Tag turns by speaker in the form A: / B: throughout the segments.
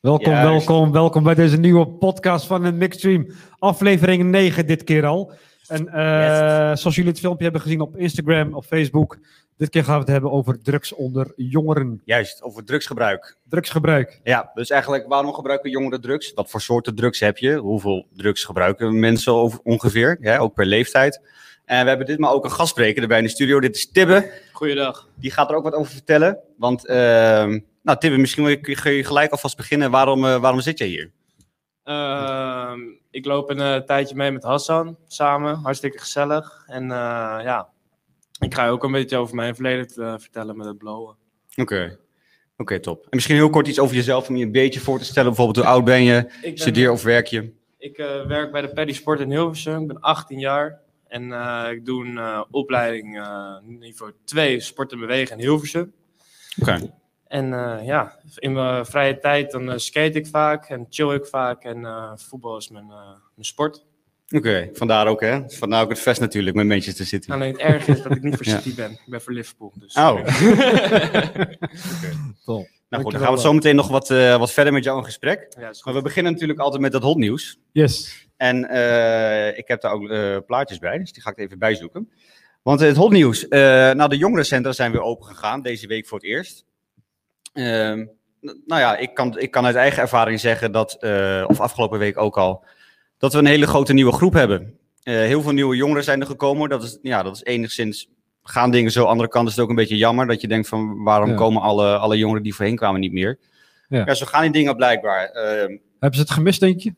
A: Welkom,
B: Juist.
A: welkom, welkom bij deze nieuwe podcast van een Mixstream. Aflevering 9 dit keer al. En eh, zoals jullie het filmpje hebben gezien op Instagram, op Facebook. Dit keer gaan we het hebben over drugs onder jongeren.
B: Juist, over drugsgebruik.
A: Drugsgebruik.
B: Ja, dus eigenlijk waarom gebruiken jongeren drugs? Wat voor soorten drugs heb je? Hoeveel drugs gebruiken mensen over- ongeveer? Ja, ook per leeftijd. En we hebben ditmaal ook een gastspreker erbij in de studio. Dit is Tibbe.
C: Goeiedag.
B: Die gaat er ook wat over vertellen. Want, ehm, nou Tibbe, misschien wil je- kun je gelijk alvast beginnen. Waarom, eh, waarom zit jij hier?
C: Ehm, ik loop een eh, tijdje mee met Hassan samen. Hartstikke gezellig. En eh, ja, ik ga ook een beetje over mijn verleden eh, vertellen met het blowen.
B: Oké. Oké, top. En misschien heel kort iets over jezelf om je een beetje voor te stellen. Bijvoorbeeld hoe oud ben je?
C: Ik, ben-
B: Studeer of werk je?
C: ik eh, werk bij de Paddy Sport in Hilversum. Ik ben 18 jaar. En eh, ik doe een eh, opleiding eh, niveau 2 sport en bewegen in Hilversum.
B: Oké.
C: En eh, ja, in mijn vrije tijd dan eh, skate ik vaak en chill ik vaak. En eh, voetbal is mijn, eh, mijn sport.
B: Oké, vandaar ook hè. Vandaar ook het vest natuurlijk met Manchester City.
C: Alleen het erg is dat ik niet voor
B: Ja.
C: City ben. Ik ben voor Liverpool. Dus
B: Oh.
A: Top.
B: Nou goed, dan
A: Dankjewel,
B: gaan we
A: eh.
B: zo meteen nog wat, eh, wat verder met jou in gesprek.
C: Ja, is goed.
B: Maar we beginnen natuurlijk altijd met dat hotnieuws.
A: Yes.
B: En eh, ik heb daar ook eh, plaatjes bij, dus die ga ik er even bijzoeken. Want het hotnieuws. eh nou, de jongerencentra zijn weer open gegaan, deze week voor het eerst. Ehm, n- nou ja, ik kan, ik kan uit eigen ervaring zeggen dat, eh, of afgelopen week ook al, dat we een hele grote nieuwe groep hebben. Eh, heel veel nieuwe jongeren zijn er gekomen. Dat is, ja, dat is enigszins, gaan dingen zo. Andere kant is het ook een beetje jammer dat je denkt van, waarom
A: Ja.
B: komen alle, alle jongeren die voorheen kwamen niet meer?
A: Ja.
B: Ja, zo gaan die dingen blijkbaar. Ehm,
A: Hebben ze het gemist, denk je?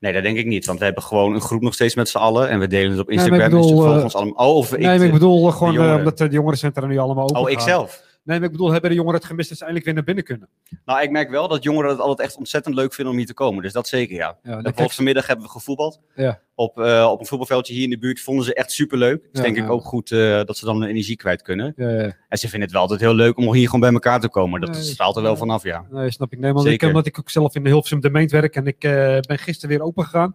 B: Nee, dat denk ik niet. Want we hebben gewoon een groep nog steeds met z'n allen. En we delen het op
A: maar ik
B: Instagram. dus
A: bedoel,
B: ze volgen
A: eh,
B: ons allemaal. Oh, of ik.
A: nee, maar ik bedoel eh, gewoon eh,
B: jongeren.
A: omdat eh, de jongerencentra nu allemaal open
B: oh, ik
A: gaan.
B: zelf.
A: Nee, maar ik bedoel, hebben de jongeren het gemist dat ze eindelijk weer naar binnen kunnen?
B: Nou, ik merk wel dat jongeren het altijd echt ontzettend leuk vinden om hier te komen. Dus dat zeker, ja.
A: Ja, dan
B: Bijvoorbeeld
A: kijk,
B: vanmiddag hebben we gevoetbald.
A: Ja.
B: Op, eh, op een voetbalveldje hier in de buurt vonden ze echt superleuk. Dus
A: Ja,
B: denk ik
A: ja.
B: ook goed eh, dat ze dan hun energie kwijt kunnen.
A: ja, ja.
B: En ze vinden het wel altijd heel leuk om hier gewoon bij elkaar te komen. Dat
A: Nee,
B: straalt er wel
A: ja.
B: vanaf, ja.
A: Nee, snap ik. Nee, want ik,
B: Zeker.
A: omdat ik ook zelf in de Hilversum de Meent werk en ik eh, ben gisteren weer open gegaan.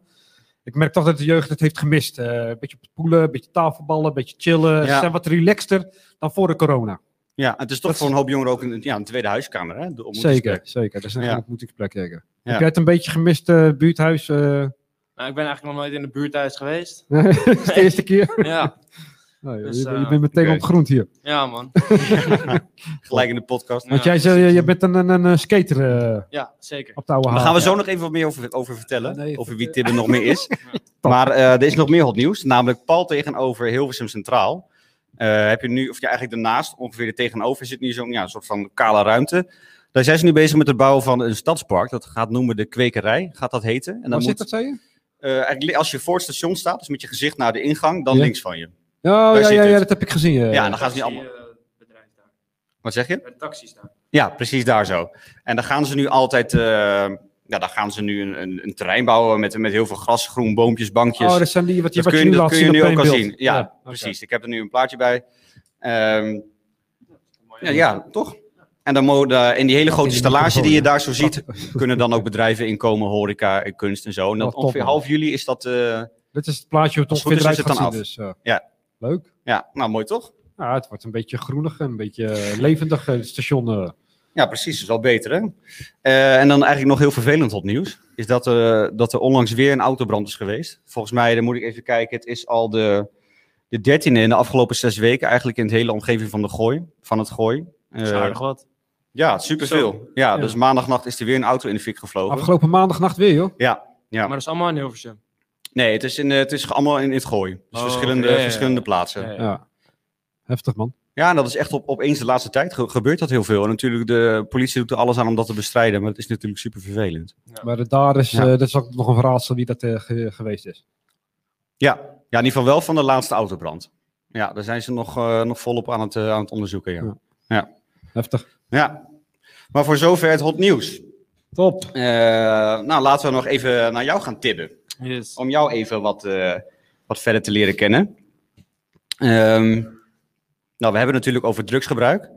A: Ik merk toch dat de jeugd het heeft gemist. Eh, Een beetje op het poelen, een beetje tafelballen, een beetje chillen. Ze
B: Ja.
A: zijn wat relaxter dan voor de corona.
B: Ja, het is toch
A: Dat-
B: voor een hoop jongeren ook een, ja, een tweede huiskamer, hè? De ontmoetingsplek.
A: Zeker, zeker. Dat is een
B: Ja.
A: ja. ontmoetingsplek, zeker.
B: Ja.
A: Heb jij het een beetje gemist, eh, buurthuis? eh,
C: Nou, ik ben eigenlijk nog nooit in de buurt thuis geweest.
A: de eerste keer?
C: ja,
A: Nou, je-
C: Dus,
A: je, bent- je
C: eh,
A: bent meteen
B: oké.
A: op groen hier.
C: ja man.
B: Gelijk in de podcast.
A: Want
C: Ja,
A: jij zei, je, je bent een, een, een, eh, skater eh,
C: Ja, zeker.
A: op de oude
B: Daar
A: haven.
B: gaan we zo nog even wat meer over, over vertellen.
A: Ja, nee,
B: over
A: dat,
B: wie
A: eh,
B: Tim er nog meer is. maar eh, er is nog meer hot nieuws. Namelijk pal tegenover Hilversum Centraal. Eh, heb je nu, of ja, eigenlijk daarnaast, ongeveer er tegenover, zit nu zo'n ja, soort van kale ruimte. Daar zijn ze nu bezig met het bouwen van een stadspark. Dat gaat noemen de Kwekerij, gaat dat heten. En dan
A: Waar
B: moet,
A: zit dat, zei je?
B: eh, eigenlijk li- als je voor het station staat, dus met je gezicht naar de ingang, dan
A: Ja.
B: links van je.
A: Oh, ja,
B: zit
A: ja, ja,
B: het?
A: dat heb ik gezien. eh.
B: Ja, en dan gaan ze nu allemaal...
C: Taxi-bedrijf daar.
B: Wat zeg je?
C: Bij de taxis daar.
B: Ja, precies daar zo. En dan gaan ze nu altijd... eh, ja, dan gaan ze nu een, een, een terrein bouwen met, met heel veel gras, groen, boompjes, bankjes.
A: Oh, dat zijn die wat je,
B: Dat
A: wat
B: kun
A: je
B: je,
A: nu
B: dat
A: laat
B: kun je
A: zien
B: nu
A: op
B: ook al
A: één beeld.
B: zien. Ja,
A: oké.
B: precies. Ik heb er nu een plaatje bij. Ehm,
C: Mooi,
B: ja, ja, toch? En dan mo- de- in die hele grote
A: in de
B: installatie die je
A: microfoon,
B: daar zo ziet, kunnen dan ook bedrijven inkomen, horeca, en kunst en zo. En
A: Wat
B: dat
A: top,
B: ongeveer
A: man.
B: half juli is dat. eh,
A: Dit is het plaatje hoe het
B: Als
A: ongeveer
B: het goed
A: eruit
B: is,
A: gaat zien.
B: is
A: Dus, eh,
B: Ja.
A: Leuk.
B: ja, nou mooi toch?
A: Ja, het wordt een beetje groenig, een beetje eh, levendig eh, het station. eh.
B: Ja, precies. Dat is wel beter, hè? Eh, en dan eigenlijk nog heel vervelend op nieuws. Is dat, eh, dat er onlangs weer een autobrand is geweest. Volgens mij, dan moet ik even kijken, het is al de, de 13e in de afgelopen zes weken. Eigenlijk in de hele omgeving van, de gooi, van het gooi.
C: dat is
B: Eh,
C: aardig wat.
B: Ja, superveel. Ja,
A: Ja.
B: dus maandagnacht is er weer een auto in de fik gevlogen.
A: Afgelopen maandagnacht weer, joh.
B: ja, ja.
C: Maar dat is allemaal in Hilversum.
B: Nee, het is, in, eh, het is allemaal in, in het gooi. Dus
C: Oh,
B: verschillende,
C: oké, ja, ja.
B: verschillende plaatsen.
C: Ja,
B: Ja.
C: ja.
A: Ja. Heftig, man.
B: en dat is echt op, opeens de laatste tijd ge- gebeurt dat heel veel. En natuurlijk, de politie doet er alles aan om dat te bestrijden. Maar het is natuurlijk super vervelend.
A: Maar eh, daar is,
B: Ja.
A: eh, dat is ook nog een raadsel wie dat eh, ge- geweest is.
B: Ja. ja, in ieder geval wel van de laatste autobrand. Ja, daar zijn ze nog, eh, nog volop aan het, eh, aan het onderzoeken. Ja.
A: Ja.
B: Ja.
A: Heftig.
B: Maar voor zover het hot nieuws.
A: Top.
B: Eh, nou, laten we nog even naar jou gaan tibben.
C: Yes.
B: om jou even wat, eh, wat verder te leren kennen. Ehm, nou, we hebben het natuurlijk over drugsgebruik.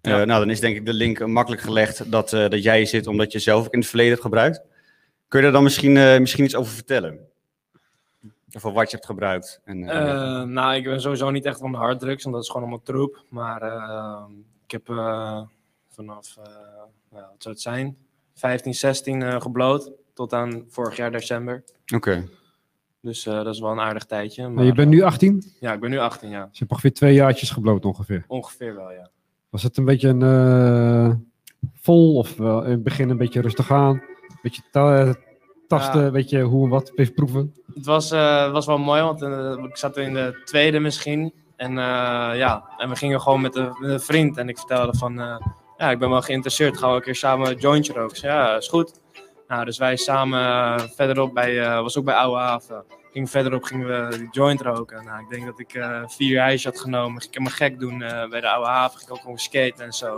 B: Eh,
C: Ja.
B: nou, dan is denk ik de link eh, makkelijk gelegd dat, eh, dat jij hier zit omdat je zelf ook in het verleden hebt gebruikt. Kun je daar dan misschien, eh, misschien iets over vertellen? Over wat je hebt gebruikt? En, eh,
C: Eh, nou, ik ben sowieso niet echt van de harddrugs, want dat is gewoon allemaal troep. Maar eh, ik heb eh, vanaf, eh, nou, wat zou het zijn, 15, 16 eh gebloot. Tot aan vorig jaar december.
B: Oké.
C: Dus eh, dat is wel een aardig tijdje. Maar,
A: Nou, je bent nu 18, dus
C: eh, ja, ik ben nu 18 jaar.
A: je hebt ongeveer twee jaartjes gebloot ongeveer.
C: Ongeveer wel, ja.
A: Was het een beetje een eh, vol of wel in het begin een beetje rustig aan? Een beetje ta- eh, tasten,
C: Ja.
A: een beetje hoe en wat, even proeven.
C: Het was, eh, was wel mooi, want eh, ik zat in de tweede misschien. En eh, ja, en we gingen gewoon met een, met een vriend. En ik vertelde van, eh, ja, ik ben wel geïnteresseerd. Gaan we een keer samen een jointje roken? Ik zei, ja, is goed. Nou, dus wij samen eh, verderop bij, eh, was ook bij Oude Haven. Gingen verderop, gingen we die joint roken. Nou, ik denk dat ik eh, vier ijsje had genomen. Ik heb me gek doen eh, bij de Oude Haven. Ik ook gewoon skaten en zo.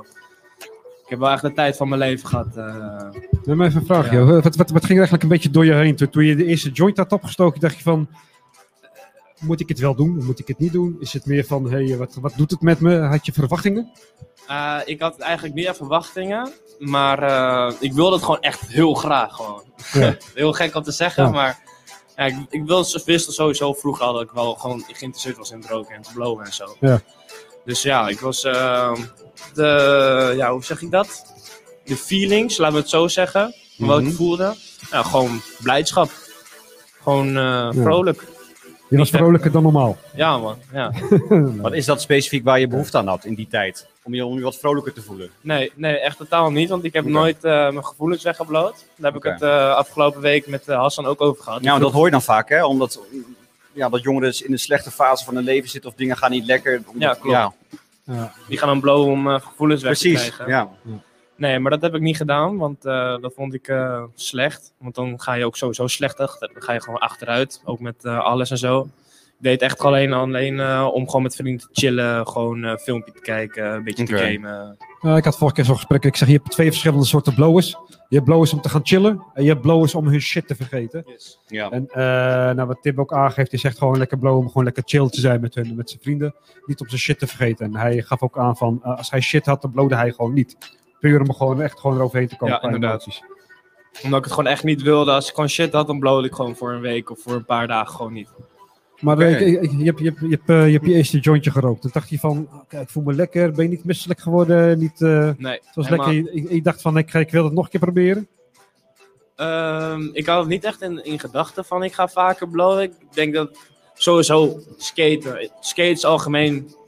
C: Ik heb wel echt de tijd van mijn leven gehad. eh.
A: Neem maar even een vraagje.
C: Ja.
A: Wat, wat, wat ging er eigenlijk een beetje door je heen? Toen, toen je de eerste joint had opgestoken, dacht je van... Moet ik het wel doen? Moet ik het niet doen? Is het meer van, hé, hey, wat, wat doet het met me? Had je verwachtingen?
C: Eh, ik had eigenlijk niet echt verwachtingen, maar eh, ik wilde het gewoon echt heel graag. Gewoon.
A: Ja.
C: heel gek om te zeggen,
A: Ja.
C: maar ja, ik, ik wilde, wist sowieso vroeg al dat ik wel gewoon geïnteresseerd was in het roken en het blowen en zo.
A: Ja.
C: Dus ja, ik was eh, de, ja, hoe zeg ik dat? De feelings, laten we het zo zeggen, wat
B: Mhm.
C: ik voelde. Nou, gewoon blijdschap. Gewoon eh, vrolijk.
A: Je was vrolijker dan normaal.
C: Ja man, ja.
B: Wat is dat specifiek waar je behoefte aan had in die tijd? Om je, om je wat vrolijker te voelen?
C: Nee, nee, echt totaal niet, want ik heb
B: Oké.
C: nooit eh, mijn gevoelens weggebloot. Daar heb
B: Oké.
C: ik het eh, afgelopen week met eh, Hassan ook over gehad.
B: Ja, want Nou, dat hoor je dan vaak, hè? Omdat ja, dat jongeren in een slechte fase van hun leven zitten of dingen gaan niet lekker.
C: Ja, klopt.
A: Ja.
C: Die gaan dan blowen om eh, gevoelens weg te
B: precies.
C: krijgen.
B: Ja.
C: Nee, maar dat heb ik niet gedaan, want eh, dat vond ik eh, slecht. Want dan ga je ook sowieso slecht achter. Dan ga je gewoon achteruit, ook met eh, alles en zo. Ik deed echt alleen, alleen eh, om gewoon met vrienden te chillen, gewoon eh, een filmpje te kijken, een beetje
B: Oké.
C: te gamen.
A: Nou, ik had vorige keer zo'n gesprek. Ik zeg, je hebt twee verschillende soorten blowers. Je hebt blowers om te gaan chillen. En je hebt blowers om hun shit te vergeten.
B: Ja.
A: En eh, nou, wat Tim ook aangeeft, hij zegt gewoon lekker blow om gewoon lekker chill te zijn met hun, met zijn vrienden. Niet om zijn shit te vergeten. En hij gaf ook aan van, eh, als hij shit had, dan blowde hij gewoon niet. Puur om gewoon echt gewoon eroverheen te komen.
C: Ja,
A: qua
C: inderdaad.
A: emoties.
C: Omdat ik het gewoon echt niet wilde. Als ik gewoon shit had, dan blowde ik gewoon voor een week of voor een paar dagen gewoon niet.
A: Maar
B: Oké.
A: eh, ik- ik- je, hebt, je, hebt, je, hebt, eh, je hebt je eerste jointje gerookt. Toen dacht je van, oké, ik voel me lekker. Ben je niet misselijk geworden? Niet, eh,
C: Nee,
A: het was
C: helemaal-
A: lekker. Je, je- je dacht van, ik, ga- ik wil het nog een keer proberen.
C: Ehm, ik had het niet echt in, in gedachten van ik ga vaker blowen. Ik denk dat sowieso skaten, skates algemeen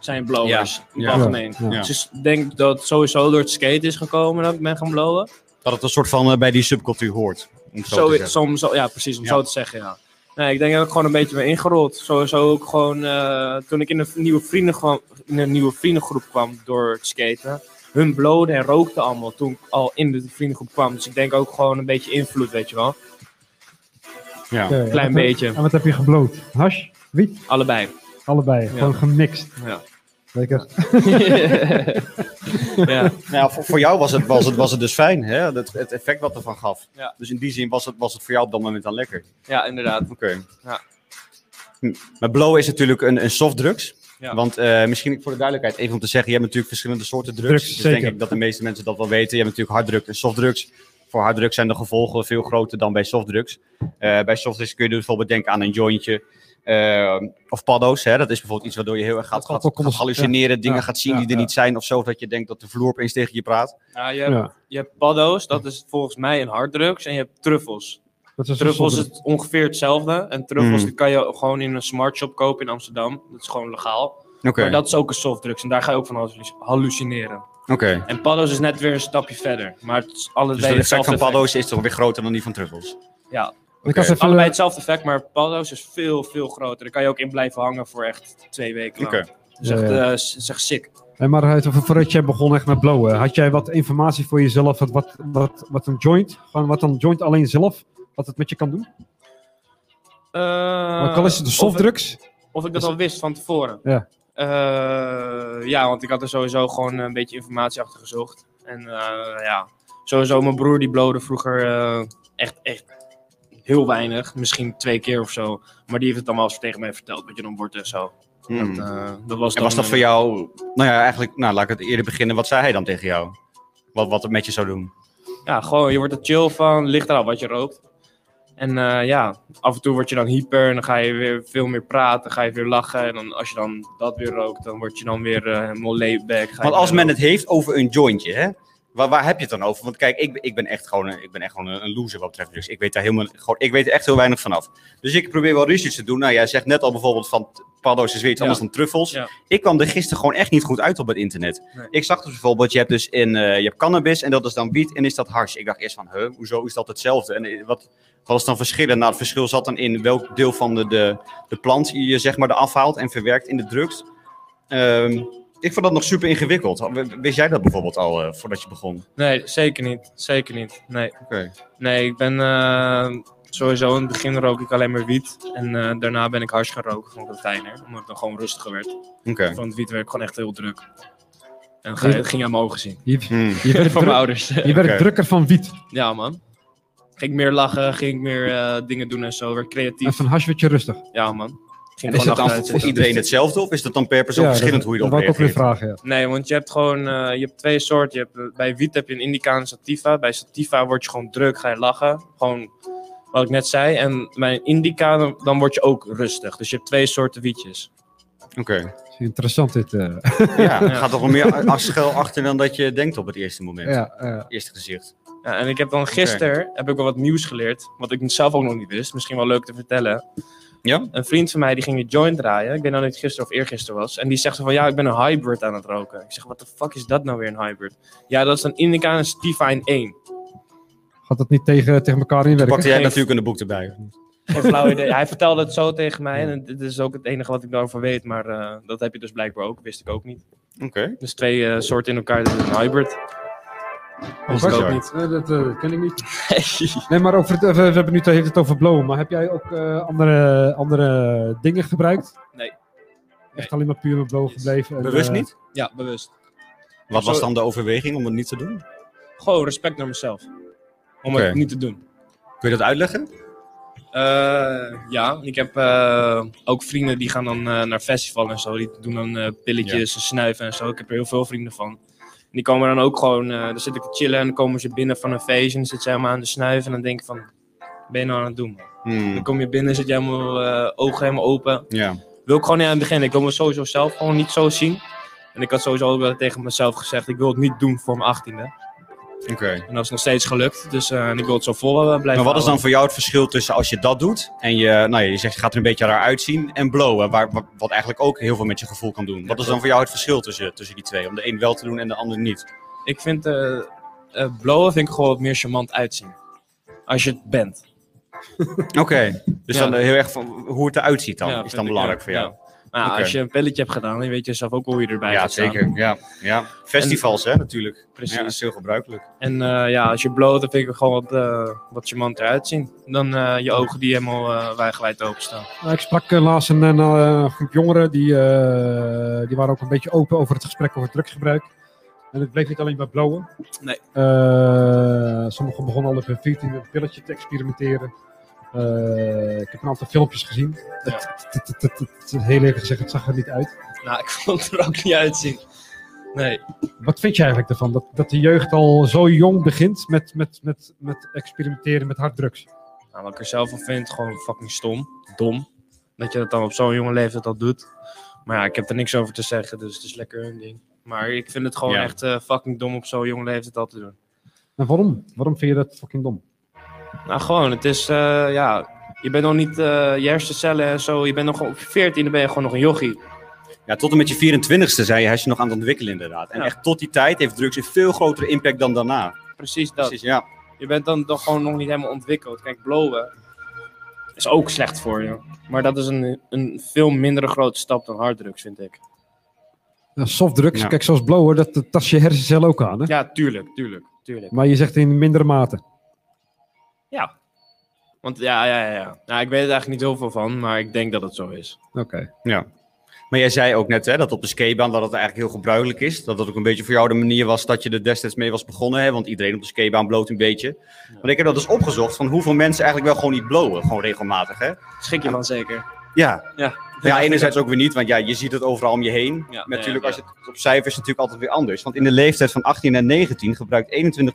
C: zijn blowers.
B: Ja.
C: Algemeen.
A: Ja, ja.
C: Dus ik denk dat het sowieso door het skaten is gekomen dat ik ben gaan blowen.
B: Dat het een soort van eh, bij die subcultuur hoort. Om het zo, te
C: Zo,
B: zeggen.
C: soms, zo- ja, precies, om
B: Ja.
C: zo te zeggen, ja. Nee, ik denk dat ik gewoon een beetje ben ingerold. Sowieso ook gewoon eh, toen ik in een, nieuwe vrienden kwam, in een nieuwe vriendengroep kwam door het skaten. Hun blowden en rookten allemaal toen ik al in de vriendengroep kwam. Dus ik denk ook gewoon een beetje invloed, weet je wel.
B: Ja.
A: Oké, en
C: Klein
A: wat heb-
C: beetje.
A: En wat heb je gebloot? Hash? Wiet?
C: Allebei.
A: Allebei. Gewoon gemixt.
C: Ja.
A: Lekker.
C: ja.
B: Nou, ja, voor, voor jou was het, was, het, was het dus fijn, hè? Dat, het effect wat ervan gaf.
C: Ja.
B: Dus in die zin was het, was het voor jou op dat moment dan lekker.
C: ja, inderdaad.
B: Oké.
C: Ja.
B: Hm. Maar blow is natuurlijk een, een softdrugs.
C: Ja.
B: Want eh, misschien voor de duidelijkheid even om te zeggen, je hebt natuurlijk verschillende soorten drugs.
A: Drugs,
B: dus
A: zeker.
B: denk ik dat de meeste mensen dat wel weten. Je hebt natuurlijk harddrugs en softdrugs. Voor harddrugs zijn de gevolgen veel groter dan bij softdrugs. Eh, bij softdrugs kun je dus bijvoorbeeld denken aan een jointje. eh, of paddo's, hè? dat is bijvoorbeeld iets waardoor je heel erg gaat,
A: Dat kan
B: gaat,
A: ook
B: gaat
A: ons-
B: hallucineren, dingen
A: ja,
B: gaat zien
A: ja,
B: die er
A: ja.
B: niet zijn of zo, dat je denkt dat de vloer opeens tegen je praat.
C: Ja, je, hebt,
A: Ja.
C: je hebt paddo's, dat is volgens mij een harddrugs. En je hebt truffels.
A: Dat is een
C: Truffels
A: soort- Hmm.
C: is ongeveer hetzelfde. En truffels
B: Mm.
C: die kan je gewoon in een smartshop kopen in Amsterdam. Dat is gewoon legaal.
B: Oké,
C: Maar dat is ook een softdrugs. En daar ga je ook van hallu- hallucineren.
B: oké.
C: En paddo's is net weer een stapje verder. Maar het is allebei
B: Dus de effect
C: hetzelfde
B: van
C: effect.
B: paddo's is toch weer groter dan die van truffels?
C: Ja,
A: Ik had
B: Oké.
A: even- eh,
C: allebei hetzelfde effect. Maar paddo's is veel, veel groter. Daar kan je ook in blijven hangen voor echt twee weken lang.
B: Oké.
C: Dat is echt,
A: Ja, ja.
C: eh, s- is echt sick.
A: Hey, maar uit, voordat jij begon echt met blowen, had jij wat informatie voor jezelf? Wat, wat, wat, wat een joint, gewoon wat een joint alleen zelf, wat het met je kan doen?
C: Eh,
A: Ook al is het de
C: of het-
A: softdrugs.
C: Of ik dat al wist van tevoren.
A: Ja.
C: Eh, ja, want ik had er sowieso gewoon een beetje informatie achter gezocht. En eh, ja, sowieso mijn broer die blode vroeger eh, echt, echt heel weinig, misschien twee keer of zo. Maar die heeft het allemaal als tegen mij verteld, wat je dan wordt en zo. Dat,
B: Hmm.
C: eh, dat was
B: En
C: dan
B: was dat
C: een-
B: voor jou, nou ja, eigenlijk, nou laat ik het eerder beginnen. Wat zei hij dan tegen jou? Wat, wat het met je zou doen?
C: Ja, gewoon, je wordt er chill van, ligt eraan wat je rookt. En eh, ja, af en toe word je dan hyper en dan ga je weer veel meer praten, ga je weer lachen. En dan, als je dan dat weer rookt, dan word je dan weer eh, helemaal laid back. ga je
B: Want als
C: weer
B: men het heeft over een jointje, hè? Waar, waar heb je het dan over? Want kijk, ik, ben- ik ben echt gewoon, een, ik ben echt gewoon een, een loser wat betreft drugs. Ik weet daar helemaal, gewoon, ik weet er echt heel weinig vanaf. Dus ik probeer wel research te doen. Nou, jij zegt net al bijvoorbeeld van t- paddo's is weer iets
C: Ja.
B: anders dan truffels.
C: Ja.
B: Ik kwam er gisteren gewoon echt niet goed uit op het internet.
C: Nee.
B: Ik zag dus bijvoorbeeld, je hebt dus in, eh, je hebt cannabis en dat is dan wiet en is dat hars. Ik dacht eerst van, huh, hoezo is dat hetzelfde? En eh, wat, wat is dan verschillen? Nou, het verschil zat dan in welk deel van de, de, de plant je zeg maar er afhaalt en verwerkt in de drugs. Ehm, ik vond dat nog super ingewikkeld. Had- w- Wist jij dat bijvoorbeeld al eh, voordat je begon?
C: Nee, zeker niet. Zeker niet. Nee,
B: Oké.
C: nee ik ben eh, sowieso in het begin rook ik alleen maar wiet. En eh, daarna ben ik hars gaan roken, gewoon wat fijner. Omdat het dan gewoon rustiger werd.
B: Oké.
C: Van het wiet werd ik gewoon echt heel druk. En ga, het ging aan mijn ogen zien.
A: Je,
B: Hmm.
A: je werd,
C: Van mijn
A: druk-
C: ouders.
A: je werd
B: Oké.
A: drukker van wiet.
C: ja, man. Ging ik meer lachen, ging ik meer eh, dingen doen en zo. Werd
A: En
C: creatief.
A: van hash werd je rustig.
C: Ja, man. Ging
B: Is dat
C: gewoon
B: dan
C: achteruit
B: voor
C: zitten.
B: iedereen hetzelfde of is dat dan per persoon verschillend hoe je
A: dat
B: dat
A: wou ik ook weer
B: reageert?
A: vragen, ja.
C: Nee, want je hebt gewoon eh, je hebt twee soorten. Je hebt, eh, bij wiet heb je een indica en sativa. Bij sativa word je gewoon druk, ga je lachen. Gewoon wat ik net zei. En bij een indica dan, dan word je ook rustig. Dus je hebt twee soorten wietjes.
B: Oké.
A: Is Interessant dit. eh,
B: Ja, het
C: Ja.
B: gaat toch wel meer a- a- schuil achter dan dat je denkt op het eerste moment.
A: ja, eh,
B: Eerste gezicht.
C: Ja, en ik heb dan gisteren heb ik wel wat nieuws geleerd. Wat ik zelf ook nog niet wist. Misschien wel leuk te vertellen.
B: Ja?
C: Een vriend van mij die ging een joint draaien. Ik weet nou niet gisteren of eergisteren was. En die zegt zo van ja, ik ben een hybrid aan het roken. Ik zeg, wat de fuck is dat nou weer een hybrid? Ja, dat is een indica en sativa in één.
A: gaat dat niet tegen, tegen elkaar inwerken?
B: Pakte jij
C: Geen-
B: natuurlijk een boek erbij.
C: Geen flauw idee. Hij vertelde het zo tegen mij. En dit is ook het enige wat ik daarover weet. Maar eh, dat heb je dus blijkbaar ook. Wist ik ook niet.
B: Oké.
C: Dus twee eh, soorten in elkaar. Dat is een hybrid. Wist ik
A: Wat?
C: ook niet.
A: Nee, dat eh, ken ik niet. Nee, maar over het, eh, we we hebben nu het- heeft het over blowen, maar heb jij ook eh, andere, andere dingen gebruikt?
C: Nee.
A: Echt alleen maar puur met blowen
C: Yes.
A: gebleven? en,
B: Bewust
A: eh,
B: niet?
C: Ja, bewust.
B: Wat
C: Zo-
B: was dan de overweging om het niet te doen?
C: Gewoon respect naar mezelf. Om
B: Oké.
C: het niet te doen.
B: Kun je dat uitleggen?
C: Eh, ja, ik heb eh, ook vrienden die gaan dan eh, naar festivals en zo. Die doen dan eh, pilletjes en snuiven en zo. Ik heb er heel veel vrienden van. En die komen dan ook gewoon, eh dan zit ik te chillen en dan komen ze binnen van een feestje. En dan zitten ze helemaal aan de snuiven. En dan denk ik van, wat ben je nou aan het doen? man? Dan kom je binnen, zit je helemaal, eh, ogen helemaal open.
B: Hmm. Ja.
C: Wil ik gewoon niet aan het begin. Ik wil me sowieso zelf gewoon niet zo zien. En ik had sowieso ook wel tegen mezelf gezegd, ik wil het niet doen voor mijn achttiende.
B: Oké.
C: En dat is nog steeds gelukt. Dus eh, en ik wil het zo vol eh, blijven
B: Maar wat is
C: houden.
B: dan voor jou het verschil tussen als je dat doet en je, nou ja, je zegt je gaat er een beetje raar uitzien en blowen, waar, wat, wat eigenlijk ook heel veel met je gevoel kan doen. Wat is dan voor jou het verschil tussen, tussen die twee? Om de een wel te doen en de ander niet.
C: Ik vind eh eh, blowen vind ik gewoon wat meer charmant uitzien. Als je het bent.
B: Oké, dus
C: Ja.
B: dan eh, heel erg van hoe het eruit ziet dan,
C: Ja,
B: is
C: vind
B: dan
C: ik,
B: belangrijk
C: ja,
B: voor jou.
C: ja. Maar ja,
B: Oké.
C: als je een pelletje hebt gedaan, dan weet je zelf ook hoe je erbij
B: Ja,
C: gaat staan.
B: zeker. Ja, ja. Festivals hè, natuurlijk. Ja, Dus dat
C: Precies.
B: is heel gebruikelijk.
C: En eh, ja, als je bloot, dan vind ik er gewoon wat, eh wat charmant eruit zien. Dan eh, je ogen die helemaal eh wijdgewijd openstaan.
A: Nou, ik sprak eh, laatst een, een, eh, groep jongeren die, eh, die waren ook een beetje open over het gesprek over drugsgebruik. En het bleef niet alleen bij blowen.
C: Nee.
A: Eh, sommigen begonnen al op hun 14 een pilletje te experimenteren. Eh, ik heb een aantal filmpjes gezien.
C: Ja.
A: Het- het- het- het- het- het- het- Heel eerlijk gezegd, het zag er niet uit.
C: Nou, ik vond het er ook niet uitzien. Nee.
A: Wat vind je eigenlijk ervan? Dat, dat de jeugd al zo jong begint met, met, met, met experimenteren met harddrugs.
C: Nou, wat ik er zelf van vind, gewoon fucking stom. Dom. Dat je dat dan op zo'n jonge leeftijd al doet. Maar ja, ik heb er niks over te zeggen, dus het is lekker hun ding. Maar ik vind het gewoon
B: Ja.
C: echt eh, fucking dom op zo'n jonge leeftijd al te doen.
A: En waarom? Waarom vind je dat fucking dom?
C: Nou, gewoon, het is, eh, ja, je bent nog niet eh, je hersencellen en zo. Je bent nog op je 14, dan ben je gewoon nog een jochie.
B: Ja, tot en met je 24ste zei je, hij is je nog aan het ontwikkelen inderdaad. En
C: Ja.
B: echt tot die tijd heeft drugs een veel grotere impact dan daarna.
C: Precies dat.
B: Precies, ja.
C: Je bent dan toch gewoon nog niet helemaal ontwikkeld. Kijk, blowen is ook slecht voor je. Maar dat is een, een veel mindere grote stap dan harddrugs, vind ik.
A: Nou, softdrugs,
B: Ja.
A: kijk zoals blowen, dat dat tast je hersencel ook aan. Hè?
C: Ja, tuurlijk, tuurlijk, tuurlijk.
A: Maar je zegt in mindere mate.
C: Ja. Want ja, ja, ja, ja. Nou, ik weet er eigenlijk niet heel veel van, maar ik denk dat het zo is.
A: Oké.
B: Ja. Maar jij zei ook net hè, dat op de skatebaan dat het eigenlijk heel gebruikelijk is. Dat dat ook een beetje voor jou de manier was dat je er destijds mee was begonnen. Hè? Want iedereen op de skatebaan bloot een beetje. Want ik heb dat dus opgezocht van hoeveel mensen eigenlijk wel gewoon niet blowen. Gewoon regelmatig hè.
C: Schrik je van zeker.
B: Ja,
C: Ja,
B: maar ja enerzijds ook weer niet. Want ja, je ziet het overal om je heen.
C: Ja,
B: Maar natuurlijk
C: ja,
B: als je het op cijfers natuurlijk altijd weer anders. Want in de leeftijd van 18 en 19 gebruikt 21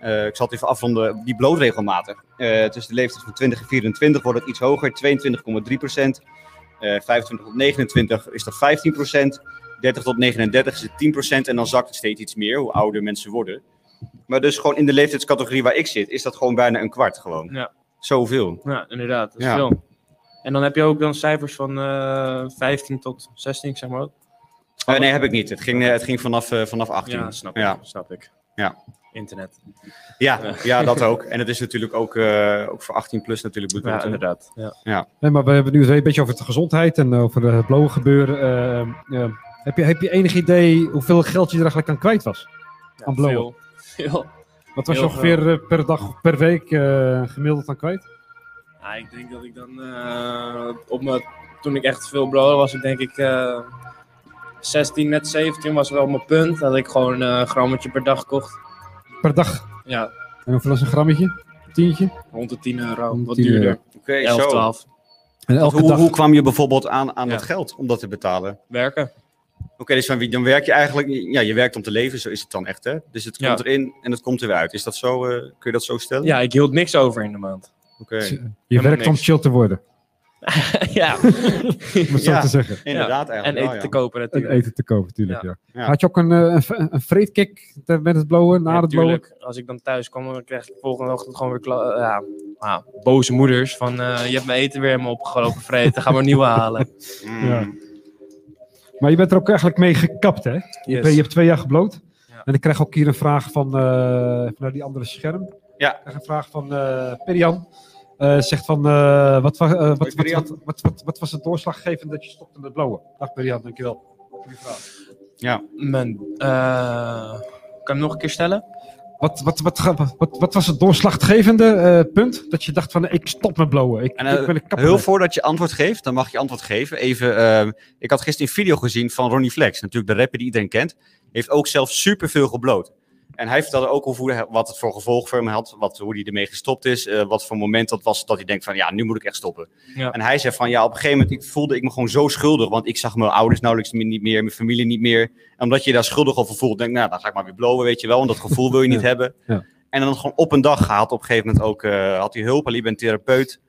B: eh, ik zal het even afronden, die bloot regelmatig. Eh, tussen de leeftijd van 20 en 24 wordt het iets hoger, 22,3 Eh, 25 tot 29 is dat 15 30 tot 39 is het 10 En dan zakt het steeds iets meer, hoe ouder mensen worden. Maar dus gewoon in de leeftijdscategorie waar ik zit, is dat gewoon bijna een kwart gewoon.
C: Ja.
B: Zoveel.
C: Ja, inderdaad. Dat is
B: Ja.
C: veel. En dan heb je ook dan cijfers van eh 15 tot 16, zeg maar.
B: Eh, nee, heb ik niet. Het ging, eh, het ging vanaf, eh, vanaf 18.
C: Ja, snap ik.
B: Ja.
C: Snap ik.
B: Ja.
C: Internet.
B: Ja, ja, dat ook. En het is natuurlijk ook, eh, ook voor 18 plus natuurlijk bedoeld.
C: Ja,
B: hè?
C: inderdaad. Ja.
A: Nee, maar we hebben het nu een beetje over de gezondheid en over het blauwe gebeuren. Eh, eh, heb, je, heb je enig idee hoeveel geld je er eigenlijk aan kwijt was? Aan blowen.
C: Veel. Veel.
A: Wat was je
C: Heel
A: ongeveer eh, per dag, per week eh, gemiddeld aan kwijt?
C: Ja, ik denk dat ik dan eh, op mijn, toen ik echt veel blower was, ik denk ik eh, 16, net 17 was wel mijn punt. Dat ik gewoon eh, een grammetje per dag kocht.
A: Per dag?
C: Ja,
A: En hoeveel was een grammetje? Tientje?
C: rond de 10 euro,
A: Rond de
C: wat
A: 10
C: duurder.
B: Oké,
C: 11,
B: zo.
C: 12.
A: En elke
B: hoe,
A: dag?
B: hoe kwam je bijvoorbeeld aan, aan
C: Ja.
B: dat geld om dat te betalen? Oké,
C: Werken.
B: dus van wie, dan werk je eigenlijk, ja, je werkt om te leven, zo is het dan echt, hè? Dus het
C: Ja.
B: komt erin en het komt er weer uit. Is dat zo, eh, kun je dat zo stellen?
C: Ja, ik hield niks over in de maand.
B: Oké,
A: je
C: helemaal
A: werkt om
C: niks.
A: chill te worden,
C: ja,
A: om het
B: Ja.
A: zo te zeggen.
B: inderdaad
C: en
B: eigenlijk
C: eten
B: wel, Oh, ja.
C: te kopen
A: En
C: natuurlijk.
A: eten te kopen, natuurlijk. Ja.
B: Ja.
A: Had je ook een, eh, een, v- een vreedkick te- met het blowen, na
C: Ja,
A: het blowen?
C: tuurlijk. Als ik dan thuis kwam, dan kreeg ik de volgende ochtend gewoon weer kla- ja, ah, boze moeders. Van eh, je hebt mijn eten weer helemaal opgelopen, vreten. Ga maar een nieuwe halen.
B: Mm.
A: Ja. Maar je bent er ook eigenlijk mee gekapt, hè? Je, bent- je hebt twee jaar gebloot.
C: Ja.
A: En ik krijg ook hier een vraag van, eh, vanuit die andere scherm.
B: Ja.
A: Ik krijg een vraag van eh Perian. Eh, zegt van, eh, wat, wa- eh, wat, wat,
B: Perian.
A: wat, wat, wat, wat was het doorslaggevend dat je stopte met blowen? Dag Perian, dankjewel. Goeie vraag.
C: Mijn, eh, kan je hem nog een keer stellen?
A: Wat, wat, wat, ga- wat, wat, was het doorslaggevende eh, punt? Dat je dacht van, ik stop met blowen. Ik,
B: En, eh,
A: ik ben een kapper.
B: Heel voordat je antwoord geeft, dan mag je antwoord geven. Even, ehm, ik had gisteren een video gezien van Ronnie Flex, natuurlijk de rapper die iedereen kent. Heeft ook zelf superveel gebloot. En hij vertelde ook hoe, wat het voor gevolg voor hem had, wat, hoe hij ermee gestopt is, eh, wat voor moment dat was dat hij denkt van ja, nu moet ik echt stoppen.
C: Ja.
B: En hij zei van ja, op een gegeven moment ik voelde ik me gewoon zo schuldig, want ik zag mijn ouders nauwelijks meer- niet meer, mijn familie niet meer. En omdat je je daar schuldig over voelt, denk ik nou, dan ga ik maar weer blowen, weet je wel, want dat gevoel wil je niet
A: Ja.
B: hebben.
A: Ja.
B: En dan gewoon op een dag had op een gegeven moment ook, eh, had hij hulp, hij liep bij een therapeut.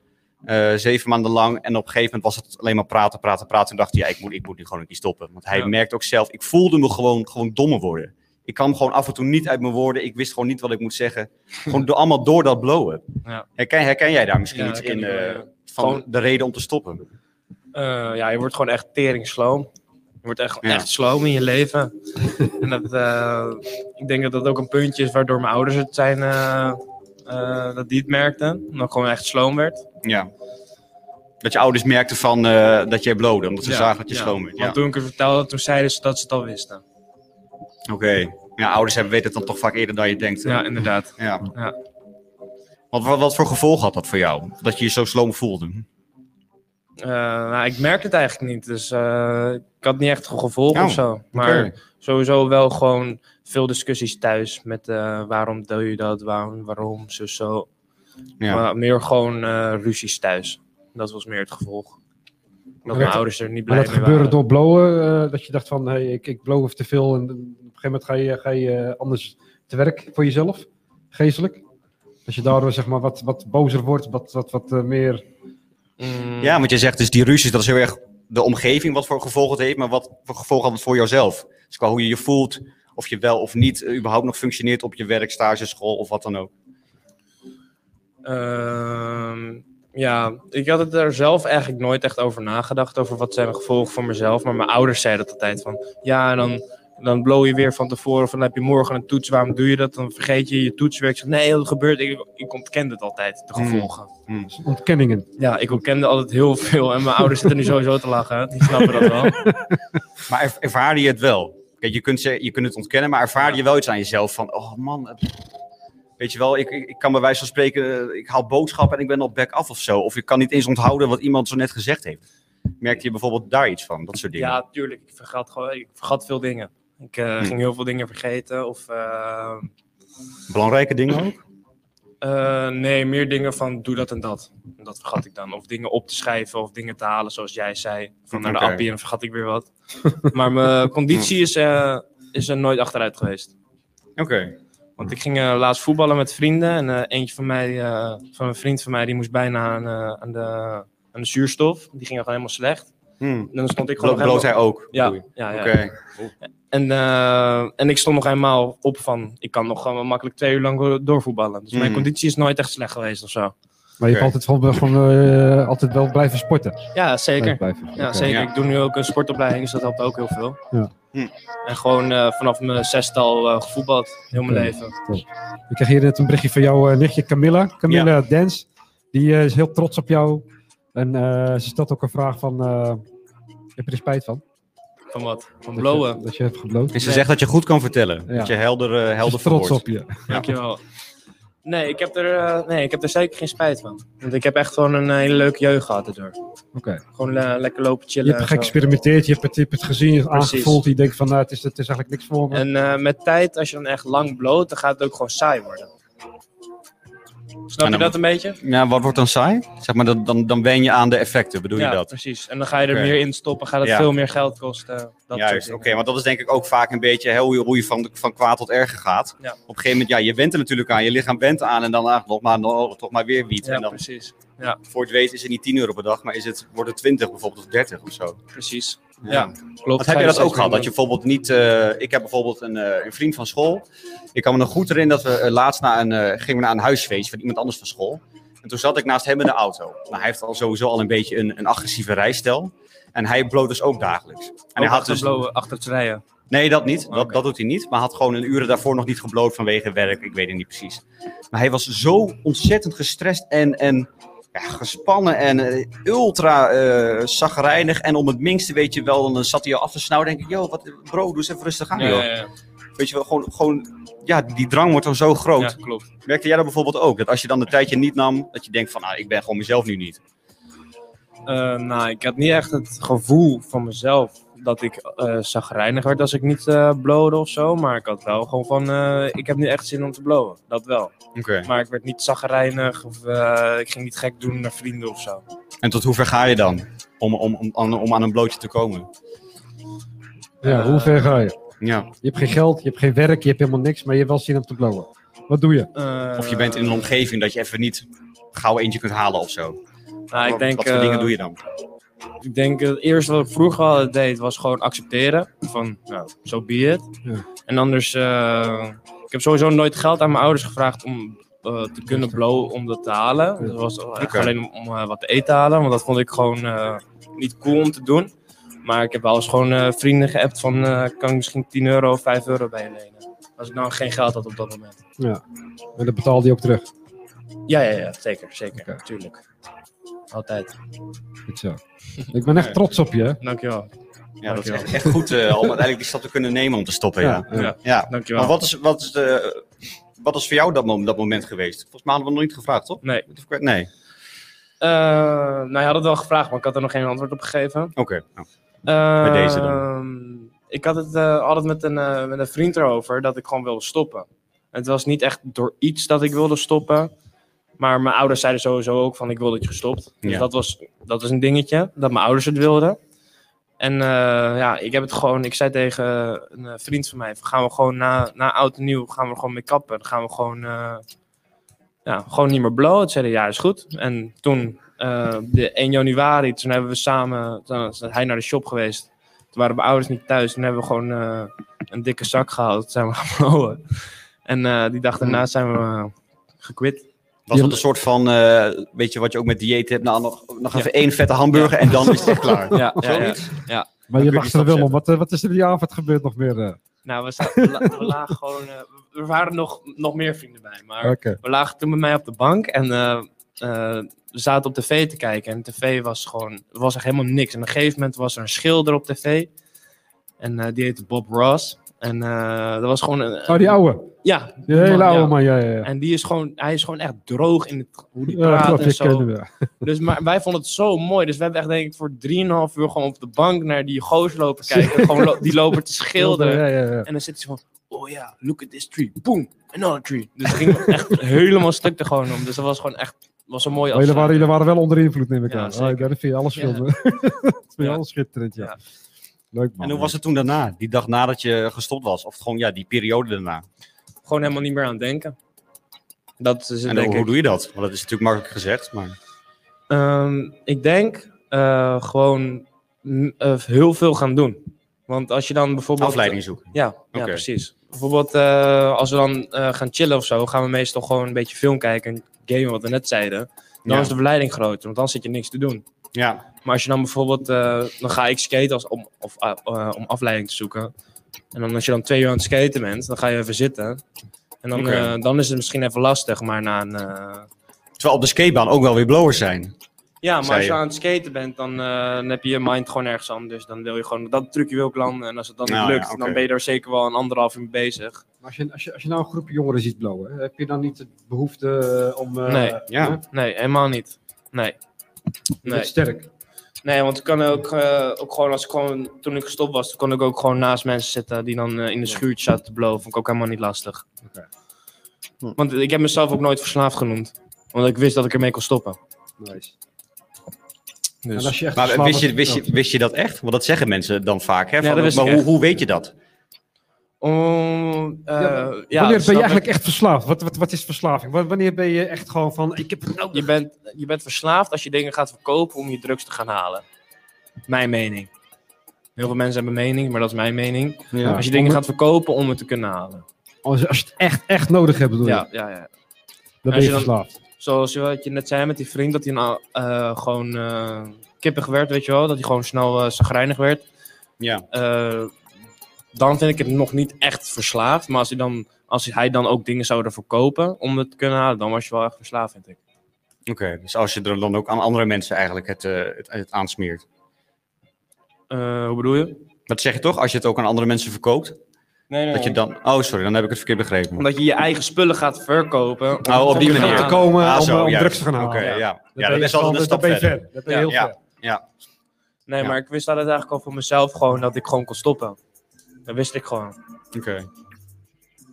B: Eh, zeven maanden lang. En op een gegeven moment was het alleen maar praten, praten, praten. Toen dacht hij, ja, ik moet, ik moet nu gewoon een keer stoppen. Want hij
C: Ja.
B: merkte ook zelf, ik voelde me gewoon, gewoon dommer worden. Ik kwam gewoon af en toe niet uit mijn woorden. Ik wist gewoon niet wat ik moet zeggen. Gewoon door, allemaal door dat blowen.
C: Ja.
B: Herken, herken jij daar misschien
C: Ja,
B: iets
C: herken
B: in
C: ik wel,
B: eh,
C: ja.
B: van
C: Gewoon-
B: de reden om te stoppen?
C: Eh, ja, je wordt gewoon echt tering sloom. Je wordt echt,
B: Ja.
C: echt sloom in je leven. en dat, eh, ik denk dat dat ook een puntje is waardoor mijn ouders het zijn... eh, eh, dat die het merkten. Omdat ik gewoon echt sloom werd.
B: Ja. Dat je ouders merkten van, eh, dat jij blode, omdat ze
C: Ja,
B: zagen dat je
C: ja.
B: schoon bent. Ja.
C: Want toen ik het vertelde, toen zeiden ze dat ze het al wisten.
B: Oké. Ja, ouders hebben, weten het dan toch vaak eerder dan je denkt. hè?
C: Ja, inderdaad.
B: Ja.
C: Ja.
B: Want wat, wat voor gevolg had dat voor jou? Dat je je zo sloom voelde?
C: Eh, nou, ik merkte het eigenlijk niet, dus eh, ik had niet echt een gevolg
B: Oh,
C: of zo. Maar sowieso wel gewoon veel discussies thuis met eh, waarom doe je dat, waarom, waarom, zo, zo.
B: Ja.
C: Maar meer gewoon eh, ruzies thuis. Dat was meer het gevolg. Dat mijn
A: dat-
C: ouders er niet
A: Maar
C: blij
A: dat
C: mee
A: gebeuren
C: waren.
A: door blowen, eh, dat je dacht van, hey, ik, ik blow te veel en op een gegeven moment ga je, ga je eh, anders te werk voor jezelf, geestelijk. Dat je daardoor zeg maar wat, wat bozer wordt, wat, wat, wat eh, meer...
C: Mm,
B: Ja, want je zegt dus die ruzies, dat is heel erg de omgeving wat voor gevolgen het heeft, maar wat voor gevolgen had het voor jouzelf? Dus qua hoe je je voelt, of je wel of niet eh, überhaupt nog functioneert op je werk, stage, school of wat dan ook.
C: Ehm, ja, ik had het er zelf eigenlijk nooit echt over nagedacht. Over wat zijn de gevolgen voor mezelf. Maar mijn ouders zeiden dat altijd van. Ja, en dan, dan blow je weer van tevoren. Of dan heb je morgen een toets. Waarom doe je dat? Dan vergeet je je toetswerk. Ik zeg, nee, dat gebeurt. Ik, ik ontkende het altijd, de
B: Mm.
C: gevolgen.
A: Ontkenningen.
C: Ja, ik ontkende altijd heel veel. En mijn ouders zitten nu sowieso te lachen. Die snappen dat wel.
B: Maar er- ervaarde je het wel? Kijk, je kunt, ze- je kunt het ontkennen, maar ervaarde
C: Ja.
B: je wel iets aan jezelf van, oh man, eh, weet je wel, ik, ik, ik kan bij wijze van spreken, eh, ik haal boodschappen en ik ben al back af of zo. Of ik kan niet eens onthouden wat iemand zo net gezegd heeft. Merkte je bijvoorbeeld daar iets van? Dat soort dingen.
C: Ja, tuurlijk. Ik vergat, gewoon, ik vergat veel dingen. Ik eh,
B: Hm.
C: ging heel veel dingen vergeten. Of eh,
B: Belangrijke dingen ook?
C: eh, nee, meer dingen van doe dat en dat. En Dat vergat ik dan. Of dingen op te schrijven of dingen te halen, zoals jij zei. Van naar de
B: Oké.
C: appie en dan vergat ik weer wat. maar mijn conditie is, eh, is er nooit achteruit geweest.
B: Oké.
C: Want ik ging eh, laatst voetballen met vrienden. En eh, eentje van mij, eh, van een vriend van mij, die moest bijna aan, eh, aan, de, aan de zuurstof. Die ging gewoon helemaal slecht.
B: Hmm.
C: En dan stond ik gewoon
B: Blo-
C: nog
B: bloot
C: helemaal...
B: hij ook?
C: Ja,
B: Oké.
C: ja, ja.
B: Oeh.
C: En, eh, en ik stond nog helemaal op van, ik kan nog gewoon makkelijk twee uur lang door- doorvoetballen. Dus mijn
A: Mm.
B: Mhm.
C: conditie is nooit echt slecht geweest of zo.
A: Maar je
B: Oké.
A: hebt altijd, gewoon, gewoon, eh, altijd wel blijven sporten.
C: Ja, zeker.
A: Blijven.
C: Ja,
A: Oké.
C: zeker.
B: Ja.
C: Ik doe nu ook een sportopleiding, dus dat helpt ook heel veel.
A: Ja.
B: Hm.
C: En gewoon eh, vanaf mijn zestal eh gevoetbald, heel mijn
A: Oké.
C: leven.
A: Ik kreeg hier net een berichtje van jouw eh, nichtje Camilla. Camilla Dens. Die eh, is heel trots op jou. En eh, ze stelt ook een vraag van... eh, heb je er spijt van?
C: Van wat? Van
A: Dat je-
C: blowen.
A: Dat je hebt gebloot.
B: En Dus ze
C: Nee.
B: zegt dat je goed kan vertellen.
A: Ja.
B: Dat je helder, eh,
A: Ze is
B: helder
A: trots
B: verwoordt.
A: op je.
C: Dankjewel. Nee ik, heb er, eh, nee, ik heb er zeker geen spijt van. Want ik heb echt gewoon een eh, hele leuke jeugd gehad erdoor.
A: Oké.
C: Gewoon le- lekker lopen chillen.
A: Je hebt
C: en zo.
A: geëxperimenteerd, je hebt het, je hebt het gezien, je hebt het
C: Precies.
A: aangevoeld. Je denkt van, nou, het, is, het is eigenlijk niks voor me.
C: En eh, met tijd, als je dan echt lang bloot, dan gaat het ook gewoon saai worden. Snap
B: En
C: je
B: dan
C: dat een beetje?
B: Ja, wat wordt dan saai? Zeg maar, dat, dan, dan wen je aan de effecten, bedoel
C: ja,
B: je dat?
C: precies. En dan ga je er
B: Oké.
C: meer in stoppen, gaat het
B: Ja.
C: veel meer geld kosten. Dat soort
B: Juist, oké,
C: dingen.
B: want dat is denk ik ook vaak een beetje heel hoe je- hoe je van, van kwaad tot erger gaat.
C: Ja.
B: Op een gegeven moment, ja, je went er natuurlijk aan, je lichaam went aan en dan ah, nog maar, nog, toch maar weer wiet.
C: Ja,
B: en dan
C: precies.
B: voor het weet is het niet 10 euro per dag, maar is het, wordt het 20 bijvoorbeeld of 30 of zo.
C: precies. Ja,
B: Wat
C: klopt.
B: heb
C: Ga
B: je dat
C: steeds
B: ook gehad?
C: meer
B: Dat je bijvoorbeeld niet. eh, ik heb bijvoorbeeld een, eh, een vriend van school. Ik kan me nog goed herinneren dat we eh, laatst naar een, eh, gingen we naar een huisfeest van iemand anders van school. En toen zat ik naast hem in de auto. Nou, hij heeft al sowieso al een beetje een, een agressieve rijstijl. En hij bloot dus ook dagelijks. En
C: doen.
B: hij
C: Ook
B: had
C: achter
B: dus.
C: blowen, achter het rijden.
B: Nee, dat niet.
C: Oh, Oké.
B: Dat, dat doet hij niet. Maar had gewoon een uren daarvoor nog niet gebloot vanwege werk. Ik weet het niet precies. Maar hij was zo ontzettend gestrest en, en ja, gespannen en eh, ultra eh zagrijnig. En om het minste weet je wel, dan zat hij al af te snauwen. Denk ik, yo, wat, bro, doe eens even rustig aan,
C: Ja,
B: joh.
C: ja, ja.
B: Weet je wel, gewoon, gewoon, ja, die drang wordt dan zo groot.
C: Ja, klopt.
B: Merkte jij dat bijvoorbeeld ook? Dat als je dan de tijdje niet nam, dat je denkt van, ah, ik ben gewoon mezelf nu niet.
C: Eh, nou, ik had niet echt het gevoel van mezelf dat ik eh zagrijnig werd als ik niet eh blode of zo. Maar ik had wel gewoon van, eh, ik heb nu echt zin om te blowen. Dat wel.
B: Oké.
C: Maar ik werd niet zagrijnig of eh, ik ging niet gek doen naar vrienden of zo.
B: En tot hoever ga je dan om, om, om, aan- om aan een blootje te komen?
A: ja,
C: eh,
A: hoe ver ga je?
B: Ja.
A: Je hebt geen geld, je hebt geen werk, je hebt helemaal niks, maar je hebt wel zin om te blowen. Wat doe je?
C: Eh,
B: Of je bent in een omgeving dat je even niet gauw eentje kunt halen of zo.
C: Nou, ik
B: Wat-
C: denk,
B: wat voor dingen doe je dan?
C: Ik denk eh, het eerste wat ik vroeger al deed was gewoon accepteren. Van, nou, zo be it.
A: Ja.
C: En anders, eh, ik heb sowieso nooit geld aan mijn ouders gevraagd om eh, te kunnen blowen om dat te halen. Dat was echt
B: Oké.
C: alleen om, om, eh, wat te eten te halen, want dat vond ik gewoon eh, niet cool om te doen. Maar ik heb wel eens gewoon eh, vrienden geappt van, eh, kan ik misschien 10 euro of 5 euro bij je lenen? Als ik nou geen geld had op dat moment.
A: En dat betaalde je ook terug.
C: Ja, ja, ja, zeker, zeker,
A: Oké.
C: tuurlijk. Altijd.
A: Goed zo. Ik ben echt trots op je.
C: Oh
A: hè?
C: Dankjewel.
B: Ja, dat is
C: Dankjewel.
B: echt, echt goed eh, om uiteindelijk die stap te kunnen nemen om te stoppen. Ja. ja.
A: ja.
C: Ja. Dankjewel.
B: Maar wat is, wat, is de, wat is voor jou dat, mom- dat moment geweest? Volgens mij hadden we nog niet gevraagd, toch?
C: Nee.
B: Nee.
C: Eh, nou, je had het wel gevraagd, maar ik had er nog geen antwoord op gegeven.
B: Oké. Nou, Bij deze dan.
C: Ehm, Ik had het eh, altijd met een, eh, met een vriend erover dat ik gewoon wilde stoppen. Het was niet echt door iets dat ik wilde stoppen. Maar mijn ouders zeiden sowieso ook van ik wil dat je stopt. Dus
B: Ja.
C: dat, was, dat was een dingetje, dat mijn ouders het wilden. En eh, ja, ik heb het gewoon, ik zei tegen een eh, vriend van mij, van, gaan we gewoon na, na oud en nieuw, gaan we er gewoon mee kappen. Dan gaan we gewoon, eh, ja, gewoon niet meer blowen. Toen zeiden ja, is goed. En toen, eh, de 1 januari, toen hebben we samen, toen is hij naar de shop geweest. Toen waren mijn ouders niet thuis. Toen hebben we gewoon eh, een dikke zak gehaald. Toen zijn we gaan blowen. En eh, die dag daarna zijn we eh, gekwit.
B: was dat een soort van, eh, weet je wat je ook met dieet hebt? Nou, nog, nog
C: Ja.
B: even één vette hamburger en dan is het echt klaar.
A: Oh,
C: Ja, ja, ja.
B: Zoiets?
A: Maar je
B: kun je
A: lacht
B: die
A: er
B: stap
A: wel om. Wat, eh, wat is er die avond gebeurd nog meer? eh?
C: Nou, we, sta- we la- we lagen gewoon... eh, er waren nog, nog meer vrienden bij. Maar
A: Oké.
C: we lagen toen met mij op de bank. En eh, eh, we zaten op tv te kijken. En tv was gewoon... Er was echt helemaal niks. En op een gegeven moment was er een schilder op tv. En eh, die heette Bob Ross. En eh, dat was gewoon... een-
A: Oh, die oude.
C: Ja.
A: Die hele
C: man,
A: oude
C: ja.
A: man, ja, ja. ja.
C: En die is gewoon, hij is gewoon echt droog in het, hoe die
A: Ja,
C: praat
A: klopt,
C: en
A: je
C: zo.
A: kennen we.
C: Dus maar wij vonden het zo mooi. Dus we hebben echt denk ik voor 3,5 uur gewoon op de bank naar die goos lopen kijken. gewoon lo- die lopen te schilderen.
A: Ja, ja, ja.
C: En dan zit ze van, oh ja, look at this tree. Boom, another tree. Dus het ging echt helemaal stuk er gewoon om. Dus dat was gewoon echt, was een mooie
A: Maar jullie, waren,
C: afsluiting.
A: jullie waren wel onder invloed, neem ik
C: Ja,
A: aan. Oh,
C: zeker.
A: ja, dat vind je alles
C: Ja.
A: filmen. dat vind je
C: Ja.
A: alles schitterend, ja.
C: Ja.
A: Leuk man.
B: En hoe was het toen daarna? Die dag nadat je gestopt was? Of gewoon ja, die periode daarna?
C: Gewoon helemaal niet meer aan het denken. Dat is het
B: En
C: denk
B: hoe
C: ik.
B: doe je dat? Want dat is natuurlijk makkelijk gezegd, maar...
C: Ehm, ik denk eh, gewoon mm, eh, heel veel gaan doen. Want als je dan bijvoorbeeld...
B: Afleiding zoeken.
C: Ja, ja
B: Oké.
C: precies. Bijvoorbeeld eh, als we dan eh, gaan chillen of zo, gaan we meestal gewoon een beetje film kijken en gamen wat we net zeiden. Dan
B: Ja.
C: is de verleiding groter, want dan zit je niks te doen.
B: Ja,
C: Maar als je dan bijvoorbeeld, eh, dan ga ik skaten als, om, of, ah, eh, om afleiding te zoeken. En dan als je dan twee uur aan het skaten bent, dan ga je even zitten. En dan,
B: Oké.
C: eh, dan is het misschien even lastig, maar na een... eh,
B: terwijl op de skatebaan ook wel weer blowers zijn.
C: Ja, maar
B: Zei
C: als je
B: je.
C: aan het skaten bent, dan, eh, dan heb je je mind gewoon ergens anders. Dan wil je gewoon dat trucje wil ik landen. En als het dan niet
B: Nou ja,
C: lukt,
B: oké.
C: dan ben je daar zeker wel een anderhalf uur mee bezig.
A: Als je, als, je, als je nou een groep jongeren ziet blowen, hè, heb je dan niet de behoefte eh, om... eh,
C: Nee,
B: ja.
A: hè?
C: Nee, helemaal niet. Nee.
A: Je bent
C: Nee.
A: sterk.
C: Dus- Nee, want ik kan ook, eh, ook gewoon, als ik gewoon, toen ik gestopt was, kon ik ook gewoon naast mensen zitten die dan eh, in een schuurtje zaten te blowen. Vond ik ook helemaal niet lastig.
A: Oké.
B: Hm.
C: Want ik heb mezelf ook nooit verslaafd genoemd. Omdat ik wist dat ik ermee kon stoppen.
A: Nice.
C: Dus.
A: En als je echt
B: Maar
A: geslapen-
B: wist je, wist, je, wist je dat echt? Want dat zeggen mensen dan vaak. Hè?
C: Ja,
B: Van,
C: dat wist
B: maar
C: ik
B: hoe,
C: echt.
B: hoe weet je dat?
C: Oh, eh,
A: Ja,
C: ja,
A: maar wanneer ben
C: snap
A: je
C: ik.
A: eigenlijk echt verslaafd? Wat, wat, wat is verslaving? Wa- Wanneer ben je echt gewoon van, ik heb het nodig?
C: Je bent, je bent verslaafd als je dingen gaat verkopen om je drugs te gaan halen. Mijn mening. Heel veel mensen hebben mening, maar dat is mijn mening.
A: Ja.
C: Als je dingen gaat verkopen om het te kunnen halen.
A: Als, als je het echt, echt nodig hebt, bedoel je?
C: Ja, ja, ja.
A: Dan ben
C: Als
A: je
C: je dan-
A: verslaafd.
C: Zoals je- wat je net zei met die vriend, dat hij nou, eh, gewoon eh, kippig werd, weet je wel. Dat hij gewoon snel eh zagrijnig werd.
B: Ja.
C: Eh, dan vind ik het nog niet echt verslaafd. Maar als hij dan, als hij dan ook dingen zou ervoor kopen om het te kunnen halen, dan was je wel echt verslaafd, vind ik.
B: Oké, dus als je er dan ook aan andere mensen eigenlijk het, eh, het, het aansmeert.
C: Eh, hoe bedoel je?
B: Dat zeg je toch? Als je het ook aan andere mensen verkoopt?
C: Nee, nee,
B: Dat je dan... Oh, sorry, dan heb ik het verkeerd begrepen.
C: Omdat je je eigen spullen gaat verkopen. om-
B: Oh, op die
A: Om
B: manier.
A: aan te
C: Ja.
A: komen
B: Ah,
A: om,
B: zo,
A: eh, om
B: juist.
A: drugs te gaan halen.
B: Oké, ja. Ja,
A: Dan ben
B: dat
A: je
B: is altijd
A: gewoon-
B: een stap
A: dan ben je
B: verder.
A: ver. Dan ben je heel
B: Ja.
A: ver.
B: Ja,
C: Nee,
B: Ja.
C: maar ik wist dat het eigenlijk al voor mezelf gewoon dat ik gewoon kon stoppen. Dat wist ik gewoon.
B: oké.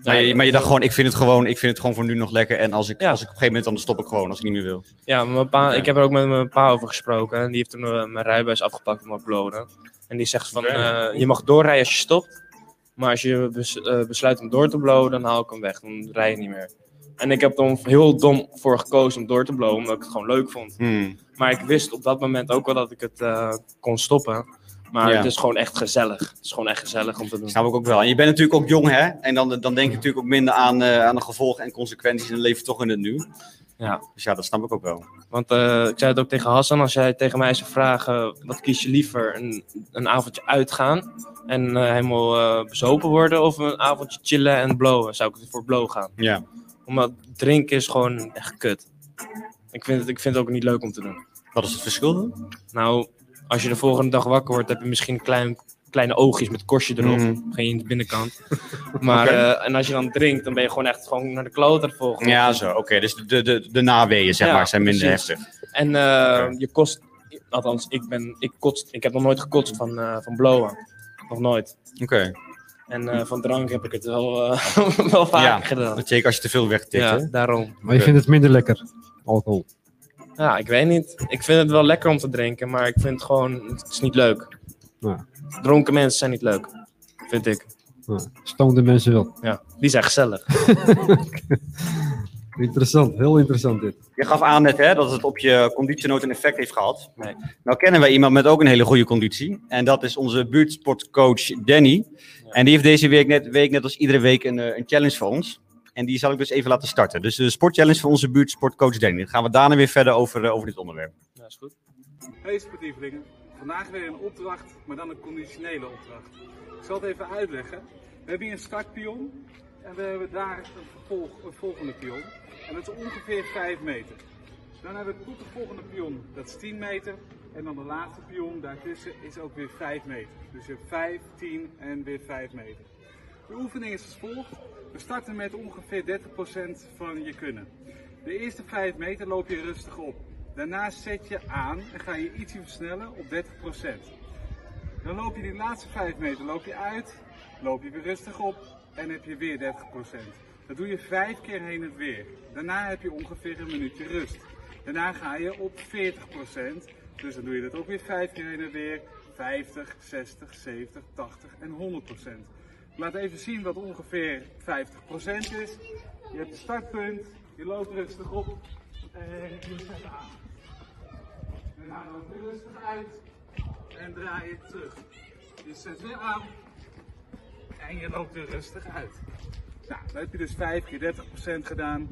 B: Maar, je, maar je dacht gewoon, ik vind, het gewoon, ik vind het gewoon voor nu nog lekker. En als ik,
C: Ja.
B: als ik op een gegeven moment, dan stop ik gewoon, als ik niet meer wil.
C: Ja, mijn pa,
B: Oké.
C: ik heb er ook met mijn pa over gesproken. En die heeft toen eh, mijn rijbewijs afgepakt om te uploaden. En die zegt van,
B: Oké.
C: eh, je mag doorrijden als je stopt. Maar als je bes- eh, besluit om door te blowen, dan haal ik hem weg. Dan rij je niet meer. En ik heb er heel dom voor gekozen om door te blowen, omdat ik het gewoon leuk vond. Maar ik wist op dat moment ook wel dat ik het eh, kon stoppen. Maar
B: Ja.
C: het is gewoon echt gezellig. Het is gewoon echt gezellig om te doen.
B: Snap ik ook wel. En je bent natuurlijk ook jong, hè? En dan, dan denk je natuurlijk ook minder aan, eh, aan de gevolgen en consequenties. En dan leef je toch in het nu.
C: Ja.
B: Dus ja, dat snap ik ook wel.
C: Want eh, ik zei het ook tegen Hassan, als jij tegen mij zou vragen, wat kies je liever? Een, een avondje uitgaan en eh, helemaal eh, bezopen worden of een avondje chillen en blowen? Zou ik voor blow gaan?
B: Ja.
C: Omdat drinken is gewoon echt kut. Ik vind, het, ik vind het ook niet leuk om te doen.
B: Wat is het verschil dan?
C: Nou, als je de volgende dag wakker wordt, heb je misschien klein, kleine oogjes met korstje erop.
B: Mhm.
C: Geen in de binnenkant. Maar,
B: Mm. Oké.
C: eh, en als je dan drinkt, dan ben je gewoon echt gewoon naar de klote de volgende
B: Ja, zo. Oké, dus de, de, de naweeën, zeg
C: Ja,
B: maar, zijn minder
C: precies.
B: heftig.
C: En eh,
B: Oké.
C: je kost, althans, ik, ben, ik, kotst, ik heb nog nooit gekotst van, eh, van blowen. Nog nooit.
B: Oké.
C: En eh, van drank heb ik het wel, eh, wel vaker
B: Ja.
C: gedaan.
B: Dat zeker als je te veel wegtikt,
C: Ja,
B: hè?
C: daarom.
A: Maar je vindt het minder lekker, alcohol.
C: Ja, ik weet niet. Ik vind het wel lekker om te drinken, maar ik vind het gewoon, het is niet leuk.
A: Ja.
C: Dronken mensen zijn niet leuk, vind ik.
A: Nou, stoned mensen wel.
C: Ja, die zijn gezellig.
A: Interessant, heel interessant dit.
B: Je gaf aan net hè, dat het op je conditie nooit een effect heeft gehad.
C: Nee.
B: Nou kennen wij iemand met ook een hele goede conditie. En dat is onze buurtsportcoach Danny. En die heeft deze week net, week net als iedere week een, eh, een challenge voor ons. En die zal ik dus even laten starten. Dus de sportchallenge van onze buurtsportcoach Danny. Dan gaan we daarna weer verder over, eh, over dit onderwerp.
C: Ja, is goed.
D: Hey sportievelingen, vandaag weer een opdracht, maar dan een conditionele opdracht. Ik zal het even uitleggen. We hebben hier een startpion en we hebben daar een, vervolg, een volgende pion. En dat is ongeveer 5 meter. Dan hebben we tot de volgende pion, dat is 10 meter. En dan de laatste pion daartussen is ook weer 5 meter. Dus je hebt 5, 10 en weer 5 meter. De oefening is als volgt. We starten met ongeveer 30% van je kunnen. De eerste 5 meter loop je rustig op. Daarna zet je aan en ga je ietsje versnellen op 30%. Dan loop je die laatste 5 meter loop je uit, loop je weer rustig op en heb je weer 30%. Dat doe je vijf keer heen en weer. Daarna heb je ongeveer een minuutje rust. Daarna ga je op 40%. Dus dan doe je dat ook weer vijf keer heen en weer. 50, 60, 70, 80 en 100%. Laat even zien wat ongeveer 50% is. Je hebt het startpunt, je loopt rustig op en je zet aan. Daarna loop je rustig uit en draai je terug. Je zet weer aan en je loopt weer rustig uit. Nou, dan heb je dus 5 keer 30% gedaan,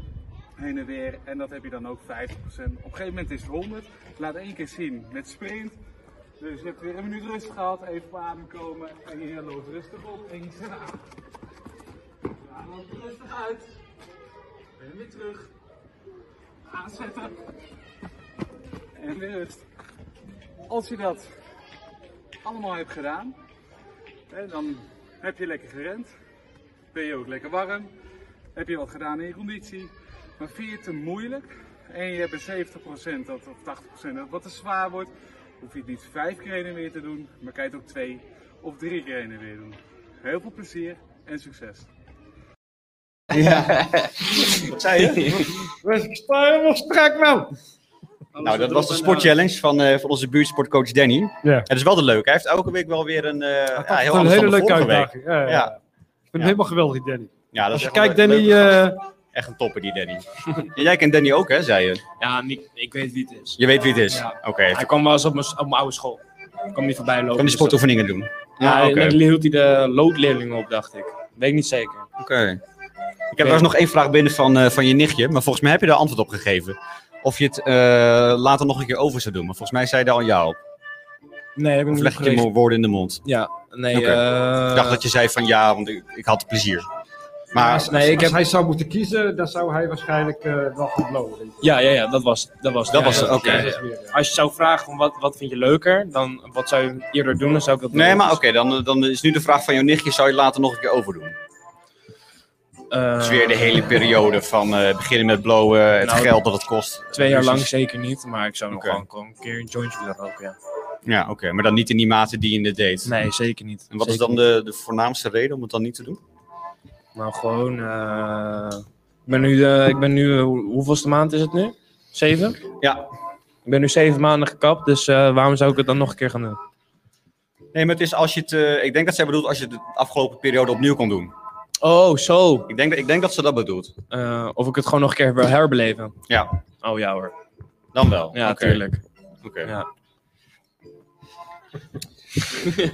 D: heen en weer, en dat heb je dan ook 50%. Op een gegeven moment is het 100. Laat één keer zien met sprint. Dus je hebt weer een minuut rust gehad, even op adem komen en je loopt rustig op en je zet aan. Ja, loopt rustig uit. En weer terug. Aanzetten. En weer rust. Als je dat allemaal hebt gedaan, hè, dan heb je lekker gerend. Ben je ook lekker warm. Heb je wat gedaan in je conditie. Maar vind je het te moeilijk en je hebt een 70% dat, of 80% dat wat te zwaar wordt, hoef je het niet vijf keer heen en weer te doen, maar kan je het ook twee of drie keer heen en weer doen. Heel veel plezier en succes.
B: Ja. Zei je?
A: We staan helemaal strak, man.
B: Nou, dat was de sportchallenge van, eh, van onze buurtsportcoach Danny.
A: Ja.
B: Het is wel de leuk. Hij heeft elke week wel weer een, eh, ja, heel
A: een
B: anders dan de
A: hele leuke
B: vorige week.
A: uitdaging. Ja, ja, ja.
B: Ja.
A: Ik vind hem
B: Ja.
A: helemaal geweldig, Danny.
B: Ja, dat
A: Als
B: is
A: je
B: echt wel
A: kijkt,
B: een
A: Danny,
B: leuke gast.
A: eh
B: Echt een topper, die Danny. En jij kent Danny ook, hè, zei je?
C: Ja, niet, ik weet wie het is.
B: Je weet wie het is.
C: Ja.
B: Oké.
C: Hij kwam wel eens op mijn, op mijn oude school. Ik kwam niet voorbij
B: Kan die
C: lopen. dus dat-
B: sportoefeningen doen?
C: Ja,
B: Ah,
C: en
B: oké.
C: dan hield hij de loodleerlingen op, dacht ik. Weet ik niet zeker.
B: Oké. Ik heb trouwens nog één vraag binnen van, eh, van je nichtje, maar volgens mij heb je daar antwoord op gegeven. Of je het eh, later nog een keer over zou doen, maar volgens mij zei daar al jou. op.
C: Nee, heb ik
B: Of
C: nog
B: leg
C: niet
B: ik je
C: gelezen.
B: mo- woorden in de mond?
C: Ja, nee.
B: Oké.
C: eh,
B: Ik dacht dat je zei van ja, want ik, ik had plezier. Maar
C: Nee, ik
A: als
C: heb...
A: hij zou moeten kiezen, dan zou hij waarschijnlijk eh, wel gaan blowen. denk ik.
C: Ja, ja, ja, dat was Dat was,
B: dat
C: ja,
B: was
C: ja,
B: het, oké.
C: ja,
A: Dat
C: ja.
A: is weer, ja.
C: Als je zou vragen van wat, wat vind je leuker, dan wat zou je eerder doen, dan zou ik dat
B: Nee,
C: doen.
B: maar oké, dan, eh, dan is nu de vraag van jouw nichtje, zou je later nog een keer overdoen?
C: Eh,
B: Dus weer de hele periode van eh, beginnen met blowen, het
C: Nou,
B: geld dat het kost.
C: Twee jaar lang
B: Precies.
C: zeker niet, maar ik zou nog
B: Oké.
C: gewoon- gewoon een keer een jointje willen roken, ja.
B: Ja, oké, maar dan niet in die mate die je het deed.
C: Nee, zeker niet.
B: En wat is
C: Zeker
B: dan
C: niet.
B: de, de voornaamste reden om het dan niet te doen?
C: Nou, gewoon... eh, ik ben nu, eh, ik ben nu eh, hoe- hoeveelste maand is het nu? Zeven?
B: Ja,
C: Ik ben nu zeven maanden gekapt, dus eh, waarom zou ik het dan nog een keer gaan doen?
B: Nee, maar het is als je het. eh, ik denk dat zij bedoelt als je het de afgelopen periode opnieuw kon doen.
C: Oh, zo.
B: Ik denk, dat- ik denk dat ze dat bedoelt.
C: Eh, of ik het gewoon nog een keer wil herbeleven.
B: Ja,
C: Oh ja hoor.
B: dan wel.
C: Ja,
B: Oké,
C: tuurlijk.
B: oké.
C: Ja.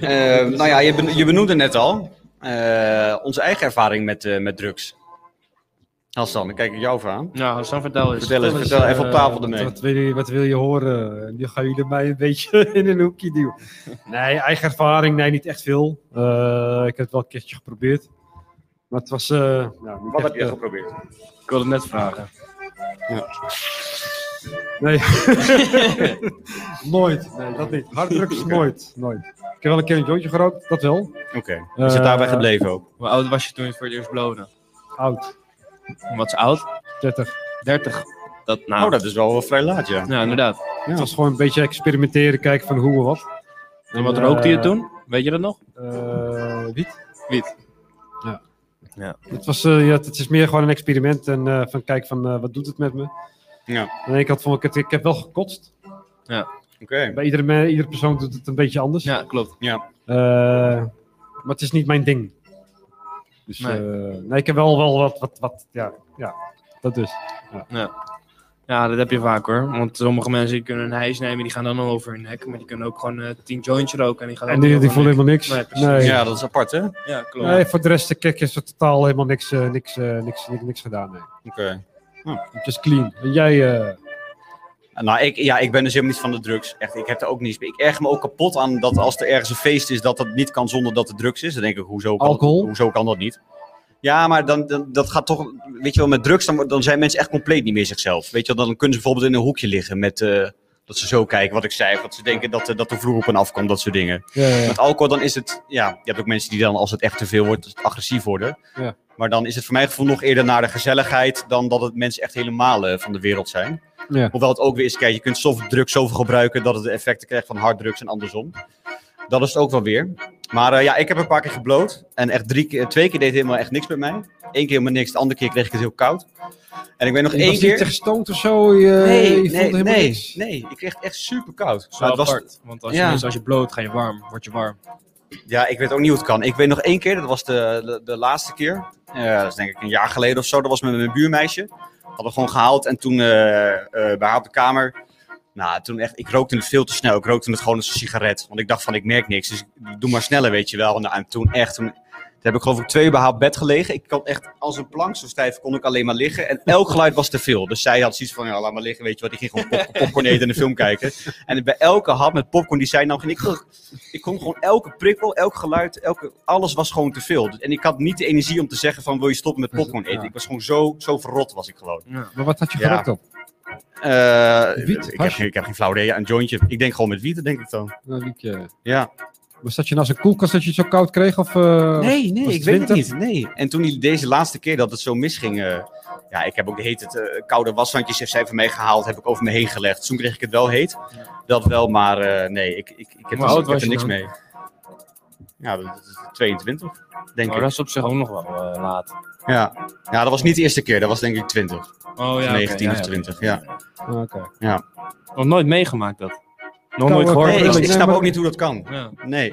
B: Eh, nou ja, je, ben- je benoemde net al eh, onze eigen ervaring met, eh, met drugs. Hassan, dan kijk ik jou voor aan.
C: Nou, Hassan, vertel eens.
B: Vertel eens, vertel even op tafel ermee.
A: eh, Wat wil, je, wat wil je horen? Nu gaan jullie mij een beetje in een hoekje duwen. Nee, eigen ervaring, nee, niet echt veel. Eh, ik heb het wel een keertje geprobeerd. Maar het was. eh, nou, niet
B: Wat heb
A: echt,
B: je
A: eh,
B: geprobeerd?
C: Ik wilde het net vragen.
A: Nee. nooit. Nee, dat niet. Harddrugs nooit. Nooit. Ik heb wel een keer een jointje gerookt, dat wel.
B: Oké. Is het
A: Eh,
B: daarbij gebleven ook?
C: Hoe oud was je toen je voor het eerst blowde?
A: Oud.
C: Wat is oud?
A: 30.
C: 30. Dat, nou,
B: Nou, dat is wel, wel vrij laat, ja.
C: Ja, inderdaad.
A: Het was gewoon een beetje experimenteren, kijken van hoe en wat.
C: En wat
A: eh,
C: rookte je toen? Weet je dat nog?
A: Eh, wiet.
C: Wiet.
A: Ja.
C: Ja.
A: Het, was, eh, ja, het is meer gewoon een experiment en eh, van kijk van eh, wat doet het met me.
B: Ja.
A: Aan de ene kant vond ik het, ik heb wel gekotst.
B: Oké.
A: Bij iedere, me- iedere persoon doet het een beetje anders.
C: Ja, klopt.
A: Eh, maar het is niet mijn ding. Dus
C: Nee.
A: nee, nee ik heb wel, wel wat, wat, wat, ja, ja, dat dus.
C: Ja, dat heb je vaak hoor. Want sommige mensen die kunnen een hijs nemen, die gaan dan al over hun nek. Maar die kunnen ook gewoon eh, tien jointjes roken en die gaan
A: En
C: ook
A: die,
C: over
A: die
C: hun
A: voelen
C: nek.
A: helemaal niks.
C: Nee,
A: Nee,
C: precies.
B: Ja, dat is apart, hè? Oké.
C: Ja, klopt.
A: Nee, voor de rest, de kerk is er totaal helemaal niks, eh, niks, eh, niks, niks, niks gedaan. Nee. Het is clean. En jij, eh,
B: Nou, ik, ja, ik ben dus helemaal niet van de drugs. Echt, ik heb er ook niets mee. Ik erg me ook kapot aan dat als er ergens een feest is, dat dat niet kan zonder dat er drugs is. Dan denk ik, hoezo kan,
A: Alcohol?
B: Hoezo kan dat niet? Ja, maar dan, dan, dat gaat toch, weet je wel, met drugs, dan, dan zijn mensen echt compleet niet meer zichzelf. Weet je wel, dan kunnen ze bijvoorbeeld in een hoekje liggen met eh, Dat ze zo kijken wat ik zei, wat ze denken dat, eh, dat de vloer op en afkomt, dat soort dingen.
A: Ja, ja, ja.
B: Met alcohol dan is het, ja, je hebt ook mensen die dan als het echt te veel wordt, agressief worden.
A: Ja.
B: Maar dan is het voor mijn gevoel nog eerder naar de gezelligheid dan dat het mensen echt helemaal eh, van de wereld zijn.
A: Ja.
B: Hoewel het ook weer is, kijk, je kunt softdrugs zoveel gebruiken dat het de effecten krijgt van harddrugs en andersom. Dat is het ook wel weer. Maar eh, ja, ik heb een paar keer gebloot. En echt drie keer, twee keer deed het helemaal echt niks met mij. Eén keer helemaal niks, de andere keer kreeg ik het heel koud. En ik weet nog
A: Je was
B: één
A: niet
B: keer...
A: echt stoned of zo? Je, je vond het helemaal
B: nee,
A: niks?
B: nee, ik kreeg het echt super koud.
C: Zo
B: Maar het was,
C: apart. Want als,
B: ja.
C: je, dus als je bloot, ga je warm. Word je warm.
B: Ja, ik weet ook niet hoe het kan. Ik weet nog één keer, dat was de, de, de laatste keer. Eh, dat is denk ik een jaar geleden of zo. Dat was met mijn buurmeisje. Hadden we gewoon gehaald en toen eh, eh, bij haar op de kamer. Nou, toen echt, ik rookte het veel te snel. Ik rookte het gewoon als een sigaret. Want ik dacht van, ik merk niks. Dus ik doe maar sneller, weet je wel. Nou, en toen echt, toen, toen heb ik geloof ik twee uur bij haar op bed gelegen. Ik kon echt als een plank, zo stijf kon ik alleen maar liggen. En elk geluid was te veel. Dus zij had zoiets van, ja, laat maar liggen, weet je wat. Die ging gewoon pop- popcorn eten en de film kijken. En bij elke hap met popcorn die zij nam, ging ik... "Ugh." Ik kon gewoon elke prikkel, elk geluid, elke, alles was gewoon te veel. En ik had niet de energie om te zeggen van, wil je stoppen met popcorn eten?
A: Ja.
B: Ik was gewoon zo, zo verrot was ik gewoon.
A: Maar wat had je
B: Ja.
A: gerookt op?
B: Eh,
A: Wiet,
B: ik, heb,
A: hash?
B: geen- ik heb geen flauw idee. Ja, Een jointje. Ik denk gewoon met wiet, denk ik dan.
A: Nou, Liekje.
B: Ja.
A: Was dat je naast een koelkast dat je het zo koud kreeg? Of,
C: Oh,
A: eh,
B: Nee, nee,
A: was
B: ik
A: het
B: weet het
A: winter?
B: niet. Nee. En toen die- deze laatste keer dat het zo misging... eh, ja, ik heb ook de heet het, eh, koude washandjes heeft zij van mij gehaald. Heb ik over me heen gelegd. Toen kreeg ik het wel heet. Dat wel, maar eh, nee, ik, ik, ik heb,
C: Hoe
B: er-
C: oud
B: ik heb er
C: was je
B: niks
C: dan?
B: mee. Ja, dat dat is 22, denk
C: Maar
B: ik.
C: Oh, dat is op zich ook nog wel eh, laat.
B: Ja. ja, dat was niet de eerste keer. Dat was denk ik 20.
C: Oh ja.
B: 19 of 20, ja.
A: Ah, oké.
C: Nog nooit meegemaakt dat. Nog
A: Kan
C: nooit
A: ook.
C: gehoord.
B: Nee, ik,
A: Nee,
B: ik
A: maar-
B: snap ook niet hoe dat kan. Nee.
C: Ja.
B: Maar
A: Nee,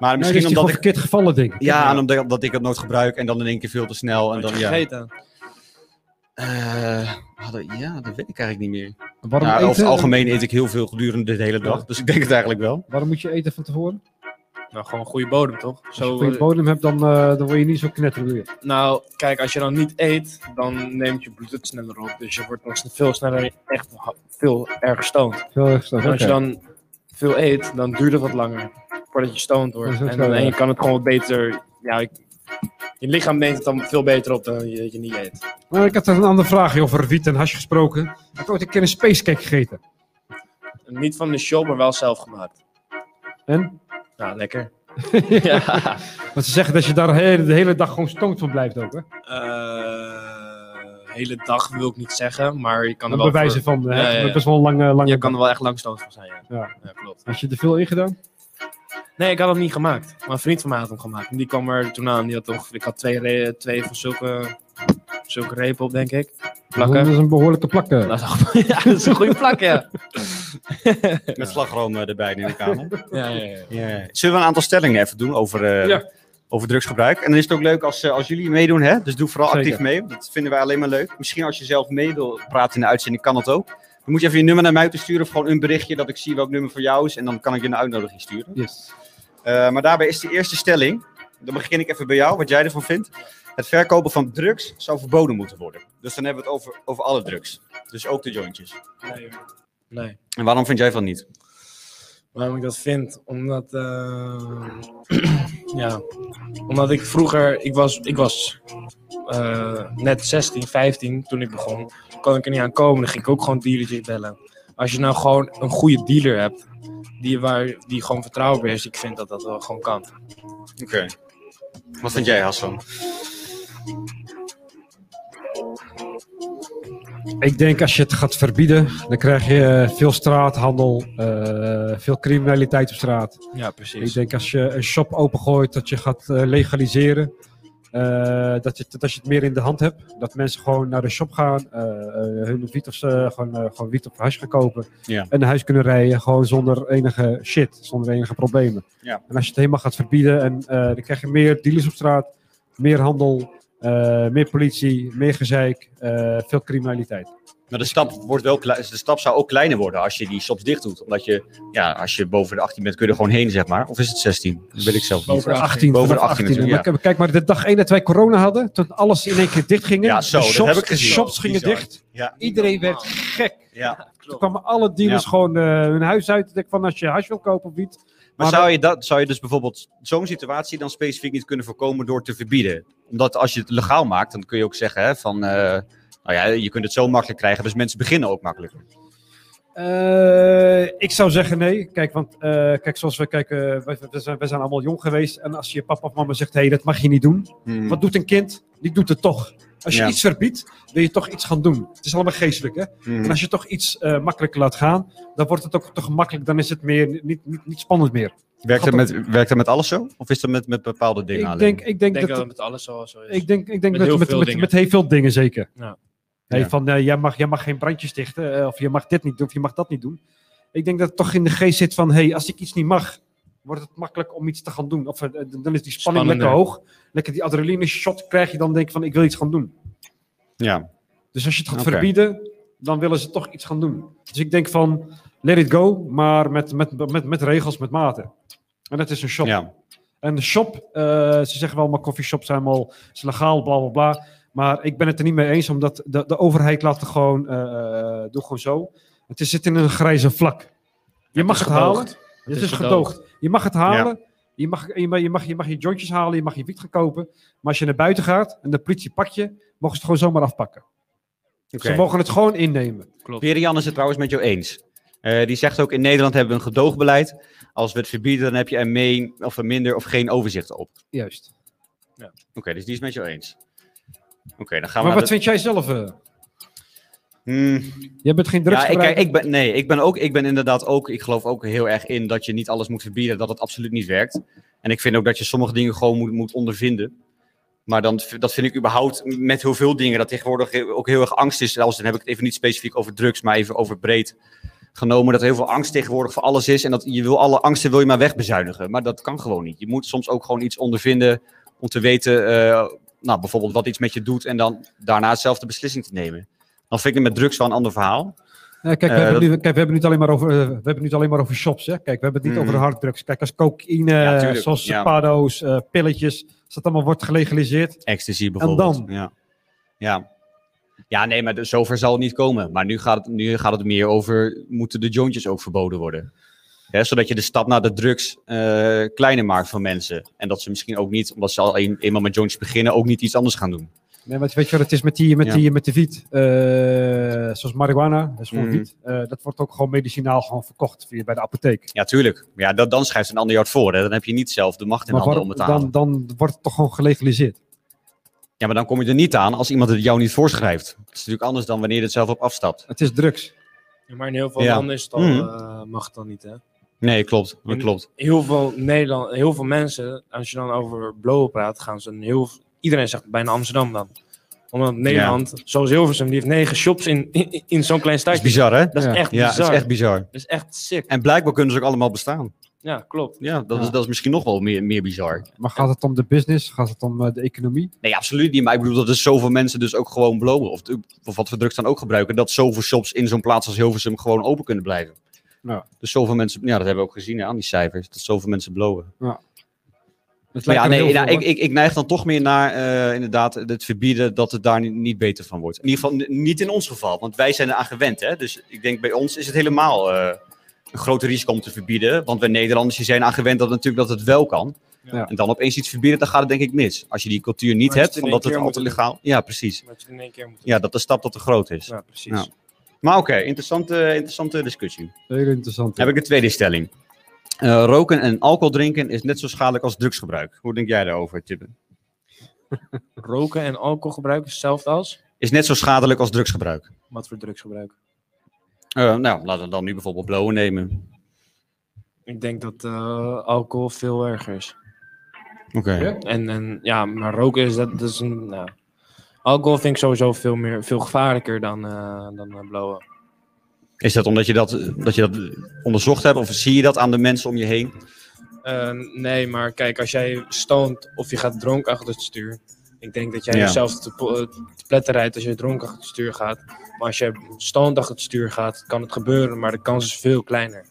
C: dus
B: misschien omdat ik...
A: verkeerd gevallen, denk ik.
B: Ja, en omdat, omdat ik het nooit gebruik en dan in één keer veel te snel. En
C: Had je
B: dan, ja.
C: gegeten?
B: Eh, hadden- ja, dat weet ik eigenlijk niet meer.
A: Waarom,
B: Nou,
A: eten,
B: over het algemeen eet ik heel veel gedurende de hele dag. Dus ik denk het eigenlijk wel.
A: waarom moet je eten van tevoren?
C: Nou, gewoon goede bodem, toch?
A: Als je
C: Zo,
A: goede
C: eh,
A: bodem hebt, dan, eh, dan word je niet zo knetterend weer.
C: nou, kijk, als je dan niet eet, dan neemt je bloed het sneller op. Dus je wordt dan s- veel sneller echt ha- veel erg stoned.
A: Veel erg snel.
C: En als je
A: Oké.
C: dan veel eet, dan duurt het wat langer voordat je stoned wordt.
A: Dat is ook
C: En,
A: zo,
C: en je
A: ja.
C: kan het gewoon wat beter... Ja, ik- je lichaam neemt het dan veel beter op dan je, dat je niet eet.
A: Maar Nou, ik had een andere vraag joh, over wiet en hash gesproken. Ik heb ooit een keer een spacecake gegeten.
C: Niet van de shop, maar wel zelf gemaakt.
A: En?
C: Nou, lekker. ja.
A: Want ze zeggen dat je daar he- de hele dag gewoon stoned van blijft ook. Hè?
C: Eh, hele dag wil ik niet zeggen, maar je kan er
A: Dat
C: wel,
A: bewijzen van. hè,
C: Ja, ja, ja.
A: Best wel een lange,
C: voor-
A: lange
C: je kan er wel echt lang stoot van zijn. Ja.
A: Ja.
C: Ja, klopt.
A: Had je er veel in gedaan?
C: Nee, ik had hem niet gemaakt. Maar een vriend van mij had hem gemaakt. En die kwam er toen aan. Die had toch, ik had twee, re- twee van zulke, zulke repen op, denk ik. Plakken.
A: Dat is een behoorlijke eh. plakken.
C: Dat is al- ja, dat is een goede plak, ja.
B: Met slagroom eh, erbij neem ik aan. hè?
C: ja, ja, ja.
B: Zullen we een aantal stellingen even doen over, eh,
A: Ja.
B: over drugsgebruik? En dan is het ook leuk als, eh, als jullie meedoen. Hè? Dus doe vooral
A: Zeker.
B: actief mee. want Dat vinden wij alleen maar leuk. Misschien als je zelf mee wil praten in de uitzending, kan dat ook. Dan moet je even je nummer naar mij toe sturen. Of gewoon een berichtje dat ik zie welk nummer voor jou is. En dan kan ik je een uitnodiging sturen.
A: Yes.
B: Eh, maar daarbij is de eerste stelling. Dan begin ik even bij jou, wat jij ervan vindt. Het verkopen van drugs zou verboden moeten worden. Dus dan hebben we het over, over alle drugs. Dus ook de jointjes.
C: Nee, hoor. nee.
B: En waarom vind jij van niet?
C: Waarom ik dat vind? Omdat. eh, ja. Omdat ik vroeger. Ik was, ik was eh, net 16, 15 toen ik begon. Kon ik er niet aan komen. Dan ging ik ook gewoon dealertjes bellen. Als je nou gewoon een goede dealer hebt. Die, waar, die gewoon vertrouwbaar is. Ik vind dat dat wel gewoon kan.
B: Oké. Wat vind jij, Hassan?
A: Ik denk als je het gaat verbieden, dan krijg je eh, veel straathandel, eh, veel criminaliteit op straat.
C: Ja,
A: Ik
C: precies.
A: denk als je een shop opengooit, dat je gaat eh, legaliseren. Eh, dat, je, het- dat je het meer in de hand hebt. Dat mensen gewoon naar de shop gaan, eh, eh, hun wiet of, ze- gewoon, eh, gewoon wiet of hash gaan kopen.
B: Ja.
A: En naar huis kunnen rijden, gewoon zonder enige shit, zonder enige problemen.
B: Ja.
A: En als je het helemaal gaat verbieden, en, eh, dan krijg je meer dealers op straat, meer handel, eh, meer politie, meer gezeik, eh, veel criminaliteit.
B: Maar de stap, wordt wel klei- de stap zou ook kleiner worden als je die shops dicht doet. Omdat je, ja, als je boven de 18 bent, kun je er gewoon heen, zeg maar. Of is het 16? Dat weet ik zelf niet.
C: Boven de
A: 18,
B: Boven de
A: vanaf
B: 18, natuurlijk,
A: Maar k- Kijk maar, de dag één dat wij corona hadden, toen alles in één keer dicht ging.
B: Ja, zo,
A: de
B: dat
A: shops,
B: heb ik gezien.
A: shops gingen
B: Bizar.
A: dicht.
B: Ja.
A: Iedereen werd gek.
B: Ja.
A: Toen kwamen alle dealers
B: Ja.
A: gewoon eh, hun huis uit. Ik denk van als je hash wil kopen of niet.
B: Maar
A: Maar
B: zou je, dat, zou je dus bijvoorbeeld zo'n situatie dan specifiek niet kunnen voorkomen door te verbieden? Omdat als je het legaal maakt, dan kun je ook zeggen hè, van... eh, nou ja, je kunt het zo makkelijk krijgen, dus mensen beginnen ook makkelijker.
A: Eh, ik zou zeggen nee. Kijk, want eh, kijk, zoals we kijken, wij, wij zijn, wij zijn allemaal jong geweest. En als je papa of mama zegt, hé, hey, dat mag je niet doen.
B: Hmm.
A: Wat doet een kind? Die doet het toch. Als je
B: Ja.
A: iets verbiedt, wil je toch iets gaan doen. Het is allemaal geestelijk, hè?
B: Hmm.
A: En als je toch iets eh, makkelijker laat gaan, dan wordt het ook te gemakkelijk. Dan is het meer, niet, niet, niet spannend meer.
B: Werkt, dat
A: Gaat
B: met, werkt dat met alles zo? Of is dat met, met bepaalde dingen
A: Ik
B: alleen?
A: denk, ik denk
C: Ik denk
A: dat
C: dat het met alles zo zo is.
A: Ik denk, ik denk
C: Met
A: dat
C: heel
A: met,
C: veel
A: met,
C: dingen.
A: met heel veel dingen zeker.
C: Ja.
A: Nee,
B: Ja.
A: Van eh, jij, mag, jij mag geen brandjes dichten, eh, of je mag dit niet doen, of je mag dat niet doen. Ik denk dat het toch in de geest zit van: hey, als ik iets niet mag, wordt het makkelijk om iets te gaan doen. Of eh, dan dan is die spanning
C: Spannender.
A: lekker hoog. Lekker die adrenaline shot krijg je dan, denk ik van: ik wil iets gaan doen.
B: Ja.
A: Dus als je het gaat
B: Oké.
A: verbieden, dan willen ze toch iets gaan doen. Dus ik denk van: let it go, maar met, met, met, met regels, met maten. En dat is een shop.
B: ja.
A: En de shop, eh, ze zeggen wel, maar coffeeshops zijn al is legaal, bla bla bla. Maar ik ben het er niet mee eens, omdat de, de overheid laat het gewoon, eh, eh, doe gewoon zo. Het is, zit in een grijze vlak. Je mag
C: is
A: het,
C: gedoogd.
A: halen. Het,
C: is
A: is gedoogd. Je mag het halen. Je, mag, je, mag, je, mag, je mag je jointjes halen, je mag je wiet gaan kopen. Maar als je naar buiten gaat en de politie pakt je, mogen ze het gewoon zomaar afpakken.
B: Oké.
A: Ze mogen het gewoon innemen.
B: Perian is het trouwens met jou eens. Eh, die zegt ook, in Nederland hebben we een gedoogbeleid. Als we het verbieden, dan heb je er mee, of er minder of geen overzicht op. Oké,
A: Juist.
B: dus die is met jou eens. Oké, dan gaan
A: Maar
B: we
A: wat
B: naar de-
A: vind jij zelf? eh?
B: Hmm.
A: jij bent geen
B: Ja, ik,
A: drugsgebruiker.
B: ik ben, nee, ik ben, ook, ik ben inderdaad ook, ik geloof ook heel erg in dat je niet alles moet verbieden, dat het absoluut niet werkt. En ik vind ook dat je sommige dingen gewoon moet, moet ondervinden. Maar dan, v- dat vind ik überhaupt met heel veel dingen, dat tegenwoordig he- ook heel erg angst is. Zelfs dan heb ik het even niet specifiek over drugs, maar even over breed genomen. Dat er heel veel angst tegenwoordig voor alles is en dat je wil alle angsten wil je maar wegbezuinigen. Maar dat kan gewoon niet. Je moet soms ook gewoon iets ondervinden om te weten, eh, nou bijvoorbeeld wat iets met je doet en dan daarna zelf de beslissing te nemen. Dan vind ik het met drugs wel een ander verhaal.
A: Ja, Nou, kijk, we
B: Eh,
A: hebben
B: dat-
A: het nu, kijk, we hebben het niet alleen maar over, eh, we hebben het niet alleen maar over shops. Hè? Kijk, we hebben het niet
B: Mhm.
A: over harddrugs. Kijk, als cocaïne,
B: Ja, tuurlijk,
A: zoals
B: ja.
A: pado's, eh, pilletjes, als dat allemaal wordt gelegaliseerd.
B: Ecstasy bijvoorbeeld.
A: dan?
B: Ja. Ja. ja, nee, maar de- zover zal het niet komen. Maar nu gaat het, nu gaat het meer over, moeten de jointjes ook verboden worden? Hè, zodat je de stap naar de drugs eh, kleiner maakt voor mensen. En dat ze misschien ook niet, omdat ze al een, eenmaal met jointjes beginnen, ook niet iets anders gaan doen.
A: Nee, want weet je wat het is met die, met
B: Ja.
A: die, met de wiet? Eh, zoals marihuana, dat is gewoon
B: Mhm.
A: wiet. Eh, dat wordt ook gewoon medicinaal gewoon verkocht via, bij de apotheek.
B: Ja, tuurlijk. Ja, dat, dan schrijft een ander jou het voor. Hè. Dan heb je niet zelf de macht in
A: Maar
B: handen
A: waar-
B: om het te halen.
A: dan, dan wordt het toch gewoon gelegaliseerd.
B: Ja, maar dan kom je er niet aan als iemand het jou niet voorschrijft. Het is natuurlijk anders dan wanneer je het zelf op afstapt.
A: Het is drugs.
C: Ja, maar in heel veel
B: Ja.
C: landen is het al,
B: Mhm.
C: eh, mag het dan niet, hè?
B: Nee, klopt. Dat
C: En-
B: klopt.
C: heel veel Nederland, heel veel mensen, als je dan over blowen praat, gaan ze een heel. Iedereen zegt bijna Amsterdam dan. Omdat Nederland, zoals Hilversum, die heeft negen shops in, in, in zo'n klein
B: Dat is
C: stadje.
B: bizar, hè?
C: Dat is
A: Ja.
C: echt
B: Ja,
C: bizar.
B: dat is echt bizar.
C: Dat is echt sick.
B: En blijkbaar kunnen ze ook allemaal bestaan.
C: Ja, klopt.
B: Ja, dat,
A: Ja.
B: Is, dat is misschien nog wel meer, meer bizar.
A: Maar gaat het om de business? Gaat het om eh, de economie?
B: Nee, absoluut niet. Maar ik bedoel dat er zoveel mensen dus ook gewoon blowen. Of, of wat voor drugs dan ook gebruiken. Dat zoveel shops in zo'n plaats als Hilversum gewoon open kunnen blijven.
A: Ja.
B: Dus zoveel mensen, ja, dat hebben we ook gezien hè, aan die cijfers. Dat zoveel mensen blowen.
A: Het
B: Maar
A: lijkt
B: ja,
A: me
B: nee,
A: heel
B: nou,
A: veel,
B: ik, ik, ik neig dan toch meer naar eh, inderdaad het verbieden dat het daar niet, niet beter van wordt. In ieder geval n- niet in ons geval, want wij zijn eraan gewend. Hè? Dus ik denk bij ons is het helemaal eh, een groot risico om te verbieden. Want wij Nederlanders die zijn aan gewend dat, natuurlijk dat het wel kan.
A: Ja.
B: En dan opeens iets verbieden, dan gaat het denk ik mis. Als je die cultuur niet
C: Maar als
B: hebt,
C: je
B: van
C: het in
B: dat
C: één
B: het
C: keer
B: al te
C: moet
B: legaal... Ja, precies.
C: Dat je het in één keer moet
B: Ja, dat de stap dat te groot is.
C: Ja, precies.
B: Ja. Maar oké, interessante, interessante discussie.
A: hoor. Heel interessant.
B: Dan heb ik de tweede stelling. Eh, roken en alcohol drinken is net zo schadelijk als drugsgebruik. Hoe denk jij daarover, Tibbe?
C: Roken en alcoholgebruik is hetzelfde als.
B: Is net zo schadelijk als drugsgebruik.
C: Wat voor drugsgebruik?
B: Eh, nou, laten we dan nu bijvoorbeeld blowen nemen.
C: Ik denk dat eh, alcohol veel erger is.
B: Oké.
A: Ja?
C: En, en ja, maar roken is dat, dat is een. Nou, alcohol vind ik sowieso veel, meer, veel gevaarlijker dan, eh dan eh, blowen.
B: Is dat omdat je dat, dat je dat onderzocht hebt of zie je dat aan de mensen om je heen?
C: Eh, nee, maar kijk, als jij stoont of je gaat dronken achter het stuur. Ik denk dat jij
B: Ja.
C: jezelf te, po- eh, te pletten rijdt als je dronken achter het stuur gaat. Maar als je stoont achter het stuur gaat, kan het gebeuren, maar de kans is veel kleiner.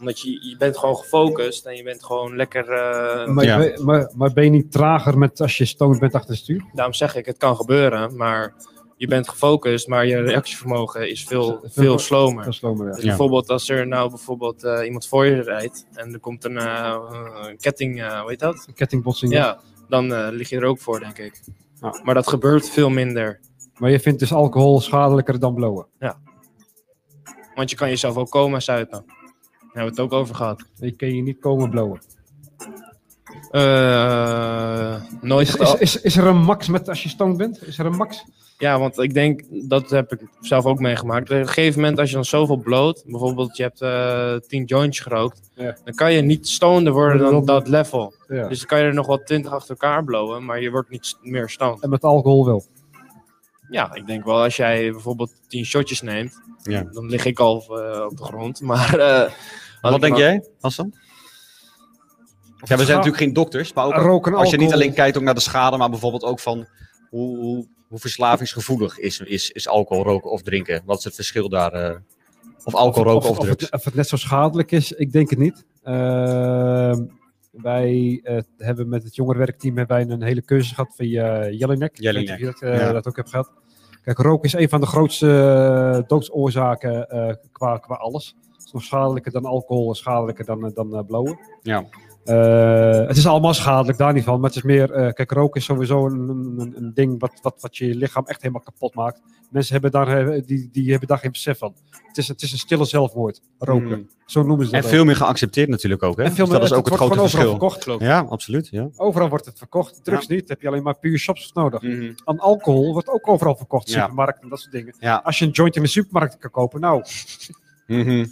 C: Omdat je, je bent gewoon gefocust en je bent gewoon lekker... eh,
A: Maar,
B: Ja.
A: maar, maar, maar ben je niet trager met, als je stoned bent achter het stuur?
C: daarom zeg ik, het kan gebeuren, maar je bent gefocust, maar je reactievermogen is veel, veel slomer.
A: Dat is slomer, ja.
C: Dus
B: Ja.
C: bijvoorbeeld als er nou bijvoorbeeld eh, iemand voor je rijdt en er komt een eh, een ketting, eh hoe heet dat?
A: Kettingbotsing.
C: Ja, dan eh, lig je er ook voor, denk ik.
A: Ja.
C: Maar dat gebeurt veel minder.
A: Maar je vindt dus alcohol schadelijker dan blowen?
C: Ja. Want je kan jezelf ook coma zuipen. Daar hebben we het ook over gehad.
A: Ik kan je niet komen blowen.
C: Eh, nooit
A: Is, is, is, is er een max met als je stoned bent? Is er een max?
C: Ja, want ik denk, dat heb ik zelf ook meegemaakt. Op een gegeven moment, als je dan zoveel bloot, bijvoorbeeld je hebt eh 10 joints gerookt,
A: Ja.
C: dan kan je niet stoneder worden dan
A: Dat-
C: dat level.
A: Ja.
C: Dus dan kan je er nog wel 20 achter elkaar blowen, maar je wordt niet s- meer stoned.
A: En met alcohol wel.
C: Ja, ik denk wel, als jij bijvoorbeeld 10 shotjes neemt,
B: Ja.
C: dan lig ik al eh, op de grond. Maar eh, als
B: Wat
C: ik
B: denk
C: dan-
B: jij, Hassan? Ja, we zijn natuurlijk geen dokters, maar ook
A: Roken
B: als je niet
A: alcohol.
B: alleen kijkt ook naar de schade, maar bijvoorbeeld ook van hoe, hoe, hoe verslavingsgevoelig is, is, is alcohol roken of drinken? Wat is het verschil daar? eh? of alcohol
A: Of-
B: roken of,
A: of, of,
B: drugs?
A: het, of het net zo schadelijk is, ik denk het niet. Ehm, wij eh, hebben met het jongerenwerkteam hebben wij een hele cursus gehad via Jellinek.
B: Jellinek,
A: Ik weet niet of je dat, eh,
B: ja.
A: dat ook hebt gehad. Kijk, roken is een van de grootste eh, doodsoorzaken eh, qua, qua alles. Het is nog schadelijker dan alcohol, schadelijker dan, eh, dan eh, blowen.
B: Ja.
A: Eh, het is allemaal schadelijk, daar niet van. Maar het is meer, eh, kijk, roken is sowieso een, een, een ding wat, wat, wat je lichaam echt helemaal kapot maakt. Mensen hebben daar, eh, die, die hebben daar geen besef van. Het is, het is een stille zelfmoord, roken.
B: Mm.
A: Zo noemen ze dat
B: En
A: ook.
B: veel meer geaccepteerd natuurlijk ook. Hè?
A: En veel
B: Dus dat is
A: het-
B: ook het,
A: wordt
B: grote
A: gewoon overal
B: verschil.
A: verkocht, geloof ik.
B: Ja, absoluut. Ja.
A: Overal wordt het verkocht. Drugs niet, heb je alleen maar puur shops nodig.
B: Mhm.
A: Aan alcohol wordt ook overal verkocht,
B: Ja.
A: supermarkten en dat soort dingen.
B: Ja.
A: Als je een joint in de supermarkt kan kopen, nou,
B: Mhm.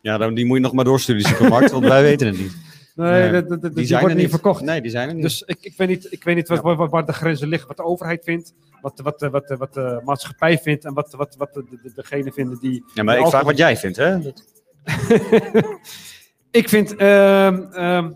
B: Ja, dan, die moet je nog maar doorsturen, die supermarkt, want wij weten het niet.
A: nee,
B: Nee,
A: dat- dat- dat- die, wordt niet verkocht.
B: Nee, die zijn er niet.
A: Dus ik, ik weet niet, ik weet niet wat, waar, waar de grenzen liggen, wat de overheid vindt, wat, wat, wat, wat, de maatschappij vindt en wat, wat, wat de, de, degene vinden die...
B: ja, maar ik
A: alcohol-
B: vraag wat jij vindt, hè?
A: ik vind, ehm, ehm,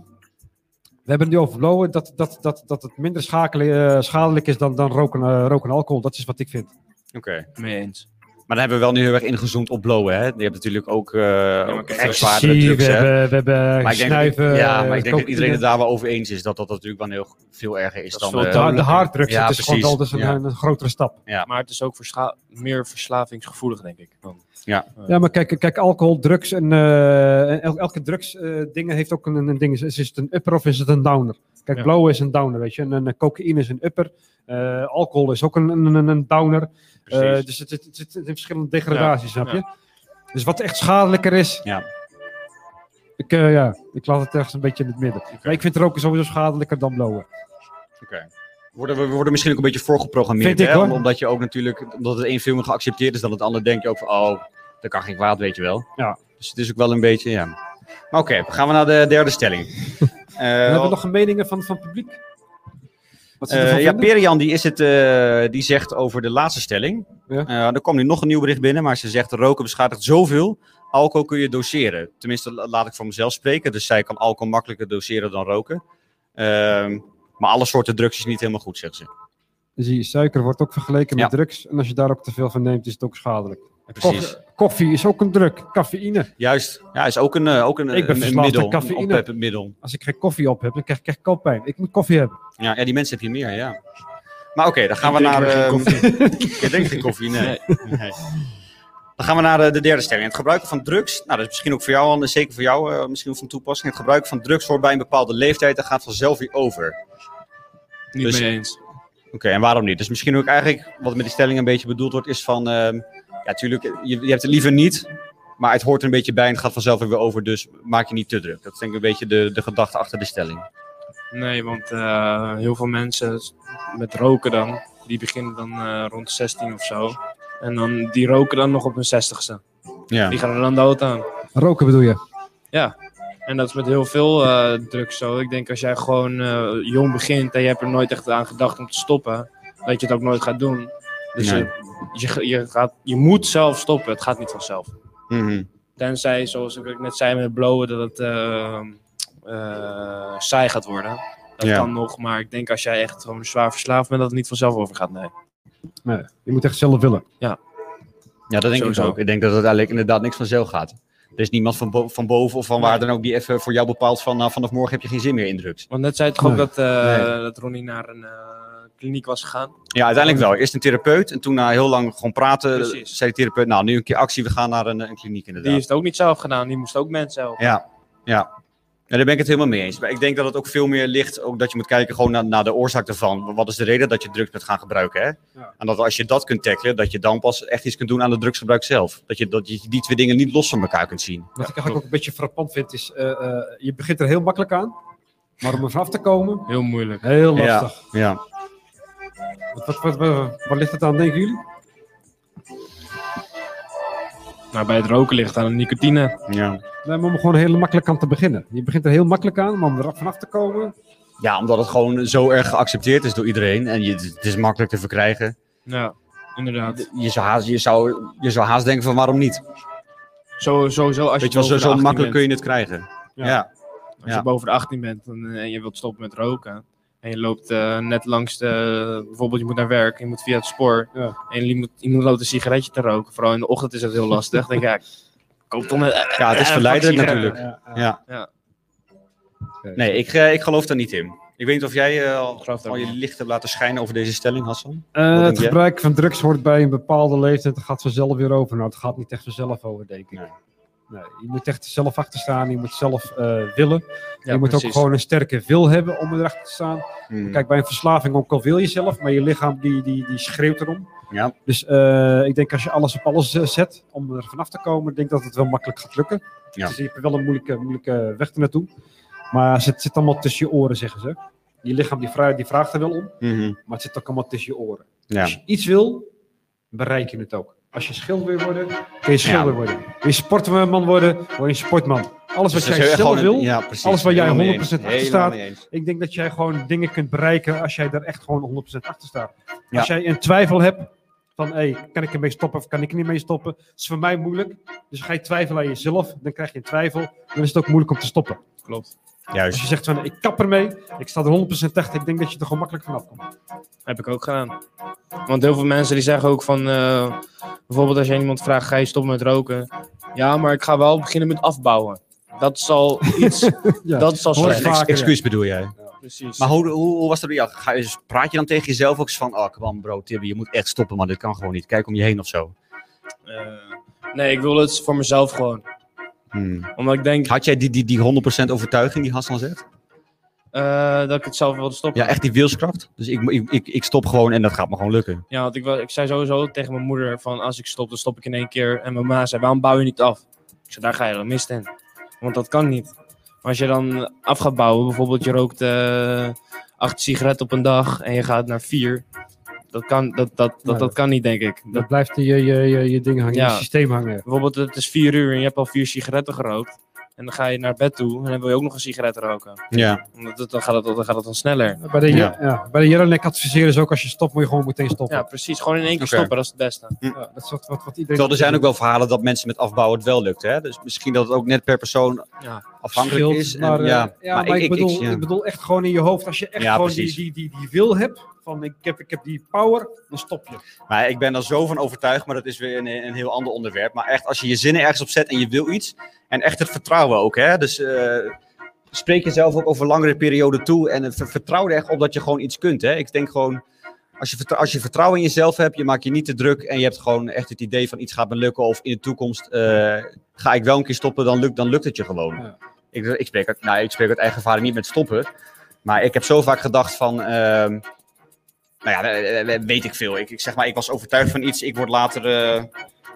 A: we hebben het nu over blowen, dat, dat, dat, dat het minder schakelen, eh, schadelijk is dan, dan roken, eh, roken en alcohol. Dat is wat ik vind.
B: Oké.
C: Mee eens.
B: Maar dan hebben we wel nu heel erg ingezoomd op blowen, hè? Je hebt natuurlijk ook, eh ook
C: kijk,
B: echt
A: Ecstasy,
B: zwaardere drugs,
A: we,
B: hè?
A: hebben, we hebben
B: Maar ik denk, dat-
A: snuiven.
B: ja, maar ik denk dat
A: cocaïne.
B: iedereen het daar wel over eens is dat dat, dat natuurlijk wel heel, veel erger is
C: Dat
B: dan...
C: is veel
B: eh,
A: de, de
C: duidelijk.
A: harddrugs,
B: Ja,
A: het is gewoon
B: precies,
A: wel dus een,
B: ja.
A: een grotere stap.
C: Maar het is ook verscha- meer verslavingsgevoelig, denk ik. Dan.
A: Ja, maar kijk, kijk alcohol, drugs en eh, en el- elke drugs eh, dingen heeft ook een, een ding. Is, is het een upper of is het een downer? Kijk,
C: Ja.
A: blauw is een downer, weet je. En, een cocaïne is een upper. Eh, alcohol is ook een, een, een- een downer. Eh,
B: precies.
A: dus het het- het zit in verschillende degradaties, snap je? Dus wat echt schadelijker is.
B: Ja.
A: Ik, eh, ja, ik laat het ergens een beetje in het midden. Maar ik vind roken sowieso schadelijker dan
B: Eh,
A: blowen.
B: Oké. Worden, we worden misschien ook een beetje voorgeprogrammeerd,
A: Vind ik,
B: hè?
A: hoor.
B: Omdat je ook natuurlijk, omdat het een veel meer geaccepteerd is dan het ander, denk je ook van, oh, dat kan geen kwaad, weet je wel.
A: Ja.
B: Dus het is ook wel een beetje, ja. Maar oké, gaan we naar de derde stelling. Eh,
A: We hebben nog meningen van, van het publiek. Wat ze ervan
B: Eh, ja,
A: vinden?
B: Perian die, is het, eh, die zegt over de laatste stelling.
A: Ja.
B: Eh, er kwam nu nog een nieuw bericht binnen, maar ze zegt roken beschadigt zoveel. Alcohol kun je doseren. Tenminste, la- laat ik voor mezelf spreken. Dus zij kan alcohol makkelijker doseren dan roken. Ehm, maar alle soorten drugs is niet helemaal goed, zegt ze.
A: Dan zie je, suiker wordt ook vergeleken met
B: Ja.
A: drugs. En als je daar ook te veel van neemt, is het ook schadelijk.
B: Precies.
A: Koffie, koffie is ook een druk. Cafeïne.
B: Juist. Ja, is ook een, eh, ook een,
A: Ik ben
B: een- een
A: verslaafd
B: middel.
A: aan
B: Een
A: cafeïne.
B: opheppend middel.
A: Als ik geen koffie op heb, dan krijg ik echt koppijn. Ik moet koffie hebben.
B: Ja, ja, die mensen heb je meer, ja. Maar oké, dan gaan
C: Ik
B: we
C: drink
B: naar...
C: maar geen
B: ehm, Ik drink geen koffie, nee. Nee. Dan gaan we naar eh, de derde stelling. Het gebruiken van drugs, nou, dat is misschien ook voor jou, Anne, zeker voor jou, eh, misschien ook van toepassing. Het gebruik van drugs hoort bij een bepaalde leeftijd en gaat vanzelf weer over.
C: Niet
B: Dus-
C: mee eens.
B: Oké, en waarom niet? Dus misschien ook eigenlijk, wat met die stelling een beetje bedoeld wordt, is van, ehm, ja, tuurlijk, je, je hebt het liever niet, maar het hoort er een beetje bij en het gaat vanzelf weer over, dus maak je niet te druk. Dat is denk ik een beetje de, de gedachte achter de stelling.
C: Nee, want eh, heel veel mensen met roken dan, die beginnen dan eh, rond 16 of zo. En dan, die roken dan nog op hun 60ste.
B: Ja.
C: Die gaan er dan dood aan.
A: Roken bedoel je?
C: En dat is met heel veel eh, drugs zo. Ik denk als jij gewoon eh, jong begint en je hebt er nooit echt aan gedacht om te stoppen, dat je het ook nooit gaat doen. Dus
B: Nee.
C: je, je, ge- je, gaat, je moet zelf stoppen, het gaat niet vanzelf.
B: Mhm.
C: Tenzij, zoals ik net zei met blowen, dat het eh, eh, saai gaat worden. Dat
B: Ja.
C: kan nog, maar ik denk als jij echt gewoon zwaar verslaafd bent, dat het niet vanzelf overgaat. Nee.
A: Nee, je moet echt zelf willen.
B: Ja, dat denk
C: Sowieso.
B: ik ook. Ik denk dat het eigenlijk inderdaad niks vanzelf gaat. Er is niemand van, bo- van boven of van waar dan ook die even voor jou bepaalt van nou, vanaf morgen heb je geen zin meer in drugs.
C: Want net zei je toch ook
A: Nee.
C: dat, eh,
B: Nee.
C: dat Ronnie naar een eh, kliniek was gegaan?
B: Ja, uiteindelijk wel. Eerst een therapeut en toen na heel lang gewoon praten
C: Precies.
B: zei de therapeut nou nu een keer actie, we gaan naar een, een kliniek
C: Die
B: inderdaad.
C: heeft het ook niet zelf gedaan, die moest ook mensen helpen.
B: Ja, ja. Ja, daar ben ik het helemaal mee eens. Maar ik denk dat het ook veel meer ligt, ook dat je moet kijken gewoon naar, naar de oorzaak ervan. Wat is de reden dat je drugs bent gaan gebruiken? Hè?
A: Ja.
B: En dat als je dat kunt tackelen, dat je dan pas echt iets kunt doen aan het drugsgebruik zelf. Dat je, dat je die twee dingen niet los van elkaar kunt zien.
A: Wat ik eigenlijk ook een beetje frappant vind is, eh, eh, je begint er heel makkelijk aan. Maar om er vanaf te komen,
C: Heel moeilijk.
A: heel lastig.
B: Ja.
A: Wat, wat, wat, wat- waar ligt het aan, denken jullie?
C: Maar bij het roken ligt aan de nicotine.
B: Ja.
A: Nee, maar om er gewoon heel makkelijk aan te beginnen. Je begint er heel makkelijk aan, maar om er vanaf te komen...
B: ja, omdat het gewoon zo erg geaccepteerd is door iedereen. En je, het is makkelijk te verkrijgen.
C: Ja, inderdaad.
B: Je zou haast, je zou, je zou haast denken van waarom niet?
C: Zo, sowieso als je,
B: Weet je wel, zo,
C: boven de
B: zo
C: 18
B: makkelijk kun
C: bent,
B: je het krijgen.
A: Ja.
B: Ja.
C: als je
B: ja.
C: boven de 18 bent eh, en, en je wilt stoppen met roken. En je loopt eh, net langs de, bijvoorbeeld je moet naar werk, je moet via het spoor.
A: Ja.
C: En je moet, iemand loopt een sigaretje te roken. Vooral in de ochtend is dat heel lastig. Dan denk je, ja, ik koop dan een-
B: Ja, het is
C: Eh,
B: verleidend
C: vaccin,
B: natuurlijk.
A: Ja, ja.
B: Ja.
C: Ja.
B: Nee, ik, eh, ik geloof daar niet in. Ik weet niet of jij eh, al,
C: geloof daar
B: al je
C: niet.
B: licht hebt laten schijnen over deze stelling, Hassan.
A: Eh,
B: denk
A: het
B: jij?
A: gebruik van drugs hoort bij een bepaalde leeftijd. Het gaat vanzelf weer over. Nou, het gaat niet echt vanzelf over, denk ik.
B: Nee.
A: Nee, je moet echt zelf achter staan. Je moet zelf eh, willen.
C: Ja,
A: je moet ook
C: precies.
A: gewoon een sterke wil hebben om erachter te staan.
B: Mm. Hmm.
A: Kijk, bij een verslaving, ook al wil je zelf, maar je lichaam die, die, die schreeuwt erom.
B: Ja.
A: Dus eh, ik denk als je alles op alles eh, zet om er vanaf te komen, ik denk dat het wel makkelijk gaat lukken.
B: Ja.
A: Dus je hebt wel een moeilijke, moeilijke weg ernaartoe. Maar het zit, zit allemaal tussen je oren, zeggen ze. Je lichaam die vraagt, die vraagt er wel om,
B: Mhm.
A: maar het zit ook allemaal tussen je oren.
B: Ja.
A: Als je iets wil, bereik je het ook. Als je schilder wil worden, kun je schilder
B: Ja.
A: worden. Wil je sportman worden, word je een sportman.
B: Dus
A: Alles wat
B: dat
A: jij
B: is
A: zelf
B: gewoon een-
A: wil,
B: ja, precies.
A: alles waar jij
B: Helemaal mee
A: 100%
B: eens.
A: achter
B: Helemaal
A: staat.
B: mee eens.
A: ik denk dat jij gewoon dingen kunt bereiken als jij daar echt gewoon 100% achter staat.
B: Ja.
A: Als jij een twijfel hebt van, hey, kan ik ermee stoppen of kan ik er niet mee stoppen? Dat is voor mij moeilijk. Dus ga je twijfelen aan jezelf, dan krijg je een twijfel. Dan is het ook moeilijk om te stoppen.
C: Klopt.
A: Als
B: Juist.
A: je zegt van, ik kap ermee, ik sta er 100% achter, ik denk dat je er gewoon makkelijk vanaf komt.
C: Heb ik ook gedaan. Want heel veel mensen die zeggen ook van, eh, bijvoorbeeld als je aan iemand vraagt, ga je stoppen met roken? Ja, maar ik ga wel beginnen met afbouwen. Dat is al iets,
A: Ja.
C: dat is al
A: Hoor ik
C: slecht.
A: vaak.
B: Ex-
A: vaker,
B: excuus bedoel jij.
C: Precies.
B: Maar hoe, hoe, hoe was dat bij jou? Ga je, praat je dan tegen jezelf ook eens van, oh, come on bro, Tibby, je moet echt stoppen, man. Dit kan gewoon niet. Kijk om je heen of zo.
C: Eh, nee, ik wil het voor mezelf gewoon.
B: Hmm.
C: Omdat ik denk
B: Had jij die, die, die 100% overtuiging die Hassan zegt?
C: eh, dat ik het zelf wilde stoppen.
B: Ja, echt die wilskracht. Dus ik, ik, ik, ik stop gewoon en dat gaat me gewoon lukken.
C: Ja, want ik, wa- ik zei sowieso tegen mijn moeder van als ik stop, dan stop ik in één keer. En mijn ma zei, waarom bouw je niet af? Ik zei, daar ga je dan mis in. Want dat kan niet. Maar als je dan af gaat bouwen, bijvoorbeeld je rookt eh, acht sigaretten op een dag en je gaat naar vier. Dat kan, dat, dat, dat,
A: Nee.
C: dat kan niet, denk ik. Dat,
A: Dan blijft je, je, je, je ding hangen,
C: Ja.
A: je systeem hangen.
C: bijvoorbeeld het is vier uur en je hebt al vier sigaretten gerookt. En dan ga je naar bed toe en dan wil je ook nog een sigaret roken.
B: Ja.
C: Omdat het- dan, gaat het, dan gaat het dan sneller.
A: Bij de, ja.
B: Ja.
A: bij de Jelinek adviseren ze ook, als je stopt, moet je gewoon meteen stoppen.
C: Ja, precies. Gewoon in één keer
B: Oké.
C: stoppen, dat is het beste.
A: Ja, dat is wat, wat, wat iedereen...
B: Terwijl er zijn ook wel verhalen dat mensen met afbouwen het wel lukt. Hè? Dus misschien dat het ook net per persoon
C: Ja.
B: afhankelijk
A: Scheelt,
B: is. En,
A: maar, eh, ja, maar ik, bedoel,
B: ja.
A: ik bedoel echt gewoon in je hoofd. Als je echt
B: Ja,
A: gewoon die,
B: precies.
A: die, die, die wil hebt, van ik heb, ik heb die power, dan stop je.
B: Maar ik ben er zo van overtuigd, maar dat is weer een, een heel ander onderwerp. Maar echt, als je je zinnen ergens op zet en je wil iets. En echt het vertrouwen ook, hè. Dus eh, spreek jezelf ook over langere perioden toe. En het ver- vertrouw er echt op dat je gewoon iets kunt, hè. Ik denk gewoon, als je, vertrou- als je vertrouwen in jezelf hebt, je maakt je niet te druk. En je hebt gewoon echt het idee van iets gaat me lukken. Of in de toekomst eh, ga ik wel een keer stoppen, dan lukt, dan lukt het je gewoon.
A: Ja.
B: Ik, ik, spreek uit, nou, ik spreek uit eigen ervaring niet met stoppen. Maar ik heb zo vaak gedacht van... ehm, nou ja, eh, eh, weet ik veel. Ik, ik zeg maar, ik was overtuigd van iets. Ik word later, eh,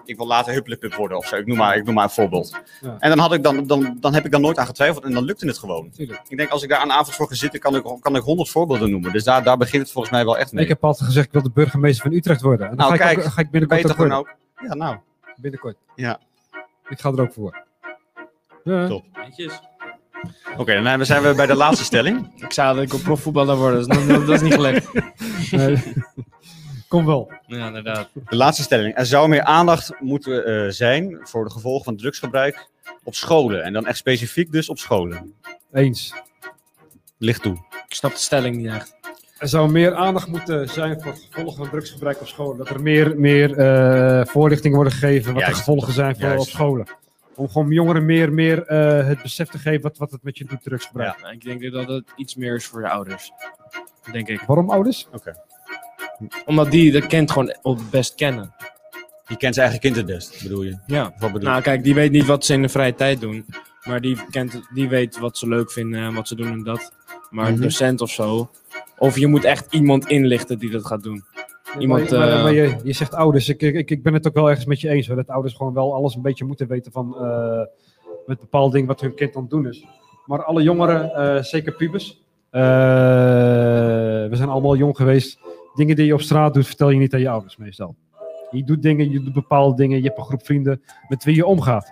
B: ik wil later hupplepup worden of zo. Ik noem maar, ik noem maar een voorbeeld.
A: Ja.
B: En dan, had ik dan, dan, dan heb ik daar nooit aan getwijfeld en dan lukte het gewoon.
A: Tuurlijk.
B: Ik denk, als ik daar aan avond voor ga zitten, kan ik, kan ik honderd voorbeelden noemen. Dus daar, daar begint het volgens mij wel echt mee.
A: Ik heb altijd gezegd, ik wil de burgemeester van Utrecht worden. En dan
B: Nou,
A: ga, ik
B: kijk,
A: ook- ga ik
B: Kan je
A: binnenkort
B: toch
A: ook worden.
B: gewoon ook... Ja, nou.
A: Binnenkort.
B: Ja.
A: Ik ga er ook voor. Ja.
B: Top. Oké, dan zijn we bij de laatste stelling.
C: Ik zei dat ik op profvoetballer word, dus dat, dat is niet gelukt.
A: Nee. Kom wel.
C: Ja, inderdaad.
B: De laatste stelling. Er zou meer aandacht moeten eh, zijn voor de gevolgen van drugsgebruik op scholen. En dan echt specifiek dus op scholen.
A: Eens.
B: Licht toe.
C: Ik snap de stelling niet echt.
A: Er zou meer aandacht moeten zijn voor het gevolg van drugsgebruik op scholen. Dat er meer, meer eh, voorlichting wordt gegeven wat
B: Juist.
A: de gevolgen zijn voor
B: Juist.
A: op scholen. Om gewoon jongeren meer, meer eh, het besef te geven wat, wat het met je doet, drugsgebruik.
C: Nou, ik denk dat het iets meer is voor de ouders. Denk ik.
A: Waarom ouders?
C: Omdat die dat kind gewoon het best kennen.
B: Je kent zijn eigen kind het best, bedoel je?
C: Ja.
B: Wat bedoel je?
C: Nou, kijk, die weet niet wat ze in de vrije tijd doen. Maar die, kent, die weet wat ze leuk vinden en wat ze doen en dat. Maar
B: Mhm.
C: een docent of zo. Of je moet echt iemand inlichten die dat gaat doen. Iemand,
A: maar, maar-
C: eh,
A: maar je, je zegt ouders. Ik, ik, ik ben het ook wel ergens met je eens. Hoor, dat ouders gewoon wel alles een beetje moeten weten van eh, met bepaalde dingen wat hun kind aan het doen is. Maar alle jongeren, eh, zeker pubers. eh, we zijn allemaal jong geweest. Dingen die je op straat doet, vertel je niet aan je ouders meestal. Je doet dingen, je doet bepaalde dingen. Je hebt een groep vrienden met wie je omgaat.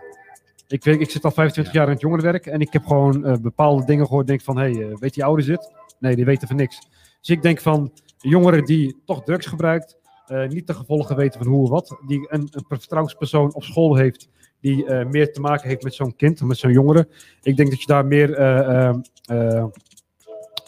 A: Ik, weet, ik zit al 25 jaar in het jongerenwerk en ik heb gewoon eh, bepaalde dingen gehoord. Denk van, hé, hey, eh, weet die ouders dit? Nee, die weten van niks. Dus ik denk van, jongeren die toch drugs gebruikt, eh, niet de gevolgen weten van hoe of wat. Die een, een vertrouwenspersoon op school heeft. Die eh, meer te maken heeft met zo'n kind, met zo'n jongere. Ik denk dat je daar meer, eh, eh, eh, eh,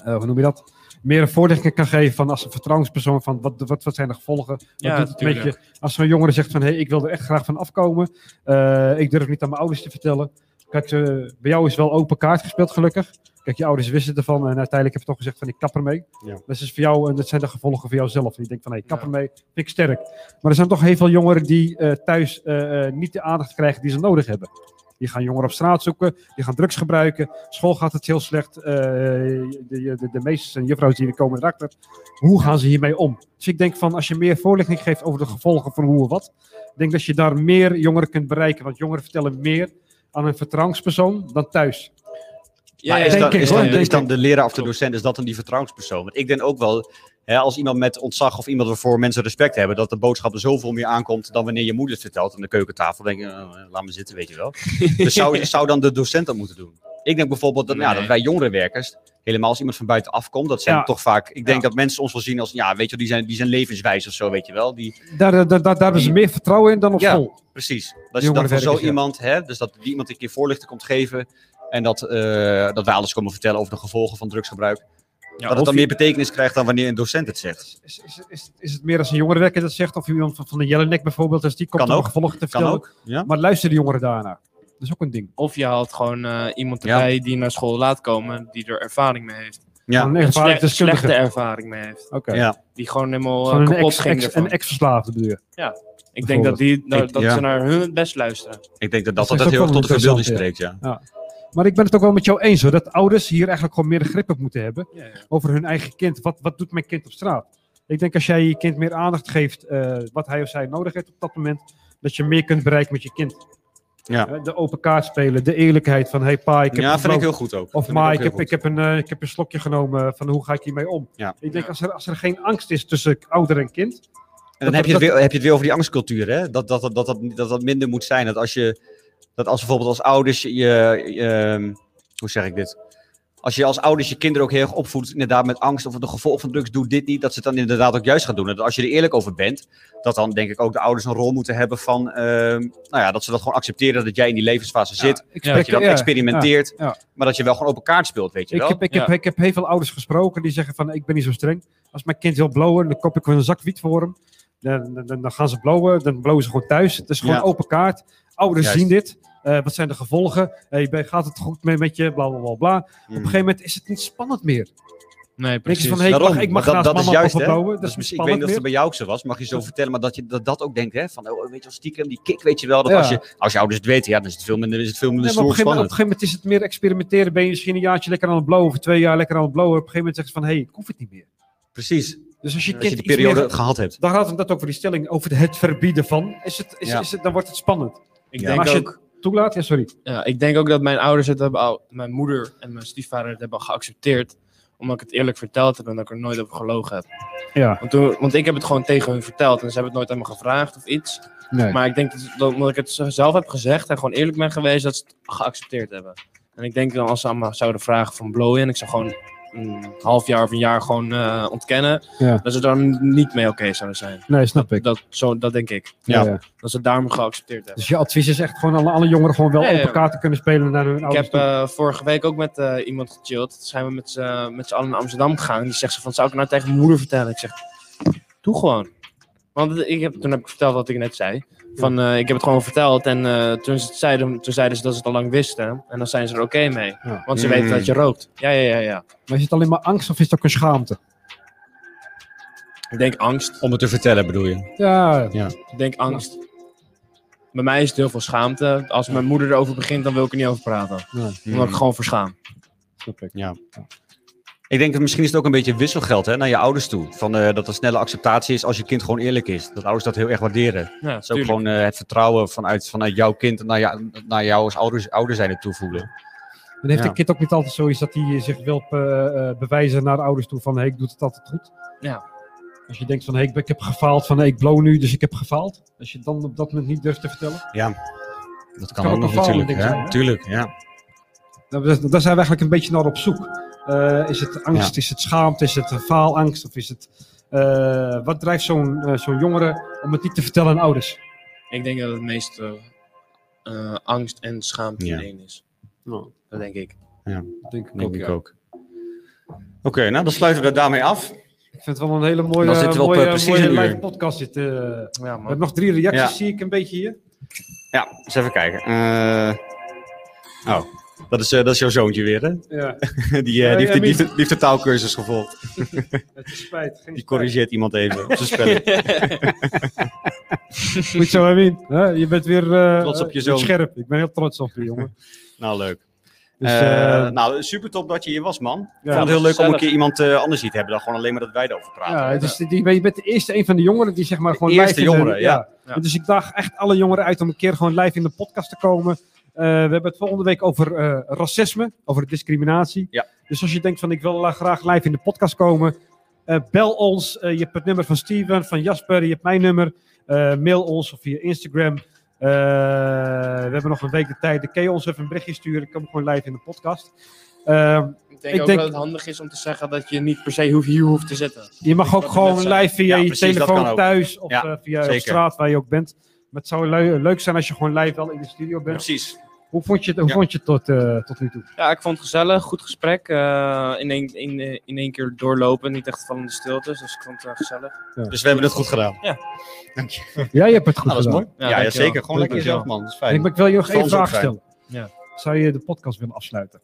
A: hoe noem je dat? Meer een voorlichting kan geven van als een vertrouwenspersoon. Van wat, wat, wat zijn de gevolgen? Wat
C: Ja,
A: doet het met je?
C: tuurlijk.
A: Als zo'n jongere zegt van hé, hey, ik wil er echt graag van afkomen. eh, ik durf niet aan mijn ouders te vertellen. Kijk, eh, bij jou is wel open kaart gespeeld gelukkig. Kijk, je ouders wisten ervan en uiteindelijk heb je toch gezegd van ik kap ermee.
B: Ja.
A: Dat is dus voor jou en dat zijn de gevolgen voor jouzelf. En je denkt van hé, hey, kap
C: Ja.
A: ermee, vind ik sterk. Maar er zijn toch heel veel jongeren die eh, thuis eh, eh, niet de aandacht krijgen die ze nodig hebben. Die gaan jongeren op straat zoeken, die gaan drugs gebruiken. School gaat het heel slecht. eh, de, de, de meesters en juffrouwen die hier komen erachter. Hoe gaan ze hiermee om? Dus ik denk van als je meer voorlichting geeft over de gevolgen van hoe en wat. Ik denk dat je daar meer jongeren kunt bereiken. Want jongeren vertellen meer aan een vertrouwenspersoon dan thuis.
B: Maar is,
A: denk
B: dan,
A: ik,
B: is,
A: hoor,
B: dan,
A: denk
B: is dan
A: ik.
B: de leraar of de
C: Klopt.
B: docent, is dat dan die vertrouwenspersoon? Want ik denk ook wel, hè, als iemand met ontzag of iemand waarvoor mensen respect hebben, dat de boodschap er zoveel meer aankomt dan wanneer je moeder het vertelt aan de keukentafel. Dan denk je, eh, laat me zitten, weet je wel. Dus zou, zou dan de docent dat moeten doen? Ik denk bijvoorbeeld dat, nou ja,
C: Nee.
B: dat wij jongerenwerkers, helemaal als iemand van buiten afkomt, dat zijn
A: Ja.
B: toch vaak, ik denk
A: Ja.
B: dat mensen ons wel zien als, ja, weet je, die zijn, die zijn levenswijs of zo, weet je wel. Die,
A: Daar, daar, daar, daar hebben ze meer vertrouwen in dan op
B: Ja.
A: school.
B: Precies. Dat je dan voor
A: Jongerenwerkers,
B: zo
A: ja.
B: iemand, hè, dus dat die iemand een keer voorlichting komt geven. En dat, eh, dat wij alles komen vertellen over de gevolgen van drugsgebruik. dat
C: of
B: het dan
C: je-
B: meer betekenis krijgt dan wanneer een docent het zegt.
A: Is, is, is, is het meer als een jongerenwerker dat zegt, of iemand van, van de Jellenek bijvoorbeeld, als die komt
B: Kan
A: om
B: ook.
A: gevolgen te
B: Kan
A: vertellen.
B: ook. Ja?
A: Maar luisteren de jongeren daarna? Dat is ook een ding.
C: Of je haalt gewoon eh, iemand
B: Ja.
C: erbij die naar school laat komen, die er ervaring mee heeft.
A: Van
B: Ja.
A: een ervaring
C: Slecht-
A: deskundige.
C: slechte ervaring mee heeft.
A: Oké.
B: Ja.
C: Die gewoon helemaal eh,
A: Van een
C: kapot
A: ex,
C: ging
A: ex,
C: ervan.
A: een ex-verslaafde bedoel je.
C: ik denk dat, die, nou, dat
B: Ja.
C: ze naar hun het best luisteren.
B: Ik denk dat
A: Dat
B: dat,
A: is
B: dat,
A: ook
B: heel erg
A: wel
B: tot de verbeelding
A: interessant,
B: spreekt. Ja.
A: Maar ik ben het ook wel met jou eens hoor, dat ouders hier eigenlijk gewoon meer grip op moeten hebben over hun eigen kind. Wat, wat doet mijn kind op straat? Ik denk als jij je kind meer aandacht geeft eh, wat hij of zij nodig heeft op dat moment, dat je meer kunt bereiken met je kind.
B: Ja.
A: Eh, De open kaart spelen, de eerlijkheid van hey pa, ik
B: Ja,
A: heb
B: vind ik
A: gebroken.
B: heel goed ook.
A: Of
B: Vind
A: maar
B: ook
A: ik heb,
B: heel
A: ik, heb een, eh, ik heb een slokje genomen van hoe ga ik hiermee om.
B: Ja.
A: Ik denk
C: Ja.
A: als er, als er geen angst is tussen ouder en kind.
B: goed. En dan heb je, het weer, heb je het weer over die angstcultuur. Hè? Dat, dat, dat, dat, dat, dat dat minder moet zijn. Dat als je, dat als bijvoorbeeld als ouders je, je, ehm, hoe zeg ik dit? Als je als ouders je kinderen ook heel erg opvoedt, inderdaad met angst of de gevolgen van drugs, doe dit niet, dat ze het dan inderdaad ook juist gaan doen. En dat als je er eerlijk over bent, dat dan denk ik ook de ouders een rol moeten hebben van, ehm, nou ja, dat ze dat gewoon accepteren dat jij in die levensfase zit.
A: Ik
C: Ja,
B: Dat je dan
A: ja,
B: experimenteert,
A: ja, ja.
B: maar dat je wel gewoon open kaart speelt, weet je
A: Ik
B: wel. Dus
A: heb, ik, heb,
C: Ja.
A: ik heb heel veel ouders gesproken die zeggen van ik ben niet zo streng. Als mijn kind wil blowen, dan koop ik wel een zak wiet voor hem. Dan, dan- dan, dan gaan ze blowen, dan blowen ze gewoon thuis. Het is gewoon
B: Ja.
A: open kaart. Ouders
B: Juist.
A: zien dit. Eh, wat zijn de gevolgen? Hey, ben- gaat het goed mee met je? Bla bla bla. bla. Op
B: Hmm.
A: een gegeven moment is het niet spannend meer.
C: Nee,
A: Denk
C: precies.
A: je van hey, ik
B: Daarom,
A: mag, ik mag
B: dat-
A: naast
B: dat is
A: mama
B: juist,
A: of
B: hè?
A: blowen. Dat
B: Dus
A: is niet
B: ik weet
A: spannend
B: niet of
A: meer.
B: het bij jou ook zo was, mag je zo vertellen, maar dat je dat, dat ook denkt, hè? Van, oh, weet je, wel, stiekem die kick, weet je wel. Dat
A: Ja.
B: als, je, als je ouders het weten, ja, dan is het veel minder, is het veel minder
A: Nee, maar op, een
B: stoer
A: gegeven moment, op
B: spannend.
A: een gegeven moment is het meer experimenteren. Ben je misschien een jaartje lekker aan het blowen of twee jaar lekker aan het blowen. Op een gegeven moment zegt ze van, hé, hey, ik hoef het niet meer.
B: Precies,
A: Dus als je
B: dat
A: kind
B: je die
A: iets
B: periode
A: meer-
B: gehad hebt.
A: Dan gaat het dat over die stelling, over het verbieden van. Is het, is,
B: Ja.
A: is het, dan wordt het spannend.
C: ik,
B: Ja.
A: Maar
C: denk
A: als je
C: ook,
A: het toelaat, ja, sorry.
C: ja, ik denk ook dat mijn ouders het hebben, al- mijn moeder en mijn stiefvader het hebben geaccepteerd. Omdat ik het eerlijk verteld heb en dat ik er nooit over gelogen heb.
A: Ja,
C: Want, toen, want ik heb het gewoon tegen hun verteld en ze hebben het nooit aan me gevraagd of iets.
A: nee.
C: Maar ik denk dat, dat omdat ik het z- zelf heb gezegd en gewoon eerlijk ben geweest, dat ze het geaccepteerd hebben. En ik denk dan als ze aan me zouden vragen van blowen en ik zou gewoon een half jaar of een jaar gewoon eh, ontkennen,
A: Ja.
C: dat ze daar niet mee oké zouden zijn.
A: nee, snap ik.
C: Dat, zo, dat denk ik.
B: Ja.
C: Dat ze het daarom geaccepteerd hebben.
A: Dus je advies is echt gewoon alle, alle jongeren gewoon wel
C: Ja,
A: op
C: ja.
A: elkaar te kunnen spelen naar hun
C: Ik
A: ouders
C: heb eh, vorige week ook met eh, iemand gechilled. Toen zijn we met z'n met z'n allen naar Amsterdam gegaan. Die zegt ze van, zou ik het nou tegen mijn moeder vertellen? Ik zeg, doe gewoon. Want het- ik heb, toen heb ik verteld wat ik net zei. Van, eh, ik heb het gewoon verteld. En eh, toen, ze het zeiden, toen zeiden ze dat ze het al lang wisten. En dan zijn ze er oké mee.
A: Ja.
C: Want ze
B: Mm.
C: weten dat je rookt. Ja, ja, ja, ja.
A: toe. Maar is het alleen maar angst of is het ook een schaamte?
C: Ik denk angst.
B: Om het te vertellen, bedoel je?
A: Ja,
C: Ik denk angst. bij mij is het heel veel schaamte. Als mijn moeder erover begint, dan wil ik er niet over praten.
B: Hmm. Mm.
C: Omdat ik gewoon verschaam.
A: snap ik.
B: Ja. Ik denk dat misschien is het ook een beetje wisselgeld hè, naar je ouders toe. Van, eh, dat er snelle acceptatie is als je kind gewoon eerlijk is. Dat ouders dat heel erg waarderen. Dat
C: Ja,
B: is ook gewoon eh, het vertrouwen vanuit, vanuit jouw kind naar, jou- naar jou als ouders, ouder zijn toevoelen.
A: En heeft
B: Ja.
A: een kind ook niet altijd zoiets dat hij zich wil eh, eh, bewijzen naar de ouders toe van hey, ik doe het altijd goed?
C: Ja.
A: Als je denkt van hey, ik, ben- ik heb gefaald, van hey, ik blow nu, dus ik heb gefaald. Als je het dan op dat moment niet durft te vertellen.
B: Dat
A: Kan ook ook nog nog natuurlijk, vallen, hè? denk ik.
B: Tuurlijk, ja.
A: Nou, daar daar zijn we eigenlijk een beetje naar op zoek. Eh, is het angst, is het schaamte, is het eh, faalangst of is het... eh, wat drijft zo'n eh, zo'n jongere om het niet te vertellen aan ouders?
C: Ik denk dat het meest eh, eh, angst en schaamte
B: Ja.
C: in één is.
A: Nou,
C: Dat denk ik.
A: denk ik,
B: Denk
A: ook,
B: ik
A: ja.
B: ook. Oké, nou dan sluiten we dat daarmee af.
A: ik vind het wel een hele mooie,
B: Dan zitten we op,
A: mooie,
B: eh, precies
A: mooie
B: een uur.
A: live podcast. Dit, eh. We
C: Ja, man.
A: hebben nog drie reacties,
B: Ja.
A: zie ik een beetje hier.
B: Ja, eens even kijken. Eh, Oh, dat is, eh, dat is jouw zoontje weer, hè?
A: Ja,
B: Die, eh, die, heeft- die,
A: Emmy.
B: heeft- die heeft de taalkursus gevolgd.
A: het is spijt. Geen
B: Die
A: spijt.
B: corrigeert iemand even op zijn spelling.
A: Goed zo, Emin. Hè, Je bent weer eh,
B: Trots op je
A: eh,
B: zoon.
A: scherp. Ik ben heel trots op je, jongen.
B: nou, leuk.
A: Dus,
B: Eh,
A: eh,
B: nou, super top dat je hier was, man. Ik
A: Ja,
B: vond het heel leuk om een
C: gezellig.
B: keer iemand eh, anders hier te hebben dan gewoon alleen maar dat wij erover praten.
A: ja, het is, die- je bent de eerste een van de jongeren die zeg maar gewoon
B: eerste
A: live in de-
B: jongeren, ja.
C: Ja.
A: Dus ik daag echt alle jongeren uit om een keer gewoon live in de podcast te komen. Eh, we hebben het volgende week over eh, racisme, over discriminatie.
B: Ja.
A: Dus als je denkt van ik wil la- graag live in de podcast komen, eh, bel ons. Eh, je hebt het nummer van Steven, van Jasper, je hebt mijn nummer. Eh, mail ons of via Instagram. Eh, we hebben nog een week de tijd. Dan kun je ons even een berichtje sturen. Ik kom gewoon live in de podcast. Ehm,
C: Ik denk
A: Ik
C: ook
A: denk-
C: dat het handig is om te zeggen dat je niet per se hoeft- hier hoeft te zitten.
A: Je mag ook
C: Wat we
A: gewoon
C: net zeiden.
A: live via
B: Ja,
A: je
B: precies, dat kan
A: telefoon
B: ook.
A: thuis of
B: Ja,
A: eh, via op
B: zeker.
A: straat waar je ook bent. Maar het zou leu- leuk zijn als je gewoon live wel in de studio bent.
B: Precies.
A: Hoe vond je het, hoe
B: Ja.
A: vond je het tot, eh, tot nu toe?
C: Ja, ik vond het gezellig. Goed gesprek. eh, in, één, in, eh, in één keer doorlopen. Niet echt vallende stiltes. Dus ik vond het wel gezellig.
B: Dus we hebben het goed gedaan.
A: Ja, je hebt het goed
B: Nou, dat is
A: gedaan.
B: mooi. Ja, ja,
C: dankjewel.
B: zeker. Gewoon lekker
C: Dankjewel.
B: jezelf, man. Dat is
A: En
B: fijn.
A: Ik, ben- ik wil je nog
B: Zal
A: één
B: ons ook zijn.
A: vraag stellen.
C: Ja.
A: Zou je de podcast willen afsluiten?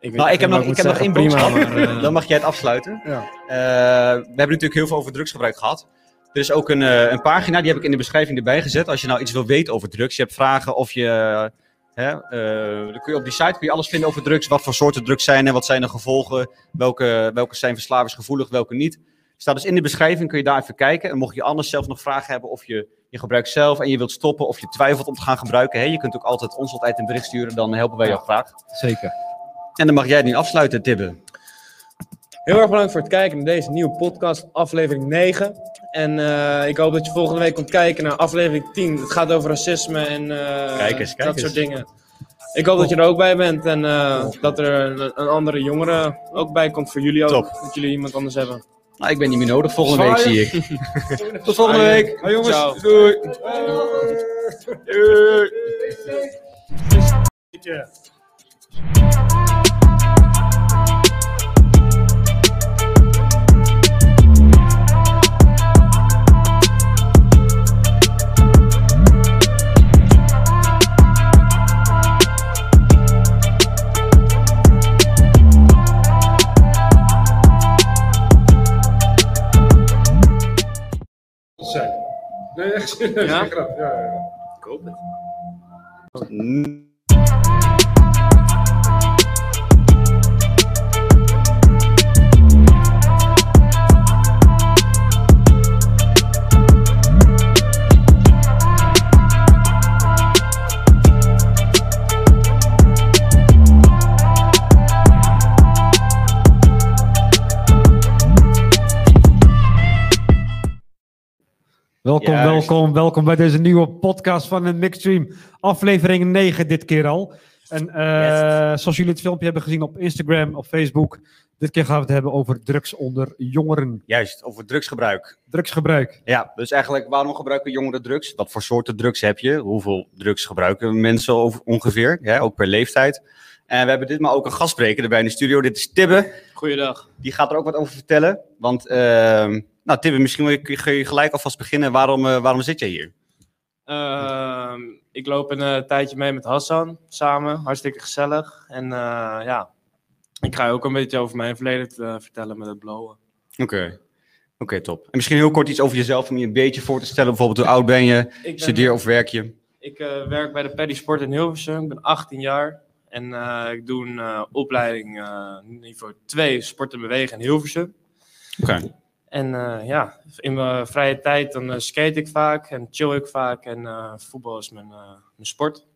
C: weet
B: Nou,
C: niet
B: ik heb
C: wat
B: nog, ik
C: moet
B: heb nog één
C: zeggen.
B: boodschap.
C: eh,
B: Dan mag jij het afsluiten.
A: Ja.
B: Eh, we hebben natuurlijk heel veel over drugsgebruik gehad. Er is ook een, eh, een pagina, die heb ik in de beschrijving erbij gezet. Als je nou iets wil weten over drugs, je hebt vragen of je... Hè, eh, dan kun je op die site kun je alles vinden over drugs. Wat voor soorten drugs zijn er, wat zijn de gevolgen. Welke, welke zijn verslavingsgevoelig, welke niet. Staat dus in de beschrijving, kun je daar even kijken. En mocht je anders zelf nog vragen hebben of je je gebruikt zelf en je wilt stoppen of je twijfelt om te gaan gebruiken. Hè, je kunt ook altijd ons altijd een bericht sturen, dan helpen wij jou graag.
A: Zeker.
B: En dan mag jij het nu afsluiten, Tibbe.
C: Heel erg bedankt voor het kijken naar deze nieuwe podcast, aflevering 9. En eh, ik hoop dat je volgende week komt kijken naar aflevering 10. Het gaat over racisme en eh,
B: Kijk eens, kijk
C: dat
B: eens.
C: soort dingen. Ik hoop dat je er ook bij bent en eh, dat er een, een andere jongere ook bij komt voor jullie ook.
B: Top.
C: Dat jullie iemand anders hebben.
B: Nou, ik ben niet meer nodig volgende week, zie ik. Tot volgende
C: Zwaaien.
B: week.
A: Hoi jongens.
C: Ciao.
B: Doei. Doei.
A: Nee, echt serieus.
C: Ja?
A: geen grap. Ja, ja, ja. Welkom,
B: Juist.
A: welkom, welkom bij deze nieuwe podcast van een Mixstream. Aflevering 9 dit keer al. En eh, zoals jullie het filmpje hebben gezien op Instagram, op Facebook. Dit keer gaan we het hebben over drugs onder jongeren.
B: Juist, over drugsgebruik.
A: Drugsgebruik.
B: Ja, dus eigenlijk, waarom gebruiken jongeren drugs? Wat voor soorten drugs heb je? Hoeveel drugs gebruiken mensen over- ongeveer? Ja, ook per leeftijd. En we hebben ditmaal ook een gastspreker erbij in de studio. Dit is Tibbe.
C: Goeiedag.
B: Die gaat er ook wat over vertellen. Want, ehm, nou Tibbe, misschien wil je- kun je gelijk alvast beginnen. Waarom, eh, waarom zit jij hier?
C: Ehm, ik loop een eh, tijdje mee met Hassan samen. Hartstikke gezellig. En eh, ja, ik ga je ook een beetje over mijn verleden eh, vertellen met het blowen.
B: Oké. top. En misschien heel kort iets over jezelf om je een beetje voor te stellen. Bijvoorbeeld, hoe oud ben je?
C: Ik, ben-
B: Studeer of werk je?
C: ik eh, werk bij de Paddy Sport in Hilversum. Ik ben 18 jaar. En eh, ik doe een eh, opleiding eh, niveau 2 sport en bewegen in Hilversum.
B: Oké.
C: En eh, ja, in mijn vrije tijd dan eh, skate ik vaak en chill ik vaak. En eh, voetbal is mijn, eh, mijn sport.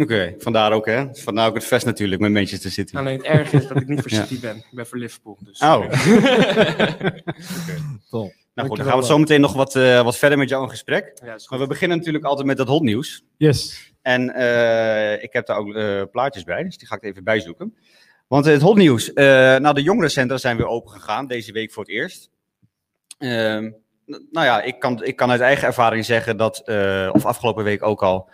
B: Oké, vandaar ook hè. Vandaar ook het vest natuurlijk met Manchester City. Nou,
C: Alleen het erg is dat ik niet voor
B: Ja.
C: City ben. Ik ben voor Liverpool. Dus,
B: Oh.
A: Top.
B: Nou goed, dan
A: Dankjewel,
B: gaan we zo meteen nog wat, eh, wat verder met jou in gesprek.
C: Ja, is goed.
B: Maar we beginnen natuurlijk altijd met dat hotnieuws.
A: Yes.
B: En eh, ik heb daar ook eh, plaatjes bij, dus die ga ik er even bijzoeken. Want het hotnieuws. eh nou, de jongerencentra zijn weer open gegaan, deze week voor het eerst. Ehm, n- nou ja, ik kan, ik kan uit eigen ervaring zeggen dat, eh, of afgelopen week ook al,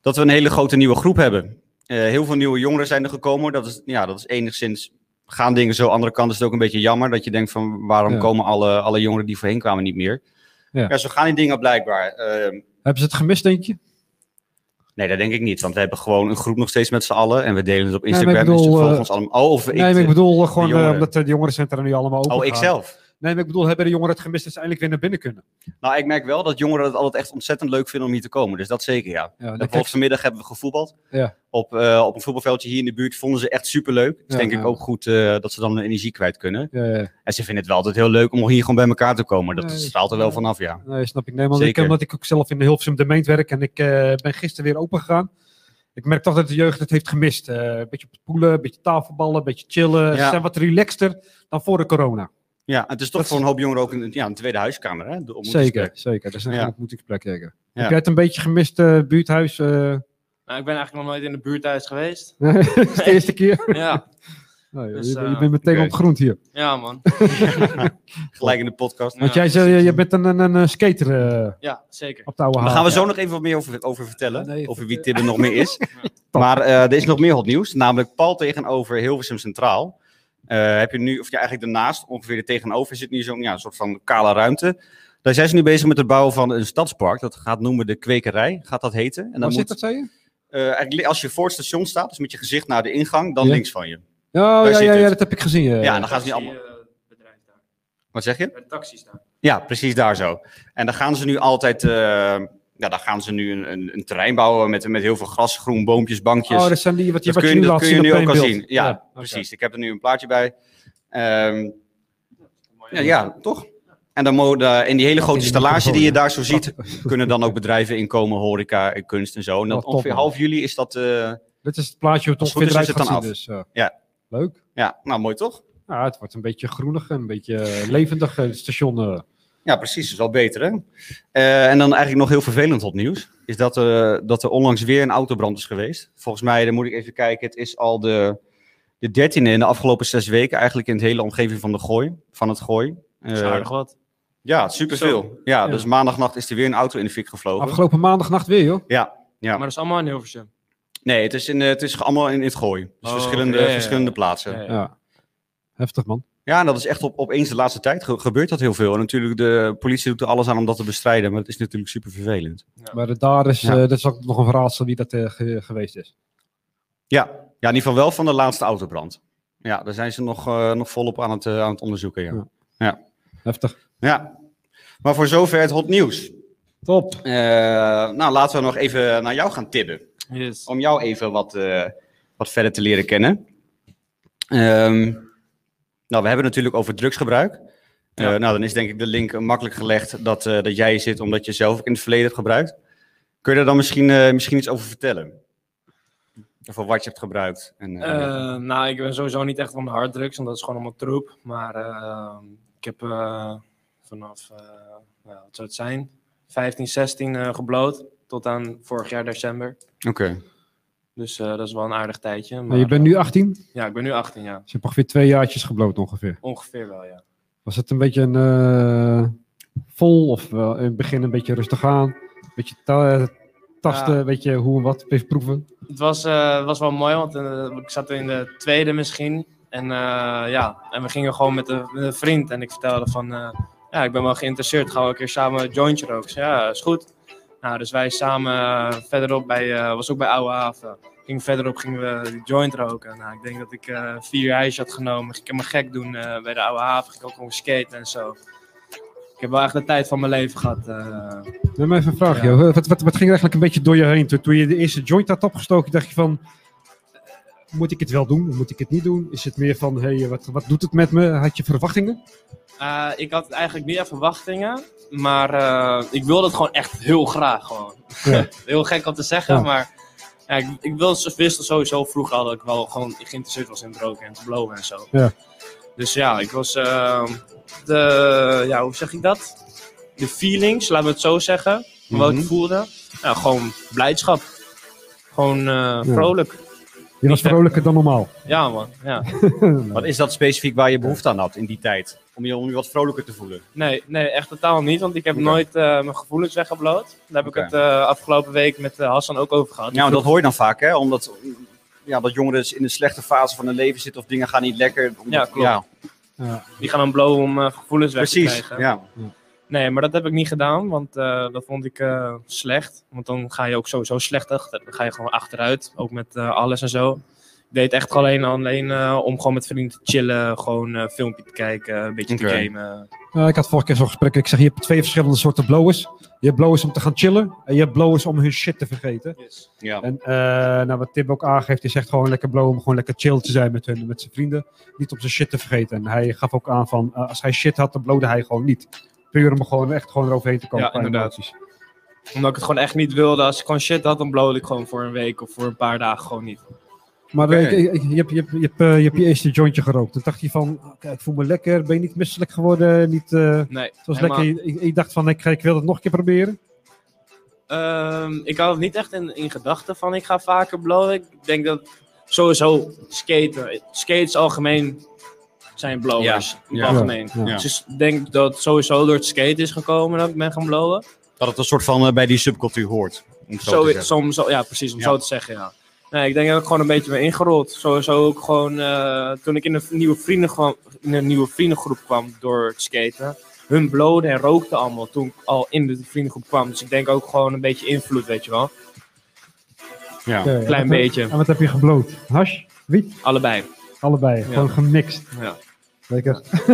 B: dat we een hele grote nieuwe groep hebben. Eh, heel veel nieuwe jongeren zijn er gekomen. Dat is, ja, dat is enigszins, gaan dingen zo. Andere kant is het ook een beetje jammer dat je denkt van, waarom
A: Ja.
B: komen alle, alle jongeren die voorheen kwamen niet meer?
A: Ja.
B: Ja, zo gaan die dingen blijkbaar. Ehm,
A: Hebben ze het gemist, denk je?
B: Nee, dat denk ik niet. Want we hebben gewoon een groep nog steeds met z'n allen. En we delen het op
A: maar ik
B: Instagram. dus
A: bedoel,
B: ze volgen
A: eh,
B: ons allemaal. Oh, of ik.
A: nee, maar ik bedoel eh, gewoon eh,
B: jongeren.
A: omdat eh, de jongerencentra nu allemaal open
B: oh, ik
A: gaan.
B: zelf.
A: Nee, maar ik bedoel, hebben de jongeren het gemist dat ze eindelijk weer naar binnen kunnen?
B: Nou, ik merk wel dat jongeren het altijd echt ontzettend leuk vinden om hier te komen. Dus dat zeker, ja.
A: Ja, dan
B: Bijvoorbeeld vanmiddag hebben we gevoetbald.
A: Ja.
B: Op, eh, op een voetbalveldje hier in de buurt vonden ze echt superleuk. Dus
A: Ja,
B: denk ik
A: ja.
B: ook goed eh, dat ze dan hun energie kwijt kunnen.
A: kijk- eh, ja, ja.
B: En ze vinden het wel altijd heel leuk om hier gewoon bij elkaar te komen. Dat
A: Nee,
B: straalt er wel
A: ja.
B: vanaf, ja.
A: Nee, snap ik. Nee, want ik,
B: Zeker.
A: omdat ik ook zelf in de Hilversum de Meent werk en ik eh, ben gisteren weer open gegaan. Ik merk toch dat de jeugd het heeft gemist. Eh, een beetje op het poelen, een beetje tafelballen, een beetje chillen. Ze
B: Ja.
A: zijn wat relaxter dan voor de corona.
B: Ja, het is toch
A: Dat-
B: voor een hoop jongeren ook een, ja, een tweede huiskamer, hè? De
A: Zeker,
B: ontmoetingsplek.
A: zeker. Dat is een
B: Ja.
A: ja. ontmoetingsplek, zeker.
B: Ja.
A: Heb jij het een beetje gemist, eh, buurthuis? eh
C: Nou, ik ben eigenlijk nog nooit in de buurt thuis geweest.
A: de eerste keer?
C: ja,
A: Nou, je-
C: Dus,
A: je, je
C: eh,
A: bent meteen
B: oké.
A: op grond hier.
C: ja man.
B: Gelijk in de podcast.
C: Ja.
A: Want jij zei, eh, je bent een, een, een skater eh,
C: Ja, zeker.
A: op de oude
B: Daar
A: haven.
B: gaan we zo nog even wat meer over, over vertellen.
A: Ja, nee, eh,
B: over wie Tim er nog meer is. Maar eh, er is nog meer hot nieuws. Namelijk pal tegenover Hilversum Centraal. Eh, heb je nu, of ja, eigenlijk daarnaast, ongeveer er tegenover, zit nu zo'n ja, een soort van kale ruimte. Daar zijn ze nu bezig met het bouwen van een stadspark. Dat gaat noemen de Kwekerij, gaat dat heten. En
A: Waar
B: dan
A: zit
B: moet,
A: dat, zei je?
B: eh, eigenlijk li- als je voor het station staat, dus met je gezicht naar de ingang, dan
A: Ja.
B: links van je.
A: Oh, ja,
B: zit
A: ja, ja,
B: het.
A: dat heb ik gezien. eh. ja.
B: Ja, nou, en dan gaan ze nu allemaal...
C: Taxi-bedrijf eh, daar.
B: Wat zeg je?
C: Bij de taxis daar.
B: Ja, precies daar zo. En dan gaan ze nu altijd... eh, ja, dan gaan ze nu een, een, een terrein bouwen met, met heel veel gras, groen, boompjes, bankjes.
A: Oh, dat zijn die wat je,
B: Dat
A: wat
B: kun
A: je
B: je,
A: nu
B: dat
A: laat
B: kun je
A: zien op
B: nu ook al
A: één
B: zien.
A: beeld.
B: Ja,
A: oké.
B: precies. Ik heb er nu een plaatje bij. Ehm,
C: Mooi,
B: ja, ja, toch? En dan mo- de- in die hele grote
A: in de
B: stallage die je
A: microfoon,
B: daar zo ziet, kunnen dan ook bedrijven inkomen, horeca en kunst en zo. En
A: Oh. Wat
B: dat
A: top,
B: ongeveer
A: man.
B: half juli is dat, eh,
A: Dit is het plaatje hoe het
B: Als het
A: ongeveer
B: goed is,
A: eruit
B: is
A: gaat zien.
B: het
A: Dus, eh,
B: Ja.
A: Leuk.
B: ja, nou mooi toch?
A: Ja, het wordt een beetje groenig, een beetje eh, levendig eh, het station. eh.
B: Ja, precies, is wel beter hè. Eh, en dan eigenlijk nog heel vervelend hot nieuws, is dat, eh, dat er onlangs weer een autobrand is geweest. Volgens mij, dan moet ik even kijken, het is al de, de dertiende in de afgelopen zes weken, eigenlijk in de hele omgeving van, de gooi, van het gooi.
C: Dat is
B: Eh,
C: aardig wat.
B: Ja, superveel. Ja,
A: Ja.
B: dus maandagnacht is er weer een auto in de fik gevlogen.
A: Afgelopen maandagnacht weer, joh.
B: ja, ja.
C: Maar dat is allemaal in Hilversum.
B: Nee, het is, in, eh, het is allemaal in, in het gooi. Dus
C: Oh,
B: verschillende,
C: ja, ja, ja.
B: verschillende plaatsen.
C: Ja, ja.
A: Ja. Heftig, man.
B: Ja, en dat is echt op, opeens de laatste tijd ge- gebeurt dat heel veel. En natuurlijk, de politie doet er alles aan om dat te bestrijden. Maar het is natuurlijk super vervelend.
A: Maar eh, daar is,
B: Ja.
A: eh, dat is ook nog een raadsel wie dat eh, ge- geweest is.
B: Ja. ja, in ieder geval wel van de laatste autobrand. Ja, daar zijn ze nog, eh, nog volop aan het, eh, aan het onderzoeken. Ja.
A: Ja.
B: Ja.
A: Heftig.
B: Maar voor zover het hot nieuws.
A: Top.
B: Eh, nou, laten we nog even naar jou gaan tibben.
C: Yes.
B: om jou even wat, eh, wat verder te leren kennen. Ehm, nou, we hebben het natuurlijk over drugsgebruik. Eh,
C: Ja.
B: nou, dan is denk ik de link makkelijk gelegd dat, eh, dat jij hier zit omdat je zelf ook in het verleden hebt gebruikt. Kun je daar dan misschien, eh, misschien iets over vertellen? Over wat je hebt gebruikt? En, eh,
C: Eh, nou, ik ben sowieso niet echt van de harddrugs, want dat is gewoon allemaal troep. Maar eh, ik heb eh, vanaf, eh, nou, wat zou het zijn, 15, 16 eh gebloot. Tot aan vorig jaar december.
B: Oké.
C: Dus eh, dat is wel een aardig tijdje. Maar,
A: Nou, je bent nu 18. Dus
C: Ja, ik ben nu 18 jaar.
A: je hebt ongeveer twee jaartjes gebloot ongeveer.
C: Ongeveer wel, ja.
A: Was het een beetje een eh, vol of wel in het begin een beetje rustig aan? Een beetje ta- tasten,
C: Ja.
A: een beetje hoe en wat, even proeven.
C: Het was, eh, was wel mooi, want eh, ik zat in de tweede misschien. En eh, ja, en we gingen gewoon met een, met een vriend. En ik vertelde van, eh, ja, ik ben wel geïnteresseerd. Gaan we een keer samen een jointje roken? Ik zei, Ja, is goed. Nou, dus wij samen eh, verderop bij, eh, was ook bij Oude Haven. Gingen verderop, gingen we die joint roken. Nou, ik denk dat ik eh, vier ijsje had genomen. Ging ik helemaal gek doen eh, bij de Oude Haven. Ging ik ook gewoon skaten en zo. heb wel echt de tijd van mijn leven gehad. eh.
A: Doe me even een vraagje.
C: Ja.
A: Wat, wat, wat ging er eigenlijk een beetje door je heen? Toen, toen je de eerste joint had opgestoken, dacht je van... eh, Moet ik het wel doen? Moet ik het niet doen? Is het meer van, hé, hey, wat, wat doet het met me? Had je verwachtingen?
C: Eh, ik had eigenlijk niet echt verwachtingen, maar eh, ik wilde het gewoon echt heel graag. Gewoon.
A: Ja.
C: heel gek om te zeggen,
A: Ja.
C: maar ja, ik, ik wilde, wist sowieso vroeg al dat ik wel gewoon geïnteresseerd was in het roken en het blowen en zo.
A: Ja.
C: Dus ja, ik was eh, de, ja, hoe zeg ik dat? De feelings, laten we het zo zeggen, wat
B: Mhm.
C: ik voelde. Nou, gewoon blijdschap. Gewoon eh, vrolijk.
A: Je was vrolijker dan normaal.
C: Ja man, ja.
B: Wat is dat specifiek waar je behoefte aan had in die tijd? Om je, om je wat vrolijker te voelen.
C: Nee, nee, echt totaal niet, want ik heb
B: Oké.
C: nooit eh, mijn gevoelens weggebloot. Daar heb
B: Oké.
C: ik het eh, afgelopen week met eh, Hassan ook over gehad.
B: Ja, want Nou, dat hoor je dan vaak, hè? Omdat ja, dat jongeren in een slechte fase van hun leven zitten of dingen gaan niet lekker. Omdat-
C: Ja, klopt.
A: Ja.
C: Die gaan dan blowen om eh, gevoelens weg te
B: precies.
C: krijgen.
B: Ja.
C: Nee, maar dat heb ik niet gedaan, want eh, dat vond ik eh, slecht. Want dan ga je ook sowieso slecht achter. Dan ga je gewoon achteruit, ook met eh, alles en zo. Ik deed echt alleen, alleen eh, om gewoon met vrienden te chillen, gewoon eh, een filmpje te kijken, een beetje
B: Oké.
C: te gamen.
A: Nou, ik had vorige keer zo'n gesprek. Ik zeg, je hebt twee verschillende soorten blowers. Je hebt blowers om te gaan chillen. En je hebt blowers om hun shit te vergeten.
B: Ja.
A: En eh, nou, wat Tim ook aangeeft, hij zegt gewoon lekker blow om gewoon lekker chill te zijn met hun, met zijn vrienden. Niet om zijn shit te vergeten. En hij gaf ook aan van, eh, als hij shit had, dan blowde hij gewoon niet. Puur om gewoon echt gewoon eroverheen te komen.
C: Ja,
A: qua
C: inderdaad.
A: emoties.
C: Omdat ik het gewoon echt niet wilde. Als ik gewoon shit had, dan blowde ik gewoon voor een week of voor een paar dagen gewoon niet.
A: Maar eh,
B: Oké.
A: ik- ik- je, hebt, je, hebt, je, hebt, eh, je hebt je eerste jointje gerookt. Toen dacht je van, oké, ik voel me lekker. Ben je niet misselijk geworden? Niet, eh,
C: Nee,
A: het was
C: helemaal-
A: lekker. Je, je- je dacht van, ik, ga- ik wil het nog een keer proberen.
C: Ehm, ik had het niet echt in, in gedachten van ik ga vaker blowen. Ik denk dat sowieso skaten, skates algemeen zijn blowers.
B: Ja,
C: in het
B: ja.
C: Algemeen.
A: Ja, ja.
C: Dus ik denk dat het sowieso door het skaten is gekomen dat ik ben gaan blowen.
B: Dat het een soort van eh, bij die subcultuur hoort. Om het zo
C: Zo,
B: te zeggen.
C: soms, ja, precies, om
B: Ja.
C: zo te zeggen, ja. Nee, ik denk dat ik gewoon een beetje ben ingerold. Sowieso ook gewoon eh, toen ik in een, nieuwe vrienden kwam, in een nieuwe vriendengroep kwam door het skaten. Hun blowden en rookten allemaal toen ik al in de vriendengroep kwam. Dus ik denk ook gewoon een beetje invloed, weet je wel.
B: Ja.
A: Oké, en
C: Klein
A: wat heb-
C: beetje.
A: En wat heb je gebloot? Hash? Wiet?
C: Allebei.
A: Allebei. Gewoon gemixt.
C: Ja.
A: Lekker.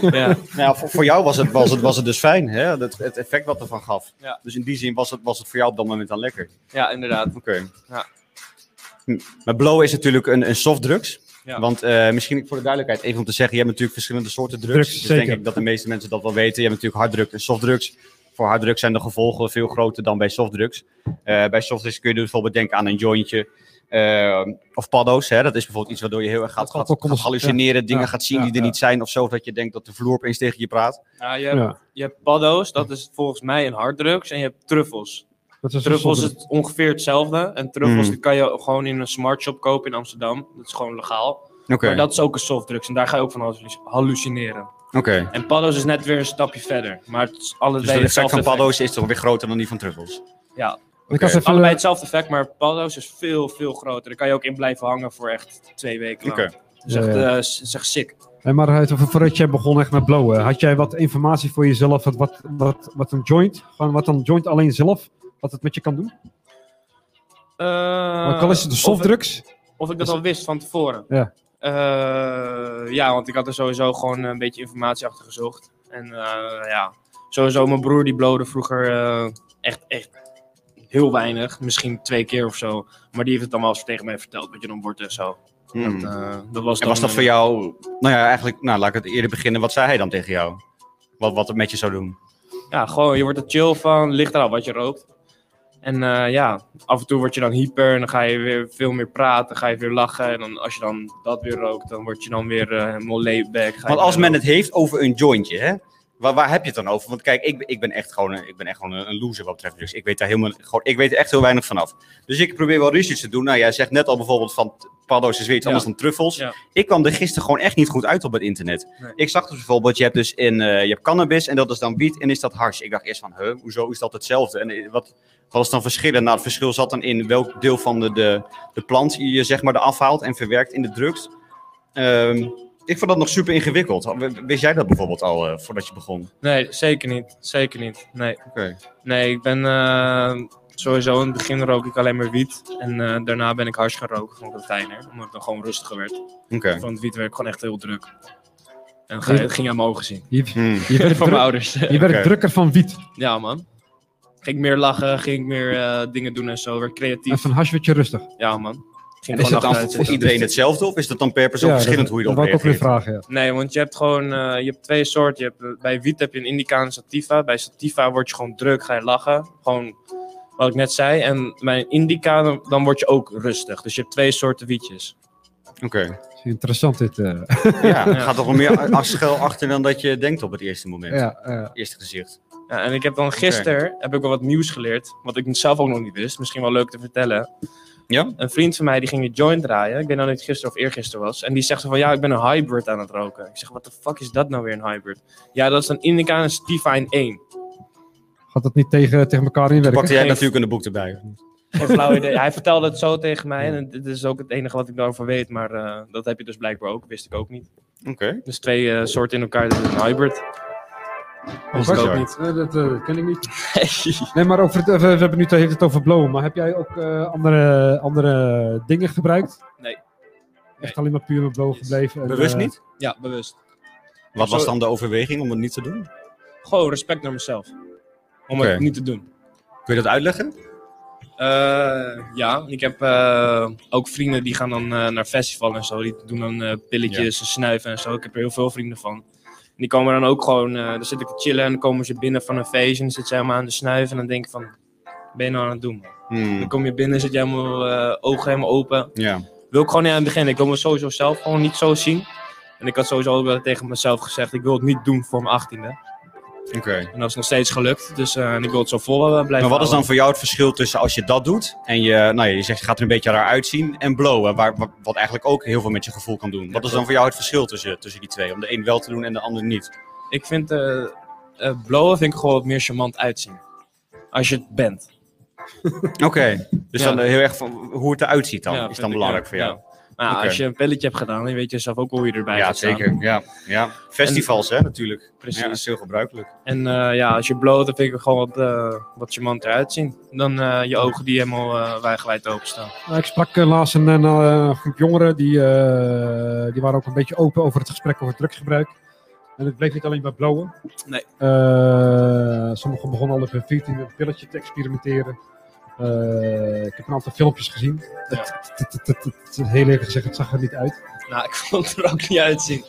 C: ja.
B: Nou, ja, voor, voor jou was het, was, het, was het dus fijn, hè? Dat, het effect wat ervan gaf.
C: Ja.
B: Dus in die zin was het, was het voor jou op dat moment dan lekker.
C: ja, inderdaad.
B: Oké.
C: Ja.
B: Hm. Maar blow is natuurlijk een, een softdrugs.
C: Ja.
B: Want eh, misschien voor de duidelijkheid even om te zeggen, je hebt natuurlijk verschillende soorten drugs.
A: Drugs,
B: dus
A: zeker.
B: denk ik dat de meeste mensen dat wel weten. Je hebt natuurlijk harddrugs en softdrugs. Voor harddrugs zijn de gevolgen veel groter dan bij softdrugs. Eh, bij softdrugs kun je dus bijvoorbeeld denken aan een jointje. eh, of paddo's, hè? dat is bijvoorbeeld iets waardoor je heel erg gaat,
A: Dat valt
B: gaat,
A: ook onder-
B: gaat hallucineren, dingen
A: ja,
B: gaat zien
A: ja,
B: die er
A: ja.
B: niet zijn of zo, dat je denkt dat de vloer opeens tegen je praat.
C: Ja, Nou, je, hebt,
A: Ja.
C: je hebt paddo's, dat is volgens mij een harddrugs. En je hebt truffels.
A: Dat is een
C: Truffels
A: soort-
C: is ongeveer hetzelfde. En truffels
B: Mm.
C: die kan je gewoon in een smartshop kopen in Amsterdam. Dat is gewoon legaal.
B: Oké,
C: Maar dat is ook een softdrugs. En daar ga je ook van hallu- hallucineren.
B: oké.
C: En paddo's is net weer een stapje verder. Maar het is allebei
B: Dus de effect
C: hetzelfde
B: van
C: effect.
B: paddo's is toch weer groter dan die van truffels?
C: Ja,
A: Ik had
B: Oké.
A: even-
C: allebei hetzelfde effect. Maar paddo's is veel, veel groter. Daar kan je ook in blijven hangen voor echt twee weken lang.
B: Oké.
C: Dat is echt,
A: Ja,
C: eh, s- is echt sick.
A: Hey, maar uit- voor- voordat jij begon echt met blowen, had jij wat informatie voor jezelf? Wat, wat, wat, wat een joint, gewoon wat een joint alleen zelf, wat het met je kan doen?
C: Uh, Eh,
A: Ook al is het de softdrugs.
C: Of ik dat al wist van tevoren.
A: Ja.
C: Eh, ja, want ik had er sowieso gewoon een beetje informatie achter gezocht. En eh, ja, sowieso mijn broer die blode vroeger eh, echt, echt heel weinig. Misschien twee keer of zo. Maar die heeft het dan wel eens tegen mij verteld. Weet je, dan wordt en zo.
B: Hmm.
C: Dat, eh, dat was
B: En
C: dan
B: was dat
C: een-
B: voor jou, nou ja, eigenlijk, nou laat ik het eerder beginnen. Wat zei hij dan tegen jou? Wat, wat het met je zou doen?
C: Ja, gewoon, je wordt er chill van. Ligt eraan wat je rookt. En eh, ja, af en toe word je dan hyper en dan ga je weer veel meer praten, ga je weer lachen. En dan, als je dan dat weer rookt, dan word je dan weer eh, helemaal laid back. ga je
B: Want als
C: weer
B: men
C: roken.
B: het heeft over een jointje, hè? Waar, waar heb je het dan over? Want kijk, ik, ben- ik ben echt gewoon, een, ik ben echt gewoon een, een loser wat betreft drugs. Ik weet daar helemaal, gewoon, ik weet er echt heel weinig vanaf. Dus ik probeer wel research te doen. Nou, jij zegt net al bijvoorbeeld van t- paddo's is weer iets
C: Ja.
B: anders dan truffels.
C: Ja.
B: Ik kwam er gisteren gewoon echt niet goed uit op het internet.
C: Nee.
B: Ik zag dus bijvoorbeeld, je hebt dus in, eh, je hebt cannabis en dat is dan wiet en is dat hars. Ik dacht eerst van, huh, hoezo is dat hetzelfde? En eh, wat, wat is dan verschil? Nou, het verschil zat dan in welk deel van de, de, de plant je zeg maar eraf haalt en verwerkt in de drugs. Ehm, ik vond dat nog super ingewikkeld. Had- w- Wist jij dat bijvoorbeeld al eh, voordat je begon?
C: Nee, zeker niet. Zeker niet. Nee,
B: Oké.
C: nee ik ben eh, sowieso in het begin rook ik alleen maar wiet. En eh, daarna ben ik hars gaan roken. Vond ik dat fijner. Omdat ik dan gewoon rustiger werd.
B: Oké.
C: Van het wiet werd ik gewoon echt heel druk. En ge- het ging aan mijn ogen zien.
A: Je,
B: Hmm.
A: je, werd,
C: Van mijn
A: druk-
C: ouders.
A: je werd
B: Oké.
A: drukker van wiet.
C: ja, man. Ging ik meer lachen, ging ik meer eh, dingen doen en zo. Werd
A: En
C: creatief.
A: van hash werd je rustig.
C: Ja, man. Ging
B: is
C: gewoon
B: dat dus- dan
C: achteruit
B: voor
C: zitten.
B: iedereen hetzelfde of is dat dan per persoon
A: Ja,
B: verschillend
A: dat-
B: hoe je
A: dat
B: erop
A: wou ik ook weer
B: reageert?
A: vragen, ja.
C: Nee, want je hebt gewoon eh, je hebt twee soorten. Je hebt, eh, bij wiet heb je een indica en een sativa. Bij sativa word je gewoon druk, ga je lachen. Gewoon wat ik net zei. En bij een indica dan, dan word je ook rustig. Dus je hebt twee soorten wietjes.
B: Oké.
A: Is Interessant dit. eh,
B: Ja, het
C: Ja.
B: gaat toch wel meer a- a- schuil achter dan dat je denkt op het eerste moment.
A: ja, eh,
B: Eerste gezicht.
C: Ja, en ik heb dan gisteren heb ik wel wat nieuws geleerd. Wat ik zelf ook nog niet wist. Misschien wel leuk te vertellen.
B: Ja?
C: Een vriend van mij die ging een joint draaien. Ik weet nou niet gisteren of eergisteren was. En die zegt zo van ja, ik ben een hybrid aan het roken. Ik zeg, wat de fuck is dat nou weer een hybrid? Ja, dat is een indica en een sativa in één.
A: gaat dat niet tegen, tegen elkaar inwerken?
B: Pakte jij
C: geen-
B: natuurlijk een boek erbij.
C: Geen flauw idee. Hij vertelde het zo tegen mij. En dit is ook het enige wat ik daarover weet. Maar eh, dat heb je dus blijkbaar ook. Wist ik ook niet.
B: Oké.
C: Dus twee eh, soorten in elkaar. Dat is een hybrid. Wist ik ook
B: bizar.
C: niet.
A: Nee, dat eh, ken ik niet. Nee, maar over het, eh, we hebben nu het- heeft het over blowen, maar heb jij ook eh, andere, andere dingen gebruikt?
C: Nee.
A: Echt alleen maar puur met blowen
C: Yes.
A: gebleven? en,
B: Bewust
A: eh,
B: niet?
C: Ja, bewust.
B: Wat
C: Zo-
B: was dan de overweging om het niet te doen?
C: Gewoon respect naar mezelf. Om
B: Oké.
C: het niet te doen.
B: Kun je dat uitleggen?
C: Eh, ja, ik heb eh, ook vrienden die gaan dan eh, naar festivals en zo. Die doen dan eh, pilletjes en snuiven en zo. Ik heb er heel veel vrienden van. En die komen dan ook gewoon, eh dan zit ik te chillen en dan komen ze binnen van een feestje. En dan zitten ze helemaal aan de snuiven en dan denk ik van, "Wat ben je nou aan het doen? man?" Dan kom je binnen, zit je helemaal, eh, ogen helemaal open.
B: Hmm, Ja.
C: Wil ik gewoon niet aan het begin. Ik wil me sowieso zelf gewoon niet zo zien. En ik had sowieso ook wel tegen mezelf gezegd, ik wil het niet doen voor mijn achttiende.
B: Oké.
C: En dat is nog steeds gelukt. Dus eh, en ik wil het zo vol eh, blijven
B: Maar wat is dan
C: houden.
B: voor jou het verschil tussen als je dat doet en je, nou ja, je zegt je gaat er een beetje raar uitzien en blowen, waar, wa- wat eigenlijk ook heel veel met je gevoel kan doen. Wat is dan voor jou het verschil tussen, tussen die twee? Om de een wel te doen en de ander niet.
C: Ik vind eh eh, blowen vind ik gewoon wat meer charmant uitzien. Als je het bent.
B: Oké. Dus
C: Ja.
B: dan eh, heel erg van hoe het eruit ziet dan,
C: Ja,
B: is
C: vind
B: dan
C: ik,
B: belangrijk
C: ja,
B: voor jou.
C: ja. Maar ja,
B: Oké.
C: als je een pelletje hebt gedaan, dan weet je zelf ook hoe je erbij
B: Ja,
C: gaat staan.
B: zeker. Ja. Ja. Festivals hè, natuurlijk.
C: Precies.
B: Ja, dat Dus is heel gebruikelijk.
C: En eh, ja, als je bloot, dan vind ik het gewoon wat, eh wat charmant eruit zien. Dan eh, je ogen die helemaal eh wijdgewijd openstaan.
A: Nou, ik sprak eh, laatst een, een, eh, groep jongeren die, eh, die waren ook een beetje open over het gesprek over drugsgebruik. En het bleef niet alleen bij blowen.
C: Nee.
A: Eh, sommigen begonnen al op hun 14 een pilletje te experimenteren. Eh, ik heb een aantal filmpjes gezien.
C: Ja.
A: Het- het- het- het- het- het- het- Heel eerlijk gezegd, het zag er niet uit.
C: Nou, ik vond het er ook niet uitzien.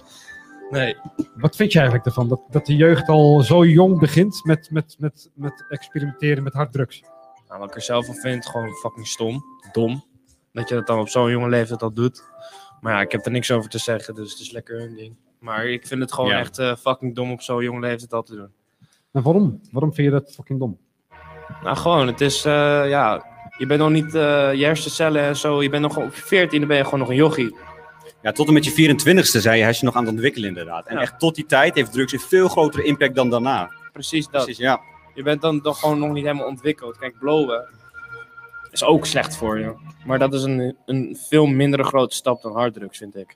C: Nee.
A: Wat vind je eigenlijk ervan? Dat, dat de jeugd al zo jong begint met, met, met, met experimenteren met harddrugs.
C: Nou, wat ik er zelf van vind, gewoon fucking stom. Dom. Dat je dat dan op zo'n jonge leeftijd al doet. Maar ja, ik heb er niks over te zeggen, dus het is lekker hun ding. Maar ik vind het gewoon
B: Ja.
C: echt eh, fucking dom op zo'n jonge leeftijd al te doen.
A: En waarom? Waarom vind je dat fucking dom?
C: Nou, gewoon, het is, eh, ja, je bent nog niet eh, je hersencellen en zo. Je bent nog op je 14, dan ben je gewoon nog een jochie.
B: Ja, tot en met je 24ste zei je, hij is je nog aan het ontwikkelen inderdaad. En
C: Ja.
B: echt tot die tijd heeft drugs een veel grotere impact dan daarna.
C: Precies dat.
B: Precies, ja.
C: Je bent dan toch gewoon nog niet helemaal ontwikkeld. Kijk, blowen is ook slecht voor je. Maar dat is een, een veel minder grote stap dan harddrugs, vind ik.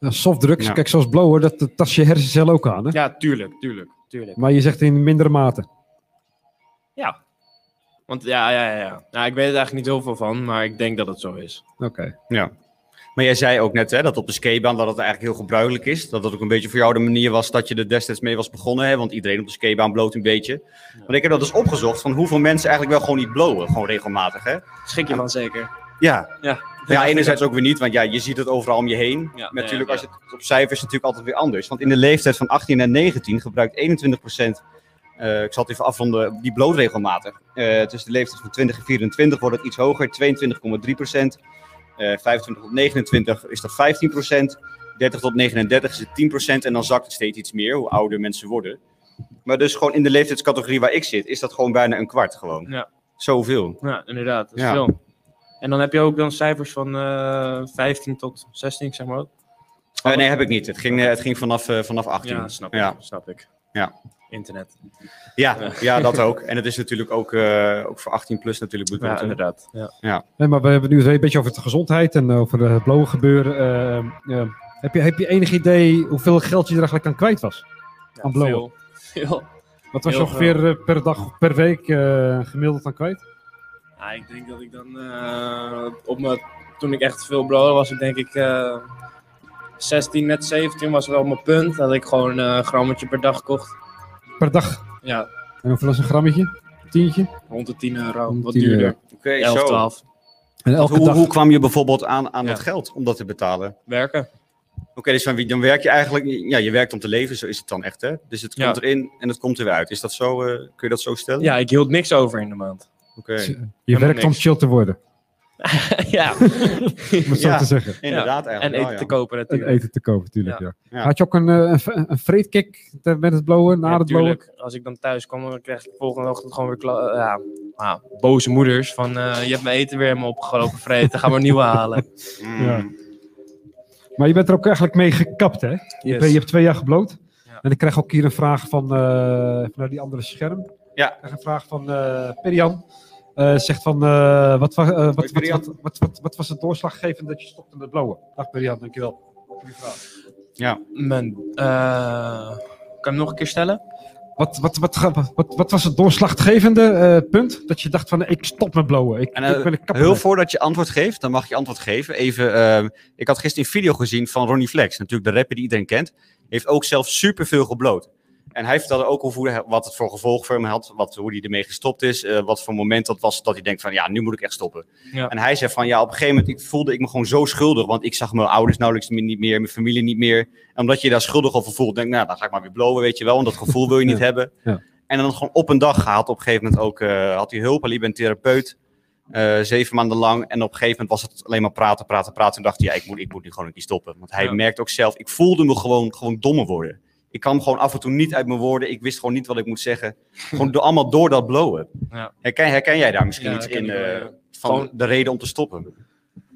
A: Nou, softdrugs,
B: Ja.
A: kijk zoals blowen, dat dat tast je hersencel ook aan. Hè?
C: Ja, tuurlijk, tuurlijk, tuurlijk.
A: Maar je zegt in mindere mate.
C: Ja. Want ja, ja, ja, ja. Nou, ik weet er eigenlijk niet heel veel van, maar ik denk dat het zo is.
A: Oké.
B: Ja. Maar jij zei ook net hè, dat op de skatebaan dat het eigenlijk heel gebruikelijk is. Dat dat ook een beetje voor jou de manier was dat je er destijds mee was begonnen. Hè? Want iedereen op de skatebaan bloot een beetje. Want ik heb dat dus opgezocht van hoeveel mensen eigenlijk wel gewoon niet blowen. Gewoon regelmatig hè.
C: Schrik je van zeker?
B: Ja.
C: Ja.
B: Maar ja, enerzijds ook weer niet. Want ja, je ziet het overal om je heen.
C: Ja,
B: Maar natuurlijk
C: ja,
B: als je het op cijfers is het natuurlijk altijd weer anders. Want in de leeftijd van 18 en 19 gebruikt 21 eh, ik zal het even afronden, die bloot regelmatig. Eh, tussen de leeftijd van 20 en 24 wordt het iets hoger, 22,3 Eh, 25 tot 29 is dat 15 30 tot 39 is het 10 En dan zakt het steeds iets meer, hoe ouder mensen worden. Maar dus gewoon in de leeftijdscategorie waar ik zit, is dat gewoon bijna een kwart gewoon.
C: Ja.
B: Zoveel.
C: Ja, inderdaad. Dat is
B: Ja.
C: veel. En dan heb je ook dan cijfers van eh 15 tot 16, zeg maar.
B: Eh, nee, heb ik niet. Het ging, eh, het ging vanaf, eh, vanaf 18.
C: Oh. Ja, snap ik.
B: Ja.
C: Snap ik.
B: Ja.
C: Internet.
B: Ja, ja, dat ook. En het is natuurlijk ook, eh, ook voor 18 plus natuurlijk bedoeld. hè?
C: inderdaad. Ja.
A: Nee, maar we hebben het nu een beetje over de gezondheid en over het blowen gebeuren. Eh, eh, heb, je, heb je enig idee hoeveel geld je er eigenlijk aan kwijt was? Aan blowen.
C: veel. Veel.
A: Wat was je
C: Heel
A: ongeveer eh, per dag, of per week eh, gemiddeld aan kwijt?
C: Ja, ik denk dat ik dan eh, op mijn, toen ik echt veel blauwer was, ik denk ik eh, 16, net 17 was wel mijn punt. Dat ik gewoon eh, een grammetje per dag kocht.
A: Per dag.
C: Ja,
A: En hoeveel is een grammetje? Tientje?
C: rond de 10 euro.
A: Rond de
C: Wat
A: 10
C: duurder.
B: Oké,
C: 11, 12.
A: En elke
B: Hoe,
A: dag.
B: hoe kwam je bijvoorbeeld aan, aan
C: Ja.
B: dat geld om dat te betalen?
C: Werken.
B: Oké, dus van wie, dan werk je eigenlijk, ja, je werkt om te leven, zo is het dan echt, hè? Dus het
C: Ja.
B: komt erin en het komt er weer uit. Is dat zo, eh, kun je dat zo stellen?
C: Ja, ik hield niks over in de maand.
B: Oké,
A: Je
C: Helemaal
A: werkt om
C: niks.
A: chill te worden,
C: ja,
A: om het zo
B: Ja.
A: te zeggen.
B: inderdaad
C: en
B: eigenlijk
C: eten
B: wel, ja.
C: te kopen
A: En
C: natuurlijk.
A: eten te kopen, natuurlijk. Ja.
C: Ja.
B: Ja.
A: Had je ook een, eh, een, v- een vreedkick te- met het blowen, na
C: Ja,
A: het blowen?
C: tuurlijk. Als ik dan thuis kwam, dan kreeg ik de volgende ochtend gewoon weer kla- ja, ah, boze moeders. Van eh, je hebt mijn eten weer helemaal opgelopen vreten, ga maar een nieuwe halen.
B: Mm.
A: Ja. Maar je bent er ook eigenlijk mee gekapt, hè? Je,
C: Yes.
A: bent- je hebt twee jaar gebloot.
C: Ja.
A: En ik krijg ook hier een vraag van, eh vanuit die andere scherm.
B: Ja.
A: Ik krijg een vraag van eh Perian. Eh, zegt van, eh, wat, wa- eh, wat, wat,
B: Perian.
A: wat, wat, wat, wat was het doorslaggevend dat je stopte met blowen? Dag Perian, dankjewel. Goeie vraag.
C: Mijn, eh, kan je hem nog een keer stellen?
A: Wat, wat, wat, ga- wat, wat, was het doorslaggevende eh, punt? Dat je dacht van, ik stop met blowen. Ik,
B: En, eh,
A: ik ben een kapper.
B: Heel voordat je antwoord geeft, dan mag je antwoord geven. Even, eh, ik had gisteren een video gezien van Ronnie Flex, natuurlijk de rapper die iedereen kent. Heeft ook zelf superveel gebloot. En hij vertelde ook hoe, hoe- wat het voor gevolg voor hem had, wat, hoe hij ermee gestopt is, eh, wat voor moment dat was dat hij denkt van ja, nu moet ik echt stoppen.
C: Ja.
B: En hij zei van ja, op een gegeven moment ik voelde ik me gewoon zo schuldig, want ik zag mijn ouders nauwelijks meer- niet meer, mijn familie niet meer. En omdat je je daar schuldig over voelt, denk ik nou, dan ga ik maar weer blowen, weet je wel, want dat gevoel wil je niet hebben.
A: Ja.
B: En dan gewoon op een dag gehad, op een gegeven moment ook, eh, had hij hulp, hij liep bij een therapeut. Eh, zeven maanden lang. En op een gegeven moment was het alleen maar praten, praten, praten. Toen dacht hij, ja, ik moet, ik moet nu gewoon een keer stoppen. Want hij
C: Ja.
B: merkt ook zelf, ik voelde me gewoon, gewoon dommer worden. Ik kwam gewoon af en toe niet uit mijn woorden. Ik wist gewoon niet wat ik moet zeggen. Gewoon door, allemaal door dat blowen.
C: Ja.
B: Herken, herken jij daar misschien
C: Ja,
B: iets
C: herken
B: in
C: ik wel,
B: eh,
C: ja.
B: van
C: Gewoon-
B: de reden om te stoppen?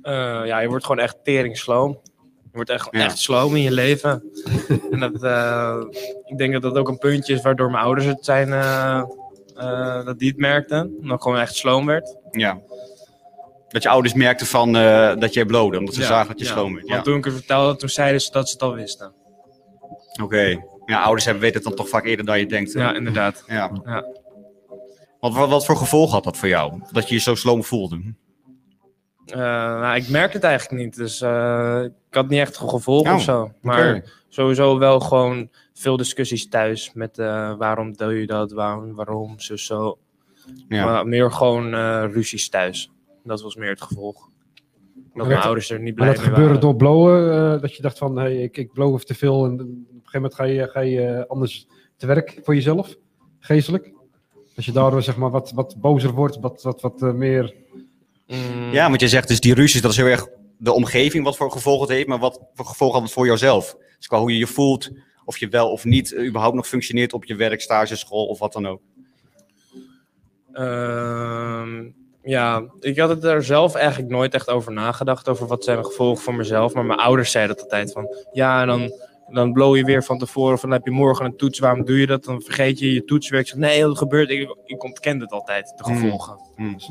C: Eh, ja, je wordt gewoon echt tering sloom. Je wordt echt,
B: Ja.
C: echt sloom in je leven. en dat, eh, ik denk dat dat ook een puntje is waardoor mijn ouders het zijn, eh, eh, dat die het merkten. Omdat ik gewoon echt sloom werd.
B: Ja. Dat je ouders merkten van, eh, dat jij blode, omdat ze
C: Ja,
B: zagen dat je
C: ja.
B: schoon bent. Ja.
C: Want toen ik het vertelde, toen zeiden ze dat ze het al wisten.
B: Oké. Ja, ouders hebben, weten het dan toch vaak eerder dan je denkt. hè?
C: Ja, inderdaad.
B: Ja.
C: Ja.
B: Want wat, wat voor gevolg had dat voor jou? Dat je je zo sloom voelde?
C: Eh, nou, ik merk het eigenlijk niet, dus eh, ik had niet echt een gevolg
B: Oh,
C: of zo. Maar sowieso wel gewoon veel discussies thuis met eh, waarom doe je dat, waarom, waarom, zo, zo.
B: Ja.
C: Maar meer gewoon eh, ruzies thuis. Dat was meer het gevolg. Dat mijn
A: dat-
C: ouders er niet
A: Maar
C: blij
A: dat
C: mee
A: gebeurde
C: waren.
A: door blowen, eh, dat je dacht van, hey, ik, ik blow te veel en op een gegeven moment ga je, ga je eh, anders te werk voor jezelf, geestelijk. Dat je daardoor zeg maar wat, wat bozer wordt, wat, wat, wat eh, meer...
C: Mm,
B: Ja, want je zegt dus die ruzies, dat is heel erg de omgeving wat voor gevolgen het heeft, maar wat voor gevolgen had het voor jouzelf? Dus qua hoe je je voelt, of je wel of niet eh, überhaupt nog functioneert op je werk, stage, school of wat dan ook.
C: Ehm, ja, ik had het er zelf eigenlijk nooit echt over nagedacht. Over wat zijn de gevolgen voor mezelf. Maar mijn ouders zeiden dat altijd van. Ja, en dan, dan blow je weer van tevoren. Of dan heb je morgen een toets. Waarom doe je dat? Dan vergeet je je toetswerk. Ik zeg, nee, dat gebeurt. Ik, ik ontkende het altijd, de
A: Hmm.
B: Mm.
C: gevolgen.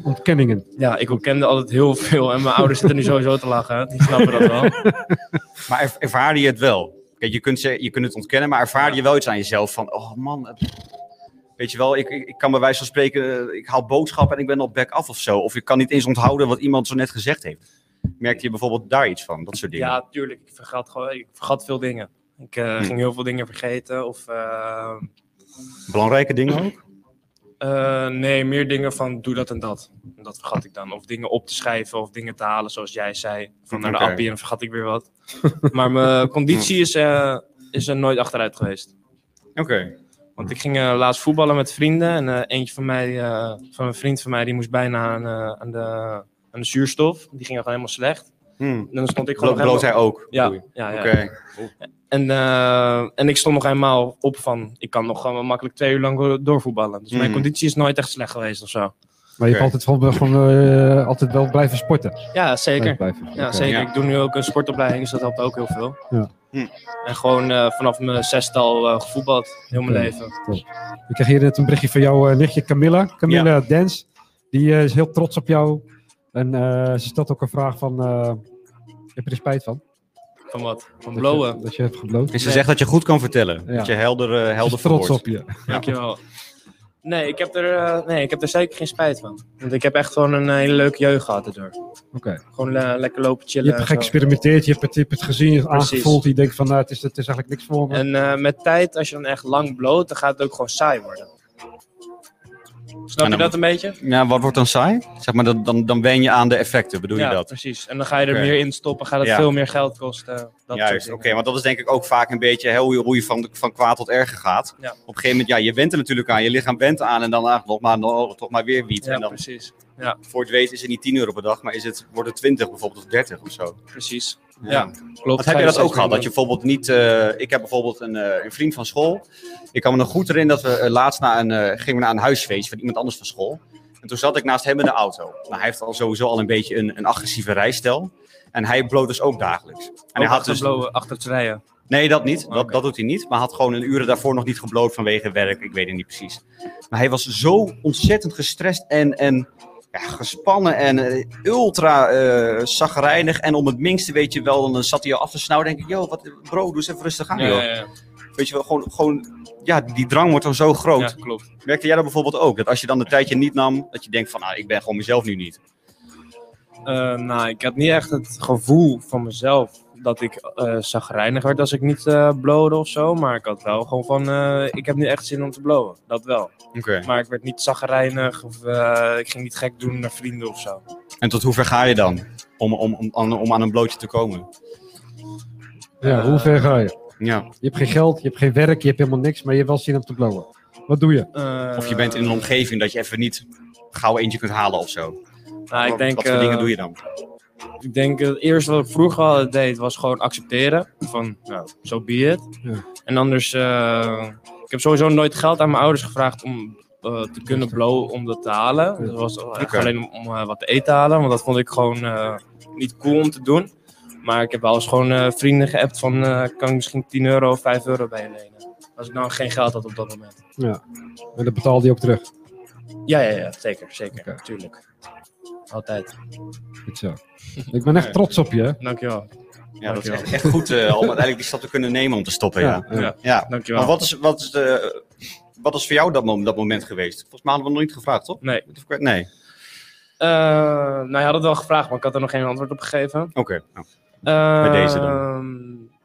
A: Ontkenningen.
C: Ja, ik ontkende altijd heel veel. En mijn ouders zitten nu sowieso te lachen. Die snappen dat wel.
B: Maar er- ervaarde je het wel? Kijk, je kunt, ze- je kunt het ontkennen, maar ervaarde je wel iets aan jezelf van, oh man, eh, weet je wel, ik, ik, ik kan bij wijze van spreken, eh, ik haal boodschappen en ik ben al back af of zo. Of ik kan niet eens onthouden wat iemand zo net gezegd heeft. Merkte je bijvoorbeeld daar iets van, dat soort dingen?
C: Ja, tuurlijk. Ik vergat, gewoon, ik vergat veel dingen. Ik eh,
B: Hm.
C: ging heel veel dingen vergeten. Of eh,
B: Belangrijke dingen ook?
C: Eh, nee, meer dingen van doe dat en dat. En Dat vergat ik dan. Of dingen op te schrijven of dingen te halen, zoals jij zei. Van naar de
B: Oké.
C: appie en dan vergat ik weer wat. maar mijn conditie is, eh, is er nooit achteruit geweest.
B: Oké.
C: Want ik ging eh, laatst voetballen met vrienden. En eh, eentje van mij, eh, van een vriend van mij, die moest bijna aan, eh, aan, de, aan de zuurstof. Die ging gewoon helemaal slecht.
B: Hmm.
C: En dan stond Hm. ik
B: Blo-
C: gewoon nog
B: bloot hij ook?
C: helemaal-
B: Oei.
C: Ja, ja, ja.
B: Oké.
C: En, eh, en ik stond nog eenmaal op van, ik kan nog gewoon makkelijk twee uur lang door- doorvoetballen. Dus mijn
B: Mhm.
C: conditie is nooit echt slecht geweest of zo.
A: Maar je
B: Oké.
A: hebt altijd, wel, gewoon, eh, altijd wel blijven sporten.
C: Ja, zeker.
A: Blijven.
C: Ja,
A: Oké.
C: zeker.
B: Ja.
C: Ik doe nu ook een sportopleiding, dus dat helpt ook heel veel.
A: Ja.
B: Hm.
C: En gewoon eh, vanaf mijn zestal eh gevoetbald, heel mijn
A: Ja.
C: leven.
A: Ik kreeg hier net een berichtje van jouw eh, nichtje Camilla. Camilla Dens. Die eh, is heel trots op jou. En eh, ze stelt ook een vraag van... eh, heb je er spijt van?
C: Van wat? Van
A: Dat je- Dat
C: blowen.
A: je, hebt gebloot.
B: En ze zegt dat je goed kan vertellen.
A: Ja.
B: Dat je helder, eh,
A: Ze
B: helder
A: is trots
B: verwoordt.
A: op je.
C: Dankjewel. Nee ik, heb er, eh, nee, ik heb er zeker geen spijt van. Want ik heb echt gewoon een eh, hele leuke jeugd gehad erdoor. Gewoon eh, lekker lopen chillen.
A: Je hebt
C: en zo.
A: geëxperimenteerd, je hebt het, je hebt het gezien, je hebt
C: Precies.
A: aangevoeld. Je denkt van, nou, het is, het is eigenlijk niks voor me.
C: En eh, met tijd, als je dan echt lang bloot, dan gaat het ook gewoon saai worden.
B: En
C: Snap je
B: dan-
C: dat een beetje?
B: Ja, wat wordt dan saai? Zeg maar, dat, dan, dan wen je aan de effecten, bedoel
C: ja,
B: je dat?
C: precies. En dan ga je er
B: Oké.
C: meer in stoppen, gaat het
B: Ja.
C: veel meer geld kosten. Dat soort
B: Juist,
C: dingen.
B: oké, want dat is denk ik ook vaak een beetje hè, hoe je, hoe je van, van kwaad tot erger gaat.
C: Ja.
B: Op een gegeven moment, ja, je went er natuurlijk aan, je lichaam went aan en dan ah, nog maar, nog, toch maar weer wiet.
C: Ja,
B: en dan
C: precies.
B: voor het weten is het niet 10 euro per dag, maar is het, wordt het 20 bijvoorbeeld of 30 of zo.
C: Precies. Ja,
B: Wat
C: klopt.
B: heb
C: Ga
B: je dat
C: steeds
B: ook gehad?
C: meer
B: Dat je bijvoorbeeld niet. eh, ik heb bijvoorbeeld een, eh, een vriend van school. Ik kan me nog goed herinneren dat we eh, laatst naar een, eh, gingen we naar een huisfeest van iemand anders van school. En toen zat ik naast hem in de auto. Nou, hij heeft al sowieso al een beetje een, een agressieve rijstijl. En hij bloot dus ook dagelijks. En
C: doen.
B: hij
C: Ook
B: had
C: achter
B: dus.
C: blowen, achter het rijden.
B: Nee, dat niet. Dat,
C: Oké.
B: dat doet hij niet. Maar hij had gewoon een uren daarvoor nog niet gebloot vanwege werk. Ik weet het niet precies. Maar hij was zo ontzettend gestrest en, en ja, gespannen en eh, ultra eh zagrijnig. En om het minste weet je wel, dan zat hij al af te snauwen. denk ik, yo, wat, bro, doe eens even rustig aan, joh. Weet je wel, gewoon, gewoon, ja, die drang wordt dan zo
C: Ja,
B: groot.
C: klopt.
B: Merkte jij dat bijvoorbeeld ook? Dat als je dan de tijdje niet nam, dat je denkt van, nou, ik ben gewoon mezelf nu niet.
C: Eh, nou, ik had niet echt het gevoel van mezelf dat ik eh zagrijnig werd als ik niet eh blode of zo. Maar ik had wel gewoon van, eh, ik heb nu echt zin om te blowen. Dat wel.
B: Oké.
C: Maar ik werd niet zagrijnig of eh, ik ging niet gek doen naar vrienden of zo.
B: En tot hoever ga je dan om, om, om, aan- om aan een blootje te komen?
A: ja,
C: eh,
A: hoe ver ga je?
B: Ja.
A: Je hebt geen geld, je hebt geen werk, je hebt helemaal niks, maar je hebt wel zin om te blowen. Wat doe je?
C: Eh,
B: Of je bent in een omgeving dat je even niet gauw eentje kunt halen of zo.
C: Nou, ik
B: Wat-
C: denk,
B: wat voor dingen
C: eh,
B: doe je dan?
C: Ik denk eh, het eerste wat ik vroeger al deed was gewoon accepteren. Van, nou, zo be it.
A: Ja.
C: En anders, eh, ik heb sowieso nooit geld aan mijn ouders gevraagd om eh, te kunnen blowen om dat te halen. Dat was echt
B: Oké.
C: alleen om, om, eh, wat te eten te halen, want dat vond ik gewoon eh, niet cool om te doen. Maar ik heb wel eens gewoon eh, vrienden geappt van, eh, kan ik misschien 10 euro of 5 euro bij je lenen? Als ik nou geen geld had op dat moment.
A: En dat betaalt hij ook terug.
C: Ja, ja, ja, zeker, zeker,
A: Oké.
C: tuurlijk. Altijd.
A: Goed zo. Ik ben echt trots op je.
C: Oh
A: hè?
C: Dankjewel.
B: Ja, dat is
C: dankjewel.
B: echt, echt goed eh, om uiteindelijk die stap te kunnen nemen om te stoppen. Ja. ja.
A: ja.
C: Ja. Dankjewel.
B: Maar wat is, wat, is de, wat is voor jou dat, mom- dat moment geweest? Volgens mij hadden we nog niet gevraagd, toch?
C: Nee.
B: Nee.
C: Eh, nou, je had het wel gevraagd, maar ik had er nog geen antwoord op gegeven.
B: Oké. nou. Bij deze dan.
C: Ehm,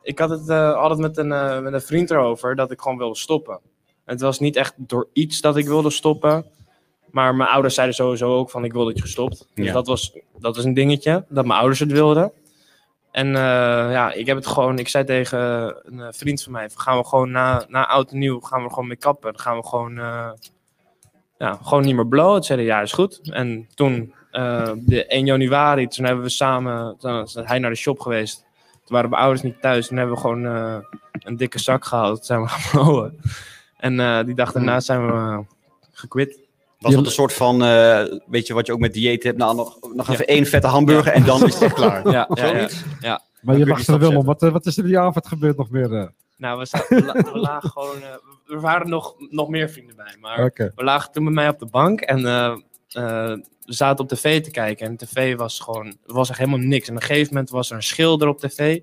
C: Ik had het eh, altijd met een, eh, met een vriend erover dat ik gewoon wilde stoppen. Het was niet echt door iets dat ik wilde stoppen. Maar mijn ouders zeiden sowieso ook van ik wil dat je stopt. Dus
B: Ja.
C: dat, was, dat was een dingetje, dat mijn ouders het wilden. En eh, ja, ik heb het gewoon, ik zei tegen een eh, vriend van mij, van, gaan we gewoon na, na oud en nieuw, gaan we er gewoon mee kappen. Dan gaan we gewoon, eh, ja, gewoon niet meer blowen. Toen zeiden ja, is goed. En toen, eh, de 1 januari, toen hebben we samen, toen is hij naar de shop geweest. Toen waren mijn ouders niet thuis. Toen hebben we gewoon eh, een dikke zak gehaald. Toen zijn we gaan blowen. En eh, die dag daarna zijn we eh, gekwit.
B: Was dat een soort van, eh, weet je wat je ook met dieet hebt? Nou, nog, nog
C: Ja.
B: even één vette hamburger en dan is het echt klaar.
A: Oh,
C: Ja, ja, ja.
B: Zoiets?
A: Maar je
B: kun je
A: lacht
B: die
A: er wel
B: stap
A: om. Wat, eh, wat is er die avond gebeurd nog meer? eh?
C: Nou, we, zaten, we la- we lagen gewoon... eh, er waren nog, nog meer vrienden bij. Maar
A: Oké.
C: we lagen toen bij mij op de bank. En eh, eh, we zaten op tv te kijken. En tv was gewoon... Er was echt helemaal niks. En op een gegeven moment was er een schilder op tv.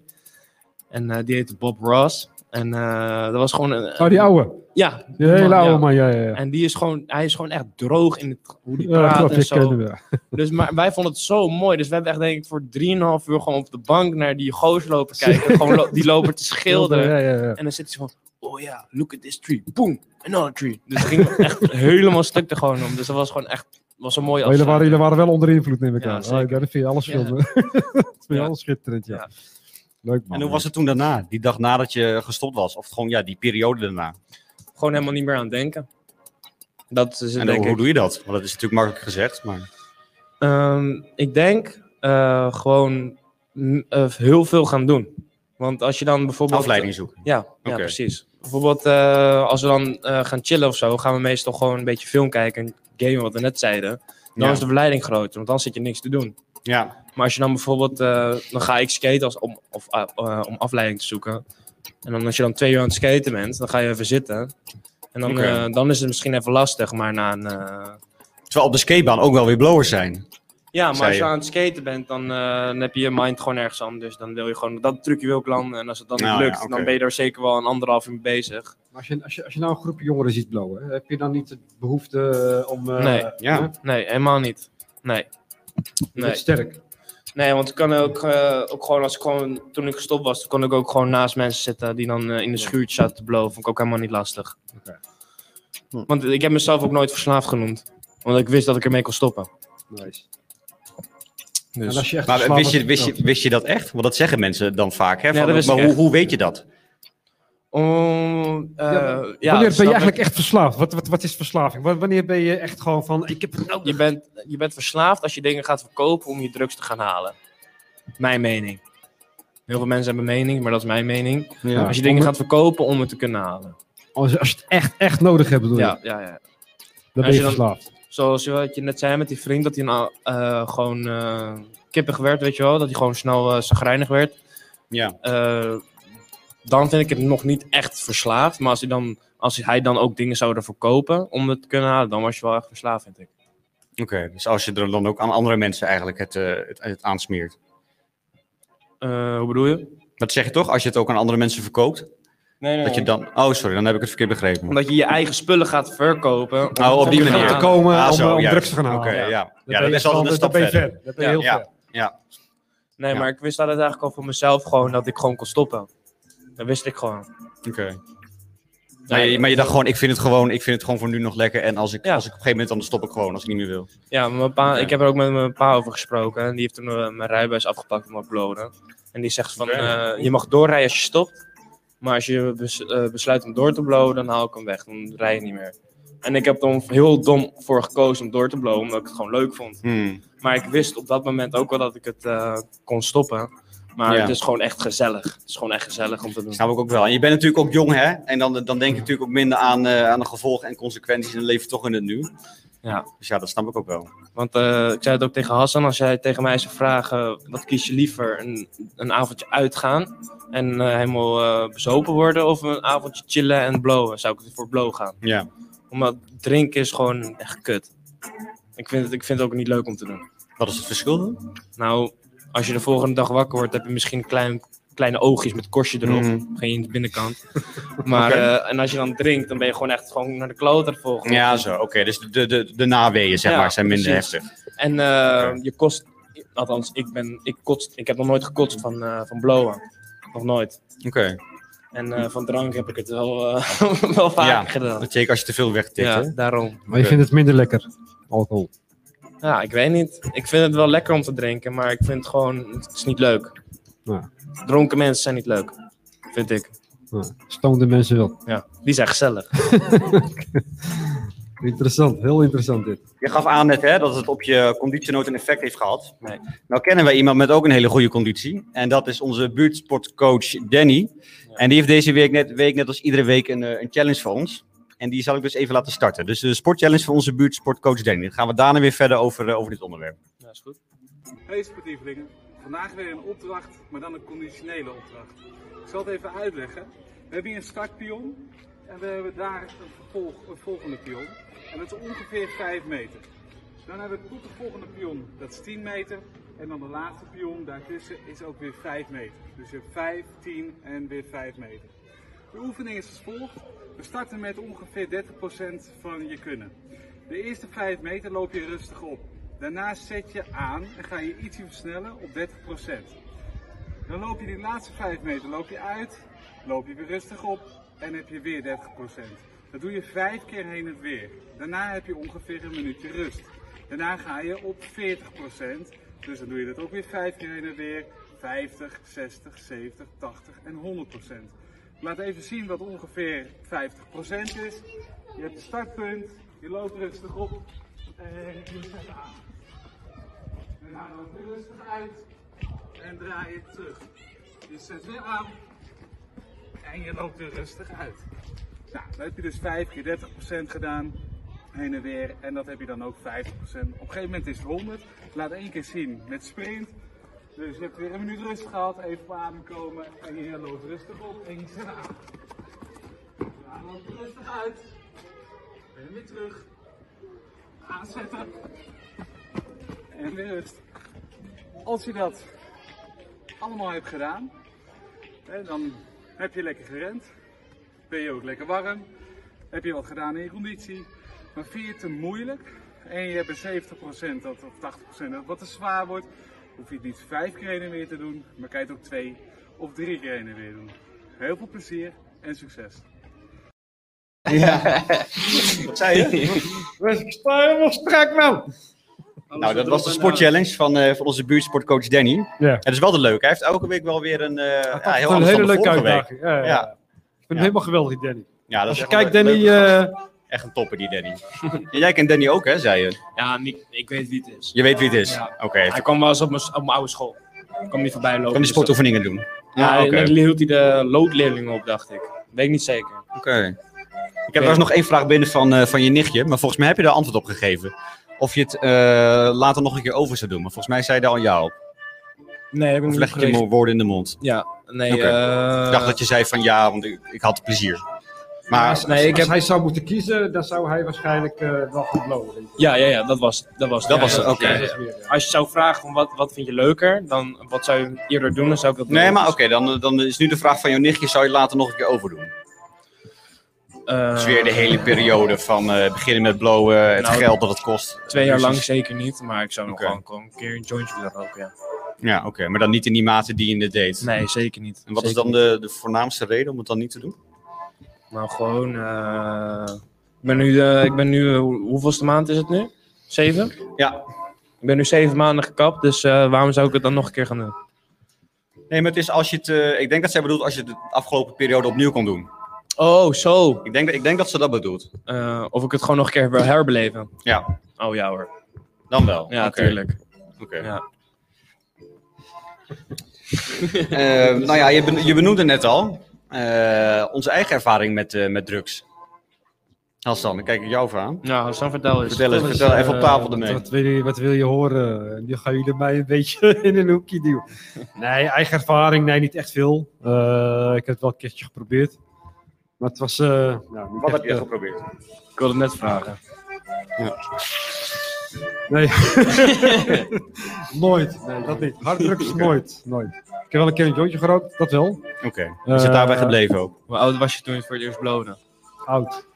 C: En eh, die heette Bob Ross. En eh, dat was gewoon... Een,
A: Oh, die oude.
C: Ja.
A: Die hele
C: man,
A: oude
C: ja.
A: man, ja, ja. ja.
C: En die is gewoon, hij is gewoon echt droog in het, hoe die
A: Ja,
C: praat
A: klopt,
C: en
A: je
C: zo.
A: kennen we.
C: Dus maar wij vonden het zo mooi. Dus we hebben echt denk ik voor 3,5 uur gewoon op de bank naar die goos lopen kijken. gewoon lo- die lopen te schilderen.
A: Ja, ja, ja.
C: En dan zit hij zo van, oh ja, look at this tree. Boom, another tree. Dus het ging echt helemaal stuk er gewoon om. Dus dat was gewoon echt, was een mooie
A: Maar jullie, waren,
C: afsluiting.
A: jullie waren wel onder invloed, neem ik
C: Ja,
A: aan. Oh,
C: zeker.
A: ja, dat vind je alles
C: Ja.
A: schitterend. dat vind je
C: Ja.
A: alles schitterend, ja.
C: Ja.
A: Leuk man.
B: En hoe was het toen daarna? Die dag nadat je gestopt was? Of gewoon, ja, die periode daarna?
C: Gewoon helemaal niet meer aan het denken. Dat is het
B: En
C: denk
B: hoe
C: ik.
B: doe je dat? Want dat is natuurlijk makkelijk gezegd, maar...
C: Ehm, ik denk eh, gewoon mm, eh, heel veel gaan doen. Want als je dan bijvoorbeeld...
B: Afleiding zoeken.
C: Ja, ja
B: Oké.
C: precies. Bijvoorbeeld eh, als we dan eh, gaan chillen of zo, gaan we meestal gewoon een beetje film kijken en gamen wat we net zeiden. Dan
B: Ja.
C: is de verleiding groter, want dan zit je niks te doen.
B: Ja.
C: Maar als je dan bijvoorbeeld, eh, dan ga ik skaten als, om, of, ah, eh, om afleiding te zoeken. En dan als je dan twee uur aan het skaten bent, dan ga je even zitten. En dan,
B: Oké.
C: eh, dan is het misschien even lastig, maar na een... eh,
B: Terwijl op de skatebaan ook wel weer blowers zijn.
C: Ja, maar
B: Zei
C: als je
B: je.
C: aan het skaten bent, dan, eh, dan heb je je mind gewoon ergens anders. Dan wil je gewoon dat trucje wil ik landen. En als het dan niet
B: Nou ja,
C: lukt,
B: oké.
C: dan ben je daar zeker wel een anderhalf uur mee bezig.
A: Als je, als, je, als je nou een groep jongeren ziet blowen, hè, heb je dan niet de behoefte eh, om... eh,
C: Nee.
B: Ja.
A: hè?
C: Nee, helemaal niet. Nee.
A: Je bent
C: Nee,
A: sterk.
C: Dus- nee want ik kan ook, eh, ook gewoon, als ik gewoon, toen ik gestopt was, toen kon ik ook gewoon naast mensen zitten die dan eh, in een schuurtje zaten te blowen. Vond ik ook helemaal niet lastig. Hm.
A: Oké.
C: Want ik heb mezelf ook nooit verslaafd genoemd. Want ik wist dat ik ermee kon stoppen.
A: Nice.
C: Dus.
A: En als je echt
B: Maar
A: geslagen
B: wist je, wist,
A: wordt-
B: je, wist je dat echt? Want dat zeggen mensen dan vaak. Hè?
C: Ja,
B: Van,
C: dat wist
B: maar
C: ik
B: hoe,
C: echt.
B: hoe weet je dat?
C: Om,
A: Ja,
C: eh, ja,
A: maar
C: dat
A: wanneer ben
C: snap
A: je
C: ik.
A: eigenlijk echt verslaafd? Wat, wat, wat is verslaving? Wa- Wanneer ben je echt gewoon van, ik heb het nodig?
C: Je bent, je bent verslaafd als je dingen gaat verkopen om je drugs te gaan halen. Mijn mening. Heel veel mensen hebben mening, maar dat is mijn mening.
A: Ja.
C: Als je dingen gaat verkopen om het te kunnen halen.
A: Als, als je het echt, echt nodig hebt, bedoel je?
C: Ja, ja, ja.
A: Dan ben
C: Als
A: je,
C: je dan-
A: verslaafd.
C: Zoals je, wat je net zei met die vriend, dat hij nou, eh, gewoon eh, kippig werd, weet je wel. Dat hij gewoon snel eh zagrijnig werd.
B: Ja.
C: Eh, dan vind ik het nog niet echt verslaafd. Maar als hij dan, als hij dan ook dingen zou ervoor kopen om het te kunnen halen, dan was je wel echt verslaafd, vind ik.
B: Oké, dus als je er dan ook aan andere mensen eigenlijk het, eh, het, het aansmeert.
C: Eh, hoe bedoel je?
B: Dat zeg je toch? Als je het ook aan andere mensen verkoopt,
C: Nee, nee,
B: dat je dan... Oh, sorry, dan heb ik het verkeerd begrepen.
C: Omdat je je eigen spullen gaat verkopen. om-
B: Oh, op die
A: Om
B: manier.
A: te
C: Ja.
A: komen,
B: Ah,
A: om,
B: zo,
A: eh, om
B: juist.
A: drugs te gaan halen.
B: Oké, ja. Ja,
A: Dan ben
B: dat
A: je
B: is altijd een
A: echt
B: stap
A: wel- dan ben je
B: verder.
A: ver. Dan ben je
C: Ja.
A: heel
B: Ja.
A: ver.
C: Nee,
B: Ja.
C: maar ik wist dat het eigenlijk al voor mezelf gewoon dat ik gewoon kon stoppen. Dat wist ik gewoon.
B: Oké. Nou, je- maar je dacht gewoon, ik vind, het gewoon, ik vind het gewoon voor nu nog lekker. En als ik,
C: Ja.
B: als ik op een gegeven moment, dan stop ik gewoon, als ik niet meer wil.
C: Ja, maar mijn pa,
B: Oké.
C: ik heb er ook met mijn pa over gesproken. En die heeft toen eh, mijn rijbewijs afgepakt om te uploaden. En die zegt van,
B: Oké.
C: eh, je mag doorrijden als je stopt. Maar als je bes- eh, besluit om door te blowen, dan haal ik hem weg. Dan rij je niet meer. En ik heb er heel dom voor gekozen om door te blowen, omdat ik het gewoon leuk vond.
A: Hmm.
C: Maar ik wist op dat moment ook wel dat ik het eh, kon stoppen. Maar
B: Ja.
C: het is gewoon echt gezellig. Het is gewoon echt gezellig om te doen.
B: Snap ik ook wel. En je bent natuurlijk ook jong, hè? En dan, dan denk je natuurlijk ook minder aan, eh, aan de gevolgen en consequenties. En dan leef je toch in het nu.
C: Ja.
B: Dus ja, dat snap ik ook wel.
C: Want eh, ik zei het ook tegen Hassan, als jij tegen mij zou vragen, wat kies je liever? Een, een avondje uitgaan en eh, helemaal eh, bezopen worden of een avondje chillen en blowen? Zou ik voor blow gaan.
B: Ja.
C: Omdat drinken is gewoon echt kut. Ik vind, het, ik vind het ook niet leuk om te doen.
B: Wat is het verschil dan?
C: Nou, als je de volgende dag wakker wordt, heb je misschien klein, kleine oogjes met korstje erop.
B: Mhm.
C: Geen in de binnenkant. Maar,
B: Mm. Oké.
C: eh, en als je dan drinkt, dan ben je gewoon echt gewoon naar de klote de volgende
B: Ja, zo. Oké, dus de, de, de naweeën, zeg
C: Ja,
B: maar, zijn minder
C: precies.
B: heftig.
C: En eh, je kost, althans, ik, ben, ik, kotst, ik heb nog nooit gekotst van, eh, van blowen. Nog nooit.
B: Oké.
C: En eh, van drank heb ik het wel, eh, wel vaker
B: Ja.
C: gedaan.
B: Dat Zeker als je te veel wegtikt,
C: Ja,
B: hè?
C: daarom.
A: Maar je vindt het minder lekker, alcohol.
C: Ja, ik weet niet. Ik vind het wel lekker om te drinken, maar ik vind het gewoon, het is niet leuk.
A: Ja.
C: Dronken mensen zijn niet leuk, vind ik.
A: Ja. Stoonde mensen wel.
C: Ja, die zijn gezellig.
A: Interessant, heel interessant dit.
B: Je gaf aan net hè, dat het op je conditie nooit een effect heeft gehad.
C: Nee.
B: Nou kennen wij iemand met ook een hele goede conditie. En dat is onze buurtsportcoach Danny. En die heeft deze week net, week net als iedere week een, eh, een challenge voor ons. En die zal ik dus even laten starten. Dus de sportchallenge van onze buurtsportcoach Danny. Dan gaan we daarna weer verder over, eh, over dit onderwerp.
C: Ja, is goed.
D: Hey sportievelingen, vandaag weer een opdracht, maar dan een conditionele opdracht. Ik zal het even uitleggen. We hebben hier een startpion en we hebben daar een, vervolg, een volgende pion. En dat is ongeveer 5 meter. Dan hebben we tot de volgende pion, dat is 10 meter. En dan de laatste pion daartussen is ook weer 5 meter. Dus je hebt 5, 10 en weer 5 meter. De oefening is als volgt. We starten met ongeveer 30% van je kunnen. De eerste 5 meter loop je rustig op. Daarna zet je aan en ga je ietsje versnellen op 30%. Dan loop je die laatste 5 meter loop je uit, loop je weer rustig op en heb je weer 30%. Dat doe je 5 keer heen en weer. Daarna heb je ongeveer een minuutje rust. Daarna ga je op 40%. Dus dan doe je dat ook weer 5 keer heen en weer. 50, 60, 70, 80 en 100%. Ik laat even zien wat ongeveer 50% is. Je hebt het startpunt, je loopt rustig op en je zet aan. Daarna loop je rustig uit en draai je terug. Je zet weer aan en je loopt weer rustig uit. Nou, dan heb je dus 5 keer 30% gedaan. Heen en weer. En dat heb je dan ook 50%. Op een gegeven moment is het 100. Ik Laat één keer zien met sprint. Dus je hebt weer een minuut rust gehad. Even op adem komen. En je loopt rustig op. En je zet aan. Ja, loop je rustig uit. En weer terug. Aanzetten. en de rust. Als je dat allemaal hebt gedaan, hè, dan heb je lekker gerend. Ben je ook lekker warm. Heb je wat gedaan in je conditie. Maar vind je het te moeilijk en je hebt een 70% dat, of 80% dat wat te zwaar wordt, hoef je het niet vijf keer heen en weer te doen, maar kan je het ook twee of drie keer heen en weer doen. Heel veel plezier en succes.
B: Ja. Zei je?
A: We staan helemaal strak, man.
B: Nou, dat was de sportchallenge van, eh, van onze buurtsportcoach Danny.
A: Ja.
B: Het is wel de leuk. Hij heeft elke week wel weer een, eh, ja, heel
A: een
B: anders
A: hele
B: dan de
A: leuke
B: vorige week.
A: uitdaging. Ja, ja, ja.
B: Ja.
A: Ik vind
B: Ja.
A: hem helemaal geweldig, Danny.
B: Ja, dat
A: Als
B: is
A: je
B: echt
A: kijkt,
B: een
A: Danny,
B: leuke gast.
A: eh,
B: Echt een topper, die Danny. En jij kent Danny ook, hè, zei je?
C: Ja, niet, ik weet wie het is.
B: Je weet wie het is.
C: Ja.
B: Oké.
C: Hij kwam wel eens op mijn, op mijn oude school. Ik kwam niet voorbij lopen.
B: Kan die
C: dus dat-
B: sportoefeningen doen?
C: Ja,
B: Ah,
C: en
B: oké.
C: dan hield hij de loodleerlingen op, dacht ik. Weet ik niet zeker.
B: Oké. Ik heb trouwens nog één vraag binnen van, eh, van je nichtje, maar volgens mij heb je daar antwoord op gegeven. Of je het eh, later nog een keer over zou doen, maar volgens mij zei daar al jou.
C: Nee, heb ik
B: Of
C: niet
B: leg ik je
C: gelezen.
B: mo- woorden in de mond?
C: Ja, nee.
B: Oké.
C: eh,
B: Ik dacht dat je zei van ja, want ik, ik had plezier. Maar
C: Nee, ik
A: Als
C: heb...
A: hij zou moeten kiezen, dan zou hij waarschijnlijk eh, wel gaan blowen. denk ik.
C: Ja, ja, ja, dat was Dat was,
B: Dat
C: ja,
B: was het,
C: ja,
B: oké.
C: ja,
A: Dat
C: ja.
A: is weer, ja.
C: Als je zou vragen van wat, wat vind je leuker, dan wat zou je eerder doen, dan zou ik dat
B: Nee,
C: doen.
B: maar oké, dan, eh, dan is nu de vraag van jouw nichtje, zou je later nog een keer overdoen?
C: Eh,
B: Dus weer de hele periode van eh, beginnen met blowen, het
C: Nou,
B: geld dat het kost.
C: Twee jaar lang
B: Precies.
C: zeker niet, maar ik zou nog
B: Oké.
C: gewoon gewoon een keer een jointje willen roken, ja.
B: Ja, oké, maar dan niet in die mate die je het deed.
C: Nee, zeker niet.
B: En wat is
C: Zeker
B: dan de, de voornaamste reden om het dan niet te doen?
C: niet. Nou, gewoon... eh, ik ben nu... eh, ik ben nu eh, hoe- hoeveelste maand is het nu? Zeven?
B: Ja,
C: Ik ben nu zeven maanden gekapt, dus eh, waarom zou ik het dan nog een keer gaan doen?
B: nee, maar het is als je het, eh, ik denk dat zij bedoelt als je het de afgelopen periode opnieuw kon doen.
C: Oh, zo.
B: Ik denk, dat- ik denk dat ze dat bedoelt.
C: Eh, of ik het gewoon nog een keer wil herbeleven.
B: Ja,
C: Oh ja hoor.
B: dan wel.
C: Ja,
B: Oké,
C: tuurlijk.
B: oké.
C: Ja.
B: Eh, nou ja, je, ben- je benoemde net al eh, onze eigen ervaring met, eh, met drugs. Hassan, dan kijk ik jou voor aan.
C: Nou, Hassan, vertel eens.
B: Vertel eens, vertel even op tafel ermee.
A: eh, Wat wil, je, wat wil je horen? Nu gaan jullie mij een beetje in een hoekje duwen. Nee, eigen ervaring, nee, niet echt veel. Eh, ik heb het wel een keertje geprobeerd. Maar het was. eh, nou, niet
B: Wat
A: echt,
B: heb je
A: eh,
B: geprobeerd?
C: Ik wilde net vragen.
A: Nee. nooit. Nee, dat niet. Harddrugs nooit. Nooit. Ik heb wel een keer een jointje gerookt, dat wel.
B: Oké, is het
C: Eh,
B: daarbij gebleven ook?
C: Hoe oud was je toen je voor het eerst blowde?
A: Oud.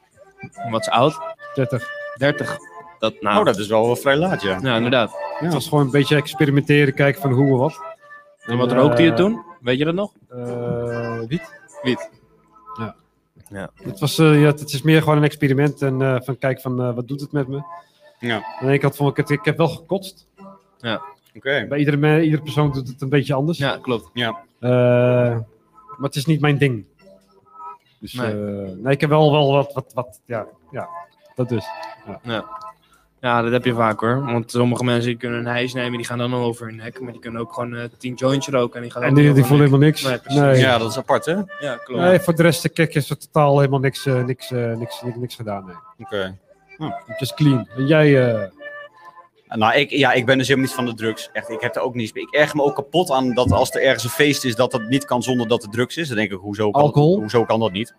C: Wat is oud?
A: 30.
C: 30. Dat, nou,
B: Oh, dat is wel vrij laat, ja.
C: Ja, inderdaad.
A: Het was gewoon een beetje experimenteren, kijken van hoe en wat.
C: En wat
A: Eh,
C: rookte je toen? Weet je dat nog?
A: Eh, wiet.
C: Wiet.
A: Ja.
C: Ja.
A: Het, was, eh, ja, het is meer gewoon een experiment en eh, van kijk van eh, wat doet het met me.
B: Ja,
A: Aan de ene kant vond ik het, ik heb wel gekotst.
B: oké.
A: Bij iedere, me- iedere persoon doet het een beetje anders.
C: Ja, klopt.
B: Ja.
A: Eh, maar het is niet mijn ding. Dus
C: Nee.
A: nee, nee ik heb wel, wel wat, wat, wat, ja, ja, dat dus.
C: Ja, dat heb je vaak hoor. Want sommige mensen die kunnen een hijs nemen, die gaan dan al over hun nek. Maar die kunnen ook gewoon eh, tien jointjes roken en die gaan
A: En
C: ook
A: die,
C: over
A: die
C: hun
A: voelen
C: nek.
A: helemaal niks.
C: Nee,
A: Nee,
C: precies.
B: Ja, dat is apart, hè? Oké.
C: Ja, klopt.
A: Nee, voor de rest, de kijk, is er totaal helemaal niks, eh, niks, eh, niks, niks, niks gedaan. Nee. Het is clean. En jij, eh,
B: Nou, ik, ja, ik ben dus helemaal niet van de drugs. Echt, ik heb er ook niets mee. Ik erg me ook kapot aan dat als er ergens een feest is, dat dat niet kan zonder dat er drugs is. Dan denk ik, hoezo kan,
A: Alcohol?
B: Hoezo kan dat niet?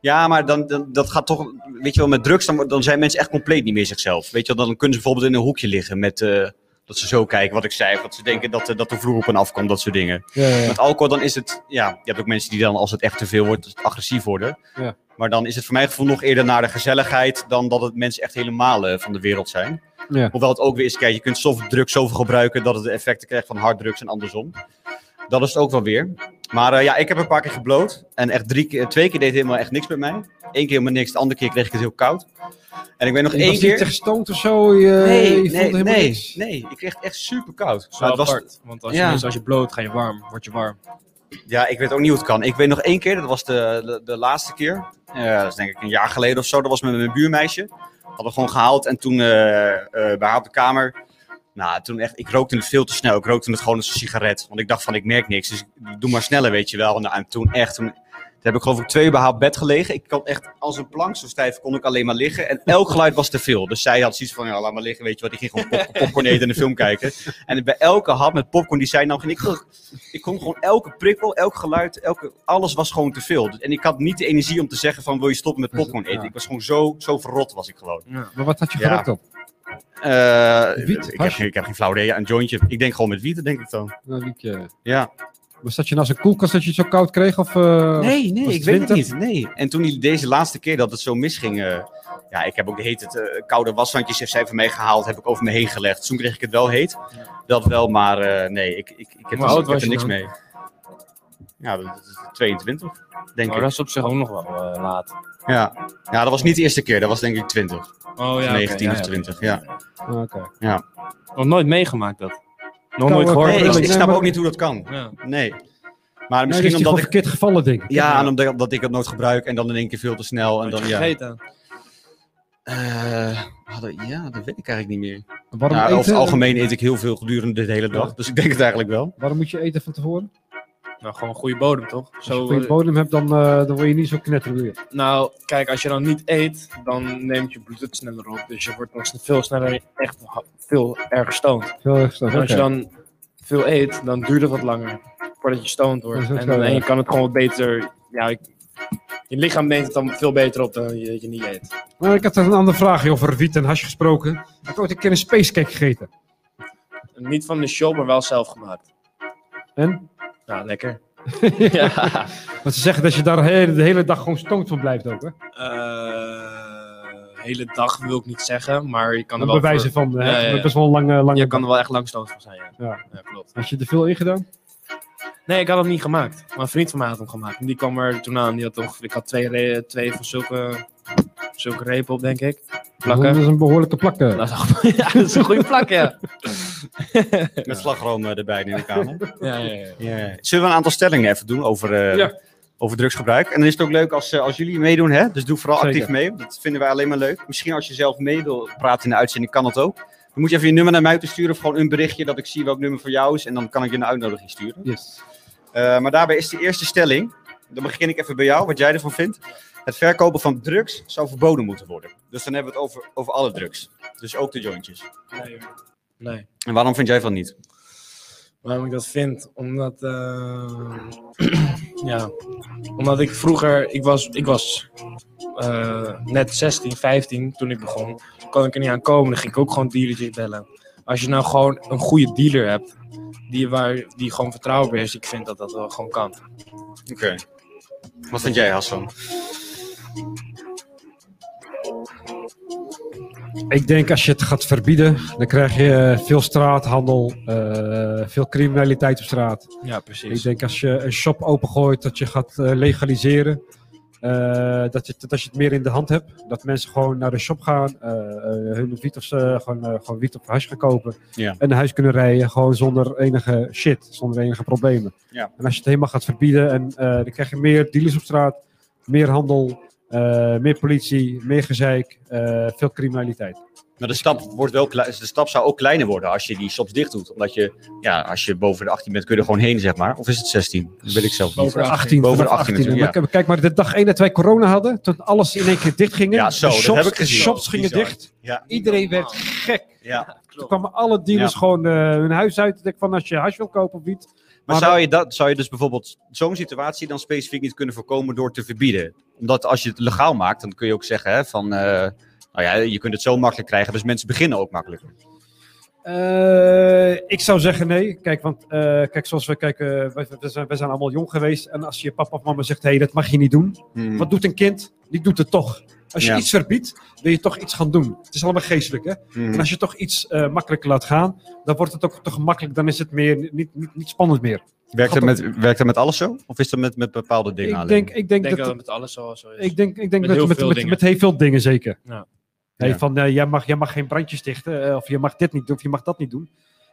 B: Ja, maar dan, dan, dat gaat toch, weet je wel, met drugs, dan, dan zijn mensen echt compleet niet meer zichzelf. Weet je wel, dan kunnen ze bijvoorbeeld in een hoekje liggen met, eh, dat ze zo kijken wat ik zei. Dat ze denken dat, eh, dat de vloer op hen afkomt, dat soort dingen.
A: ja, ja, ja.
B: Met alcohol dan is het, ja, je hebt ook mensen die dan als het echt te veel wordt, agressief worden.
A: Ja.
B: Maar dan is het voor mijn gevoel nog eerder naar de gezelligheid dan dat het mensen echt helemaal eh, van de wereld zijn.
A: Ja.
B: Hoewel het ook weer is, kijk, je kunt zoveel drugs zoveel gebruiken dat het de effecten krijgt van harddrugs en andersom. Dat is het ook wel weer. Maar eh, ja, ik heb een paar keer gebloot. En echt drie keer, twee keer deed het helemaal echt niks met mij. Eén keer helemaal niks, de andere keer kreeg ik het heel koud. En ik weet nog
A: Je
B: één
A: was
B: keer...
A: niet gestoond of zo? Je, je
B: Nee,
A: voelde
B: nee,
A: helemaal
B: nee,
A: niks?
B: nee, ik kreeg het echt super koud.
C: Zo
B: Maar het was,
C: apart. Want als je,
B: Ja.
C: mensen, als je bloot, ga je warm. Word je warm.
B: Ja, ik weet ook niet hoe het kan. Ik weet nog één keer, dat was de, de, de laatste keer. Eh, dat is denk ik een jaar geleden of zo. Dat was met mijn buurmeisje. Hadden we gewoon gehaald en toen eh, eh, bij haar op de kamer. Nou, toen echt, ik rookte het veel te snel. Ik rookte het gewoon als een sigaret. Want ik dacht van, ik merk niks. Dus ik doe maar sneller, weet je wel. Nou, en toen echt, toen, toen heb ik geloof ik twee uur bij haar op bed gelegen. Ik kon echt als een plank, zo stijf kon ik alleen maar liggen. En elk geluid was te veel. Dus zij had zoiets van, ja, laat maar liggen, weet je wat. Ik ging gewoon pop- popcorn eten en een film kijken. En bij elke hap met popcorn die zij nam, ging ik... Ik kon gewoon elke prikkel, elk geluid, elke, alles was gewoon te veel. En ik had niet de energie om te zeggen van wil je stoppen met popcorn eten.
A: Ja.
B: Ik was gewoon zo, zo verrot was ik gewoon.
A: Maar wat had je
B: Ja.
A: gerookt op?
B: Eh,
A: Wiet,
B: ik, heb,
A: hash.
B: ik heb geen flauw idee. Een jointje. Ik denk gewoon met wiet, denk ik dan.
A: Nou, Liekje.
B: Ja.
A: Was dat je naast een koelkast dat je het zo koud kreeg? Of,
C: Oh,
A: eh,
B: Nee, nee,
A: was
B: ik
A: het
B: weet het
A: winter?
B: niet. Nee. En toen die- deze laatste keer dat het zo misging. eh, ja, ik heb ook de heet het, eh, koude washandjes heeft zij van mij gehaald. Heb ik over me heen gelegd. Toen kreeg ik het wel heet. Dat wel, maar eh, nee, ik, ik, ik heb,
C: Hoe
B: er-
C: oud
B: ik heb
C: was
B: er
C: je
B: niks
C: dan?
B: mee. Ja, dat dat is 22, denk
C: Oh,
B: ik.
C: dat is op zich ook nog wel eh, laat.
B: Ja. ja, dat was niet de eerste keer. Dat was denk ik 20.
C: Oh ja.
B: 19 of 20, ja.
A: Ah, oké.
C: Nog nooit meegemaakt dat. Nog
A: Koude
C: nooit gehoord.
B: Nee, ik,
A: Hoor,
B: ik
A: nee,
B: snap
A: maar-
B: ook niet hoe dat kan.
C: Ja.
B: Nee. Maar
A: Nee, dus
B: misschien omdat ik...
A: verkeerd gevallen ding.
B: Ja, nou, en omdat, omdat ik het nooit gebruik en dan in één keer veel te snel. En
C: Had je
B: dan, ja.
C: Gegeten.
B: Eh, hadden- ja, dat weet ik eigenlijk niet meer.
A: Waarom,
B: Nou,
A: eten,
B: over het algemeen eet ik heel veel gedurende de hele dag. Dus ik denk het eigenlijk wel.
A: waarom moet je eten van tevoren?
C: Nou, gewoon goede bodem toch?
A: Als je
C: Zo,
A: geen
C: eh,
A: bodem hebt, dan, eh, dan word je niet zo knetterweer.
C: nou, kijk, als je dan niet eet, dan neemt je bloed het sneller op. Dus je wordt dan s- veel sneller echt ha- veel erg stoned.
A: Veel erg snel.
C: En als je
A: Oké.
C: dan veel eet, dan duurt het wat langer voordat je stoned wordt.
A: Dat is ook
C: En,
A: zo,
C: dan, en je
A: ja.
C: kan het gewoon wat beter. Ja, ik- je lichaam neemt het dan veel beter op dan je, dat je niet eet.
A: Maar Nou, ik had een andere vraag joh, over wiet en hash gesproken. Ik heb ooit een keer een spacecake gegeten.
C: Niet van de shop, maar wel zelf gemaakt.
A: En?
C: Nou, lekker. ja.
A: Want ze zeggen dat je daar he- de hele dag gewoon stoned van blijft ook. Hè?
C: Eh, hele dag wil ik niet zeggen, maar je kan er
A: Dan
C: wel,
A: bewijzen van, hè,
C: Ja, ja, ja.
A: best wel een lange,
C: voor-
A: lange
C: je kan er wel echt lang stoot van zijn. Ja.
A: Ja.
C: Ja, klopt.
A: Had je er veel in gedaan?
C: Nee, ik had hem niet gemaakt. Maar een vriend van mij had hem gemaakt. En die kwam er toen aan. Die had toch, ik had twee, re- twee van zulke, zulke repen op, denk ik. Plakken.
A: Dat is een behoorlijke eh. plakken.
C: Dat is, al- ja, dat is een goede plak, ja.
B: Met slagroom eh, erbij neem ik aan. hè?
C: ja, ja, ja.
B: Ja. Zullen we een aantal stellingen even doen over, eh,
A: Ja.
B: over drugsgebruik? En dan is het ook leuk als, eh, als jullie meedoen. Hè? Dus doe vooral
A: Zeker.
B: actief mee. Dat vinden wij alleen maar leuk. Misschien als je zelf mee wil praten in de uitzending, kan dat ook. Dan moet je even je nummer naar mij toe sturen. Of gewoon een berichtje dat ik zie welk nummer voor jou is. En dan kan ik je een uitnodiging sturen.
A: Yes.
B: Eh, maar daarbij is de eerste stelling. Dan begin ik even bij jou, wat jij ervan vindt. Het verkopen van drugs zou verboden moeten worden. Dus dan hebben we het over, over alle drugs. Dus ook de jointjes.
C: Nee, hoor. nee.
B: En waarom vind jij van niet?
C: Waarom ik dat vind? Omdat, eh, ja, omdat ik vroeger, ik was, ik was eh, net 16, 15 toen ik begon. Kon ik er niet aan komen, dan ging ik ook gewoon dealertje bellen. Als je nou gewoon een goede dealer hebt, die, waar, die gewoon vertrouwbaar is, ik vind dat dat wel gewoon kan.
B: Oké. Wat vind jij, Hassan?
A: Ik denk als je het gaat verbieden, dan krijg je eh, veel straathandel, eh, veel criminaliteit op straat.
C: Ja,
A: Ik
C: precies.
A: denk als je een shop opengooit, dat je gaat eh, legaliseren. Eh, dat, je, dat als je het meer in de hand hebt, dat mensen gewoon naar de shop gaan, eh, eh, hun wiet of, ze gewoon, eh, gewoon wiet of hash gaan kopen
B: Ja.
A: en naar huis kunnen rijden, gewoon zonder enige shit, zonder enige problemen.
B: Ja.
A: En als je het helemaal gaat verbieden, en, eh, dan krijg je meer dealers op straat, meer handel, eh, meer politie, meer gezeik, eh, veel criminaliteit.
B: Maar de stap, wordt wel klei- de stap zou ook kleiner worden als je die shops dicht doet. Omdat je, ja, als je boven de 18 bent, kun je er gewoon heen, zeg maar. Of is het 16? Dat wil ik zelf niet.
C: Boven de
A: 18,
B: Boven
A: vanaf
B: de 18
A: 18.
B: natuurlijk,
A: Maar kijk maar, de dag één dat wij corona hadden, toen alles in één keer dicht ging.
B: Ja, zo,
A: de
B: dat
A: shops,
B: heb ik gezien.
A: shops gingen
B: Bizar.
A: dicht.
B: Ja.
A: Iedereen werd gek.
B: Ja.
A: Toen kwamen alle dealers gewoon eh, hun huis uit. Ik denk van, als je hash wil kopen of niet.
B: Maar
A: Maar
B: zou je, dat, zou je dus bijvoorbeeld zo'n situatie dan specifiek niet kunnen voorkomen door te verbieden? Omdat als je het legaal maakt, dan kun je ook zeggen hè, van... eh, nou ja, je kunt het zo makkelijk krijgen, dus mensen beginnen ook makkelijk.
A: Eh, ik zou zeggen nee. Kijk, want eh, kijk, zoals we kijken, eh, wij, wij zijn, wij zijn allemaal jong geweest. En als je papa of mama zegt, hé, hey, dat mag je niet doen. Wat doet een kind? Die doet het toch. Als je
B: Ja.
A: iets verbiedt, wil je toch iets gaan doen. Het is allemaal geestelijk, hè? En als je toch iets eh, makkelijker laat gaan, dan wordt het ook toch makkelijk. Dan is het meer, niet, niet, niet spannend meer.
B: Werkt, dat
A: dat
B: met, werkt dat met alles zo? Of is dat met, met bepaalde dingen
A: Ik
B: alleen?
A: denk, ik denk
C: Ik denk
A: dat
C: dat het met alles zo, zo is.
A: Ik denk, ik denk
C: Met
A: dat
C: heel
A: met,
C: veel
A: met,
C: dingen.
A: met heel veel dingen zeker.
C: Ja.
A: Hey,
B: Ja.
A: Van eh, jij, mag, jij mag geen brandjes stichten, eh, of je mag dit niet doen, of je mag dat niet doen.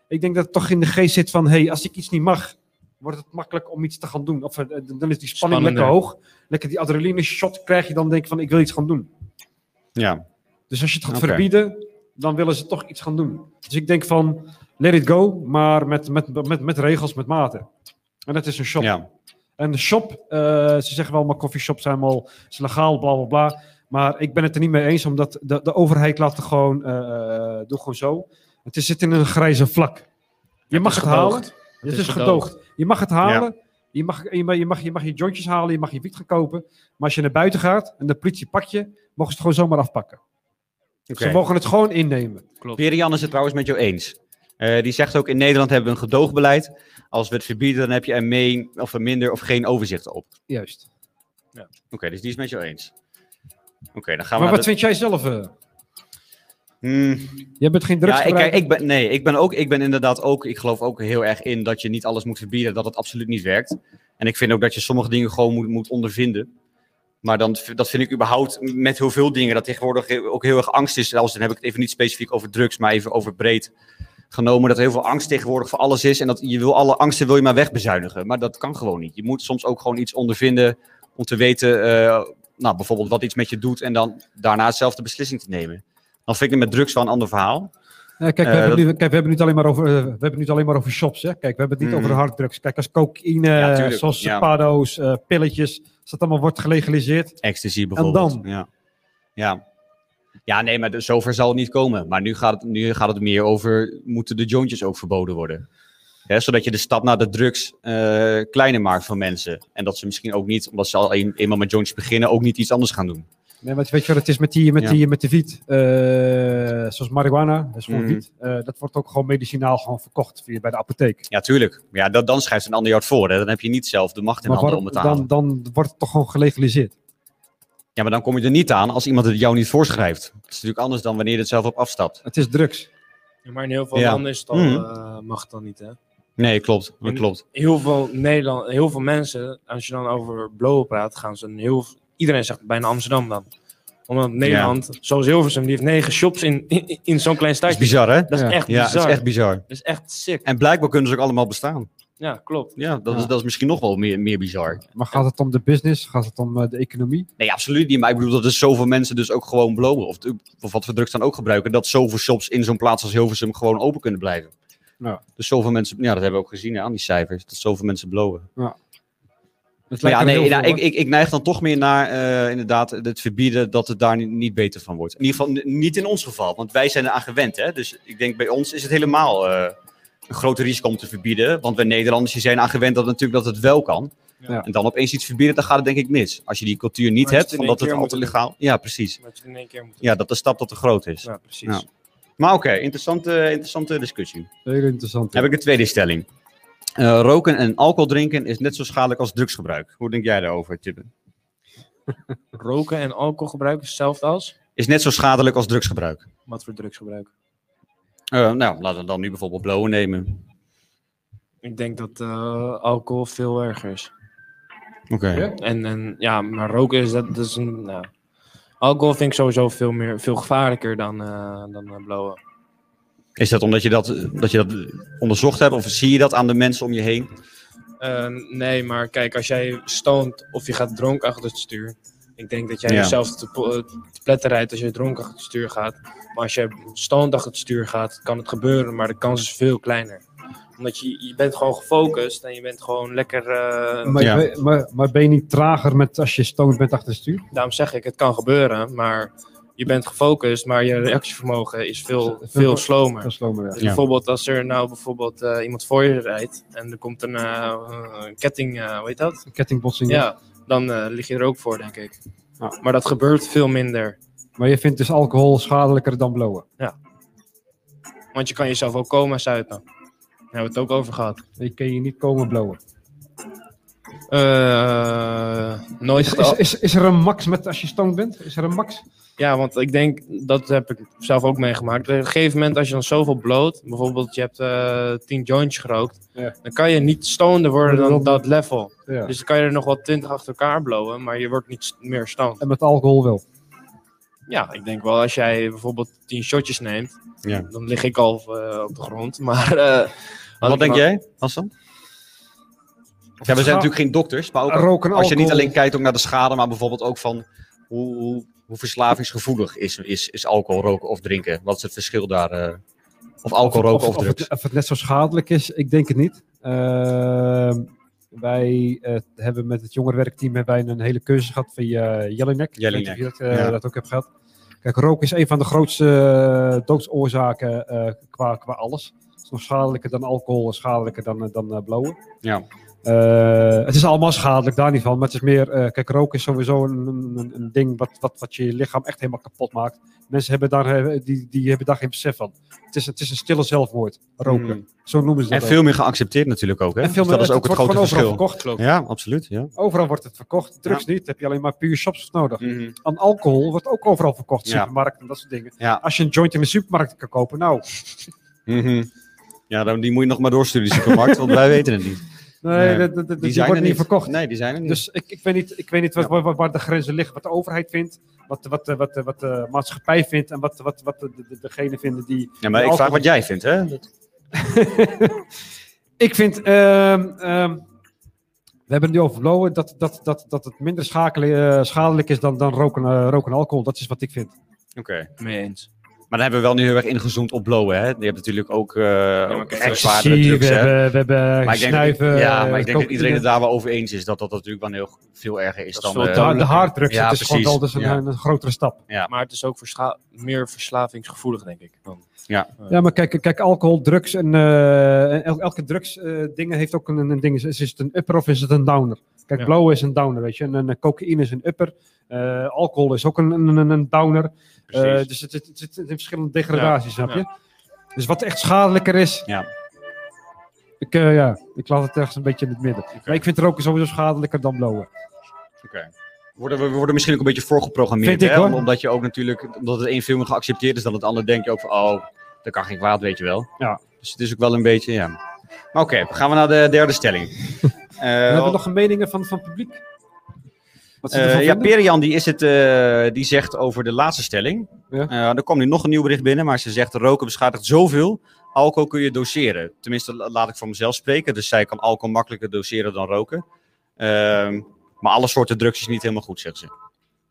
A: Ik denk dat het toch in de geest zit van: hey, als ik iets niet mag, wordt het makkelijk om iets te gaan doen. Of eh, d- dan is die spanning
C: Spannender.
A: lekker hoog. Lekker die adrenaline shot krijg je dan, denk ik van: ik wil iets gaan doen.
B: Ja.
A: Dus als je het gaat
B: Oké.
A: verbieden, dan willen ze toch iets gaan doen. Dus ik denk van: let it go, maar met, met, met, met regels, met maten. En dat is een shop.
B: ja.
A: En de shop, eh, ze zeggen wel, maar coffeeshops zijn al is legaal, bla bla bla. Maar ik ben het er niet mee eens, omdat de, de overheid laat het gewoon, eh, eh, doe gewoon zo. Het is, zit in een grijze vlak. Je mag
C: is
A: het
C: gedoogd.
A: halen. Het
C: is
A: is gedoogd. Je mag het halen. Je, mag, je, mag, je, mag, je mag je jointjes halen, je mag je wiet gaan kopen. Maar als je naar buiten gaat en de politie pakt je, mogen ze het gewoon zomaar afpakken. Ze mogen het gewoon innemen.
B: Perian is het trouwens met jou eens. Eh, die zegt ook, in Nederland hebben we een gedoogbeleid. Als we het verbieden, dan heb je er mee, of er minder of geen overzicht op. Oké,
A: Juist.
B: dus die is met jou eens. Oké, dan gaan
A: Maar
B: we
A: wat
B: naar de-
A: vind jij zelf? eh?
B: Hmm.
A: Jij bent geen
B: Ja, ik,
A: drugsgebruiker.
B: kijk, ik ben, nee, ik ben ook, ik ben inderdaad ook, ik geloof ook heel erg in dat je niet alles moet verbieden, dat het absoluut niet werkt. En ik vind ook dat je sommige dingen gewoon moet, moet ondervinden. Maar dan, v- dat vind ik überhaupt met heel veel dingen, dat tegenwoordig he- ook heel erg angst is. Zelfs dan heb ik het even niet specifiek over drugs, maar even over breed genomen. Dat er heel veel angst tegenwoordig voor alles is. En dat je wil alle angsten wil je maar wegbezuinigen. Maar dat kan gewoon niet. Je moet soms ook gewoon iets ondervinden om te weten, eh, nou, bijvoorbeeld wat iets met je doet. En dan daarna zelf de beslissing te nemen. Dan vind ik het met drugs wel een ander verhaal.
A: Ja, kijk, we
B: Eh,
A: hebben
B: dat-
A: het nu- kijk, we hebben het niet alleen maar over, eh, we hebben het niet alleen maar over shops. Hè? Kijk, we hebben het niet
B: Mhm.
A: over harddrugs. Kijk, als cocaïne,
B: Ja,
A: eh,
B: tuurlijk,
A: zoals
B: ja.
A: pado's, eh, pilletjes, als dat allemaal wordt gelegaliseerd.
B: Ecstasy bijvoorbeeld.
A: dan?
B: Ja. ja. Ja, nee, maar de- zover zal het niet komen. Maar nu gaat het, nu gaat het meer over, moeten de jointjes ook verboden worden? Hè, zodat je de stap naar de drugs eh, kleiner maakt voor mensen. En dat ze misschien ook niet, omdat ze al een, eenmaal met jointjes beginnen, ook niet iets anders gaan doen.
A: Nee, maar weet je wat het is met, die, met,
B: Ja.
A: die, met de wiet? Eh, zoals marihuana, dat is gewoon
B: Mhm.
A: wiet. Eh, dat wordt ook gewoon medicinaal gewoon verkocht via, bij de apotheek.
B: Ja, tuurlijk. Ja, dat, dan schrijft een ander jou het voor. Hè. Dan heb je niet zelf de macht in
A: Maar
B: handen
A: waarom-
B: om het te halen.
A: dan, dan wordt het toch gewoon gelegaliseerd.
B: Ja, maar dan kom je er niet aan als iemand het jou niet voorschrijft. Dat is natuurlijk anders dan wanneer je het zelf op afstapt.
A: Het is drugs.
C: Ja, maar in heel veel
B: Ja.
C: landen is het al,
B: Mhm.
C: eh, mag het dan niet, hè?
B: Nee, klopt. Dat
C: En-
B: klopt.
C: Heel veel, Nederland, heel veel mensen, als je dan over blowen praat, gaan ze een heel... Iedereen zegt bijna Amsterdam dan. Omdat Nederland, zoals Hilversum, die heeft negen shops in, in, in zo'n klein
B: Dat is
C: stadje.
B: bizar, hè?
C: Dat is
A: Ja.
C: echt
B: Ja,
C: bizar.
B: dat is echt bizar.
C: Dat is echt sick.
B: En blijkbaar kunnen ze ook allemaal bestaan.
C: Ja, klopt.
B: Ja, dat,
A: Ja.
B: Is, dat is misschien nog wel meer, meer bizar.
A: Maar gaat het om de business? Gaat het om eh, de economie?
B: Nee, absoluut niet. Maar ik bedoel dat er zoveel mensen dus ook gewoon blowen. Of, of wat voor drugs dan ook gebruiken. Dat zoveel shops in zo'n plaats als Hilversum gewoon open kunnen blijven.
A: Ja.
B: Dus zoveel mensen, ja, dat hebben we ook gezien hè, aan die cijfers. Dat zoveel mensen blowen.
A: Het
B: Maar ja,
A: lijkt er
B: nee,
A: heel
B: nou,
A: veel,
B: ik, ik, ik neig dan toch meer naar eh, inderdaad het verbieden dat het daar niet, niet beter van wordt. In ieder geval n- niet in ons geval, want wij zijn eraan gewend. Hè? Dus ik denk bij ons is het helemaal eh, een groot risico om te verbieden. Want wij Nederlanders die zijn aan gewend dat, natuurlijk dat het wel kan.
A: Ja.
B: En dan opeens iets verbieden, dan gaat het denk ik mis. Als je die cultuur niet
C: Maar als je
B: hebt,
C: het
B: van
C: in één
B: dat het
C: keer moet
B: altijd legaal... Ja, precies.
C: Dat je het in één keer moet
B: Ja, dat de stap dat te groot is.
C: Ja, precies.
B: Ja. Maar oké, interessante, interessante discussie.
A: Heel interessant.
B: Dan heb ik een tweede stelling. Eh, roken en alcohol drinken is net zo schadelijk als drugsgebruik. Hoe denk jij daarover, Tibbe?
C: Roken en alcoholgebruik is hetzelfde als?
B: Is net zo schadelijk als drugsgebruik.
C: Wat voor drugsgebruik?
B: Eh, nou, laten we dan nu bijvoorbeeld blowen nemen.
C: Ik denk dat eh, alcohol veel erger is.
B: Oké.
A: Ja?
C: En, en ja, maar roken is dat, dat is een. Nou, alcohol vind ik sowieso veel, meer, veel gevaarlijker dan, eh dan eh, blowen.
B: Is dat omdat je dat, dat je dat onderzocht hebt? Of zie je dat aan de mensen om je heen?
C: Eh, nee, maar kijk, als jij stoont of je gaat dronken achter het stuur. Ik denk dat jij
B: Ja.
C: jezelf te, po- eh, te pletten rijdt als je dronken achter het stuur gaat. Maar als je stoont achter het stuur gaat, kan het gebeuren, maar de kans is veel kleiner. Omdat je, je bent gewoon gefocust en je bent gewoon lekker. eh,
A: Maar,
B: Ja.
A: maar, maar, maar ben je niet trager met als je stoned bent achter het stuur?
C: daarom zeg ik, het kan gebeuren, maar je bent gefocust, maar je reactievermogen is veel, veel slomer.
A: Dat is slomer, ja.
C: Dus
B: Ja.
C: bijvoorbeeld als er nou bijvoorbeeld eh, iemand voor je rijdt en er komt een eh, een ketting, eh hoe heet dat?
A: Kettingbotsing.
C: Ja, dan eh, lig je er ook voor, denk ik.
A: Ja.
C: Maar dat gebeurt veel minder.
A: Maar je vindt dus alcohol schadelijker dan blowen.
C: Want je kan jezelf ook coma zuipen. Daar hebben we het ook over gehad.
A: Je kan je niet komen blowen.
C: Eh, nooit
A: Is,
C: gedaan.
A: is, is, is er een max met als je stoned bent? Is er een max?
C: Ja, want ik denk, dat heb ik zelf ook meegemaakt. Op een gegeven moment, als je dan zoveel bloot, bijvoorbeeld je hebt eh 10 joints gerookt,
A: Ja.
C: dan kan je niet stoneder worden dan
A: Dan-
C: dat level.
A: Ja.
C: Dus dan kan je er nog wel 20 achter elkaar blowen, maar je wordt niet s- meer stoned.
A: En met alcohol wel.
C: Ja, ik denk wel, als jij bijvoorbeeld 10 shotjes neemt,
B: Ja.
C: dan lig ik al eh, op de grond. Maar eh, had ik
B: Wat denk
C: maar-
B: jij, Hassan? Ja, we zijn natuurlijk geen dokters, maar ook als
A: Roken alcohol.
B: je niet alleen kijkt ook naar de schade, maar bijvoorbeeld ook van hoe, hoe, hoe verslavingsgevoelig is, is, is alcohol roken of drinken? Wat is het verschil daar? eh? of alcohol
A: of,
B: roken of,
A: of
B: drugs?
A: het, of het net zo schadelijk is, ik denk het niet. Ehm, wij eh, hebben met het jongerenwerkteam hebben wij een hele cursus gehad via Jellinek.
B: Jellinek,
A: Ik weet niet of je dat, eh,
B: ja.
A: dat ook hebt gehad. Kijk, rook is een van de grootste eh, doodsoorzaken eh, qua, qua alles. Het is nog schadelijker dan alcohol en schadelijker dan, eh, dan eh, blowen.
B: Ja.
A: Eh, het is allemaal schadelijk, daar niet van. Maar het is meer, eh, kijk, roken is sowieso een, een, een ding wat, wat, wat je lichaam echt helemaal kapot maakt. Mensen hebben daar, eh, die, die hebben daar geen besef van. Het is, het is een stille zelfmoord, roken.
B: Mm.
A: Zo noemen ze dat
B: En
A: ook.
B: veel meer geaccepteerd natuurlijk ook. Hè?
A: En veel
B: Dus dat is
A: het-
B: ook het,
A: het wordt
B: grote
A: gewoon
B: verschil.
A: overal verkocht.
B: Ja, absoluut. Ja.
A: Overal wordt het verkocht. Drugs niet, heb je alleen maar puur shops nodig.
B: Mhm.
A: Aan alcohol wordt ook overal verkocht,
B: Ja.
A: supermarkten en dat soort dingen.
B: Ja.
A: Als je een joint in de supermarkt kan kopen, nou,
B: Mhm. Ja, dan, die moet je nog maar doorsturen, die supermarkt, want wij weten het niet.
A: nee,
B: Nee.
A: dat- dat- dat- die, worden niet verkocht.
B: Nee, die zijn er niet.
A: Dus ik, ik weet niet, ik weet niet wat, waar, waar de grenzen liggen, wat de overheid vindt, wat, wat, wat, wat, wat de maatschappij vindt en wat, wat, wat de, de, degene vinden die...
B: ja, maar
A: die
B: ik vraag
A: alcohol-
B: wat jij vindt, hè?
A: Ik vind, ehm, ehm, we hebben het nu over blowen, dat, dat, dat, dat het minder schakelen, eh, schadelijk is dan, dan roken, eh, roken en alcohol. Dat is wat ik vind.
B: Oké.
C: Mee eens.
B: Maar dan hebben we wel nu heel erg ingezoomd op blowen, hè? Je hebt natuurlijk ook, eh ook
C: kijk,
B: echt
A: Ecstasy,
B: zwaardere drugs,
A: we,
B: hè?
A: hebben, we hebben
B: Maar ik denk, dat-
A: snuiven.
B: ja, maar ik denk dat
A: cocaïne.
B: iedereen het daar wel over eens is, dat dat natuurlijk wel heel, veel erger is
C: Dat is
B: dan...
C: veel
B: eh,
A: de, de
C: duidelijk.
A: harddrugs,
B: Ja,
A: het is gewoon
B: precies,
A: wel dus een,
B: ja.
A: een grotere stap.
C: Maar het is ook versla- meer verslavingsgevoelig, denk ik. Dan.
A: Ja, maar kijk, kijk alcohol, drugs en eh, en el- elke drugs eh, dingen heeft ook een, een ding. Is, is het een upper of is het een downer? Kijk,
C: Ja.
A: blowen is een downer, weet je. En, een cocaïne is een upper. Eh, alcohol is ook een, een, een- een downer. Eh,
B: precies.
A: dus het het- het zit in verschillende degradaties, snap
C: ja.
A: je? Dus wat echt schadelijker is...
B: Ja.
A: Ik, eh, ja, ik laat het ergens een beetje in het midden. Maar ik vind roken sowieso schadelijker dan
B: Eh,
A: blowen.
B: Oké. Worden, we worden misschien ook een beetje voorgeprogrammeerd,
A: Vind ik,
B: hè?
A: hoor.
B: Omdat je ook natuurlijk, omdat het een veel meer geaccepteerd is dan het ander, denk je ook van, oh, dat kan geen kwaad, weet je wel.
A: Ja.
B: Dus het is ook wel een beetje, ja. Maar oké, gaan we naar de derde stelling. Eh,
A: We hebben
B: want-
A: nog meningen van, van het publiek. Wat ze
B: Eh,
A: ervan
B: ja,
A: vinden?
B: Perian die, is het, eh, die zegt over de laatste stelling.
A: Ja.
B: Eh, er kwam nu nog een nieuw bericht binnen, maar ze zegt roken beschadigt zoveel. Alcohol kun je doseren. Tenminste, la- laat ik voor mezelf spreken. Dus zij kan alcohol makkelijker doseren dan roken. Ehm, maar alle soorten drugs is niet helemaal goed, zegt ze.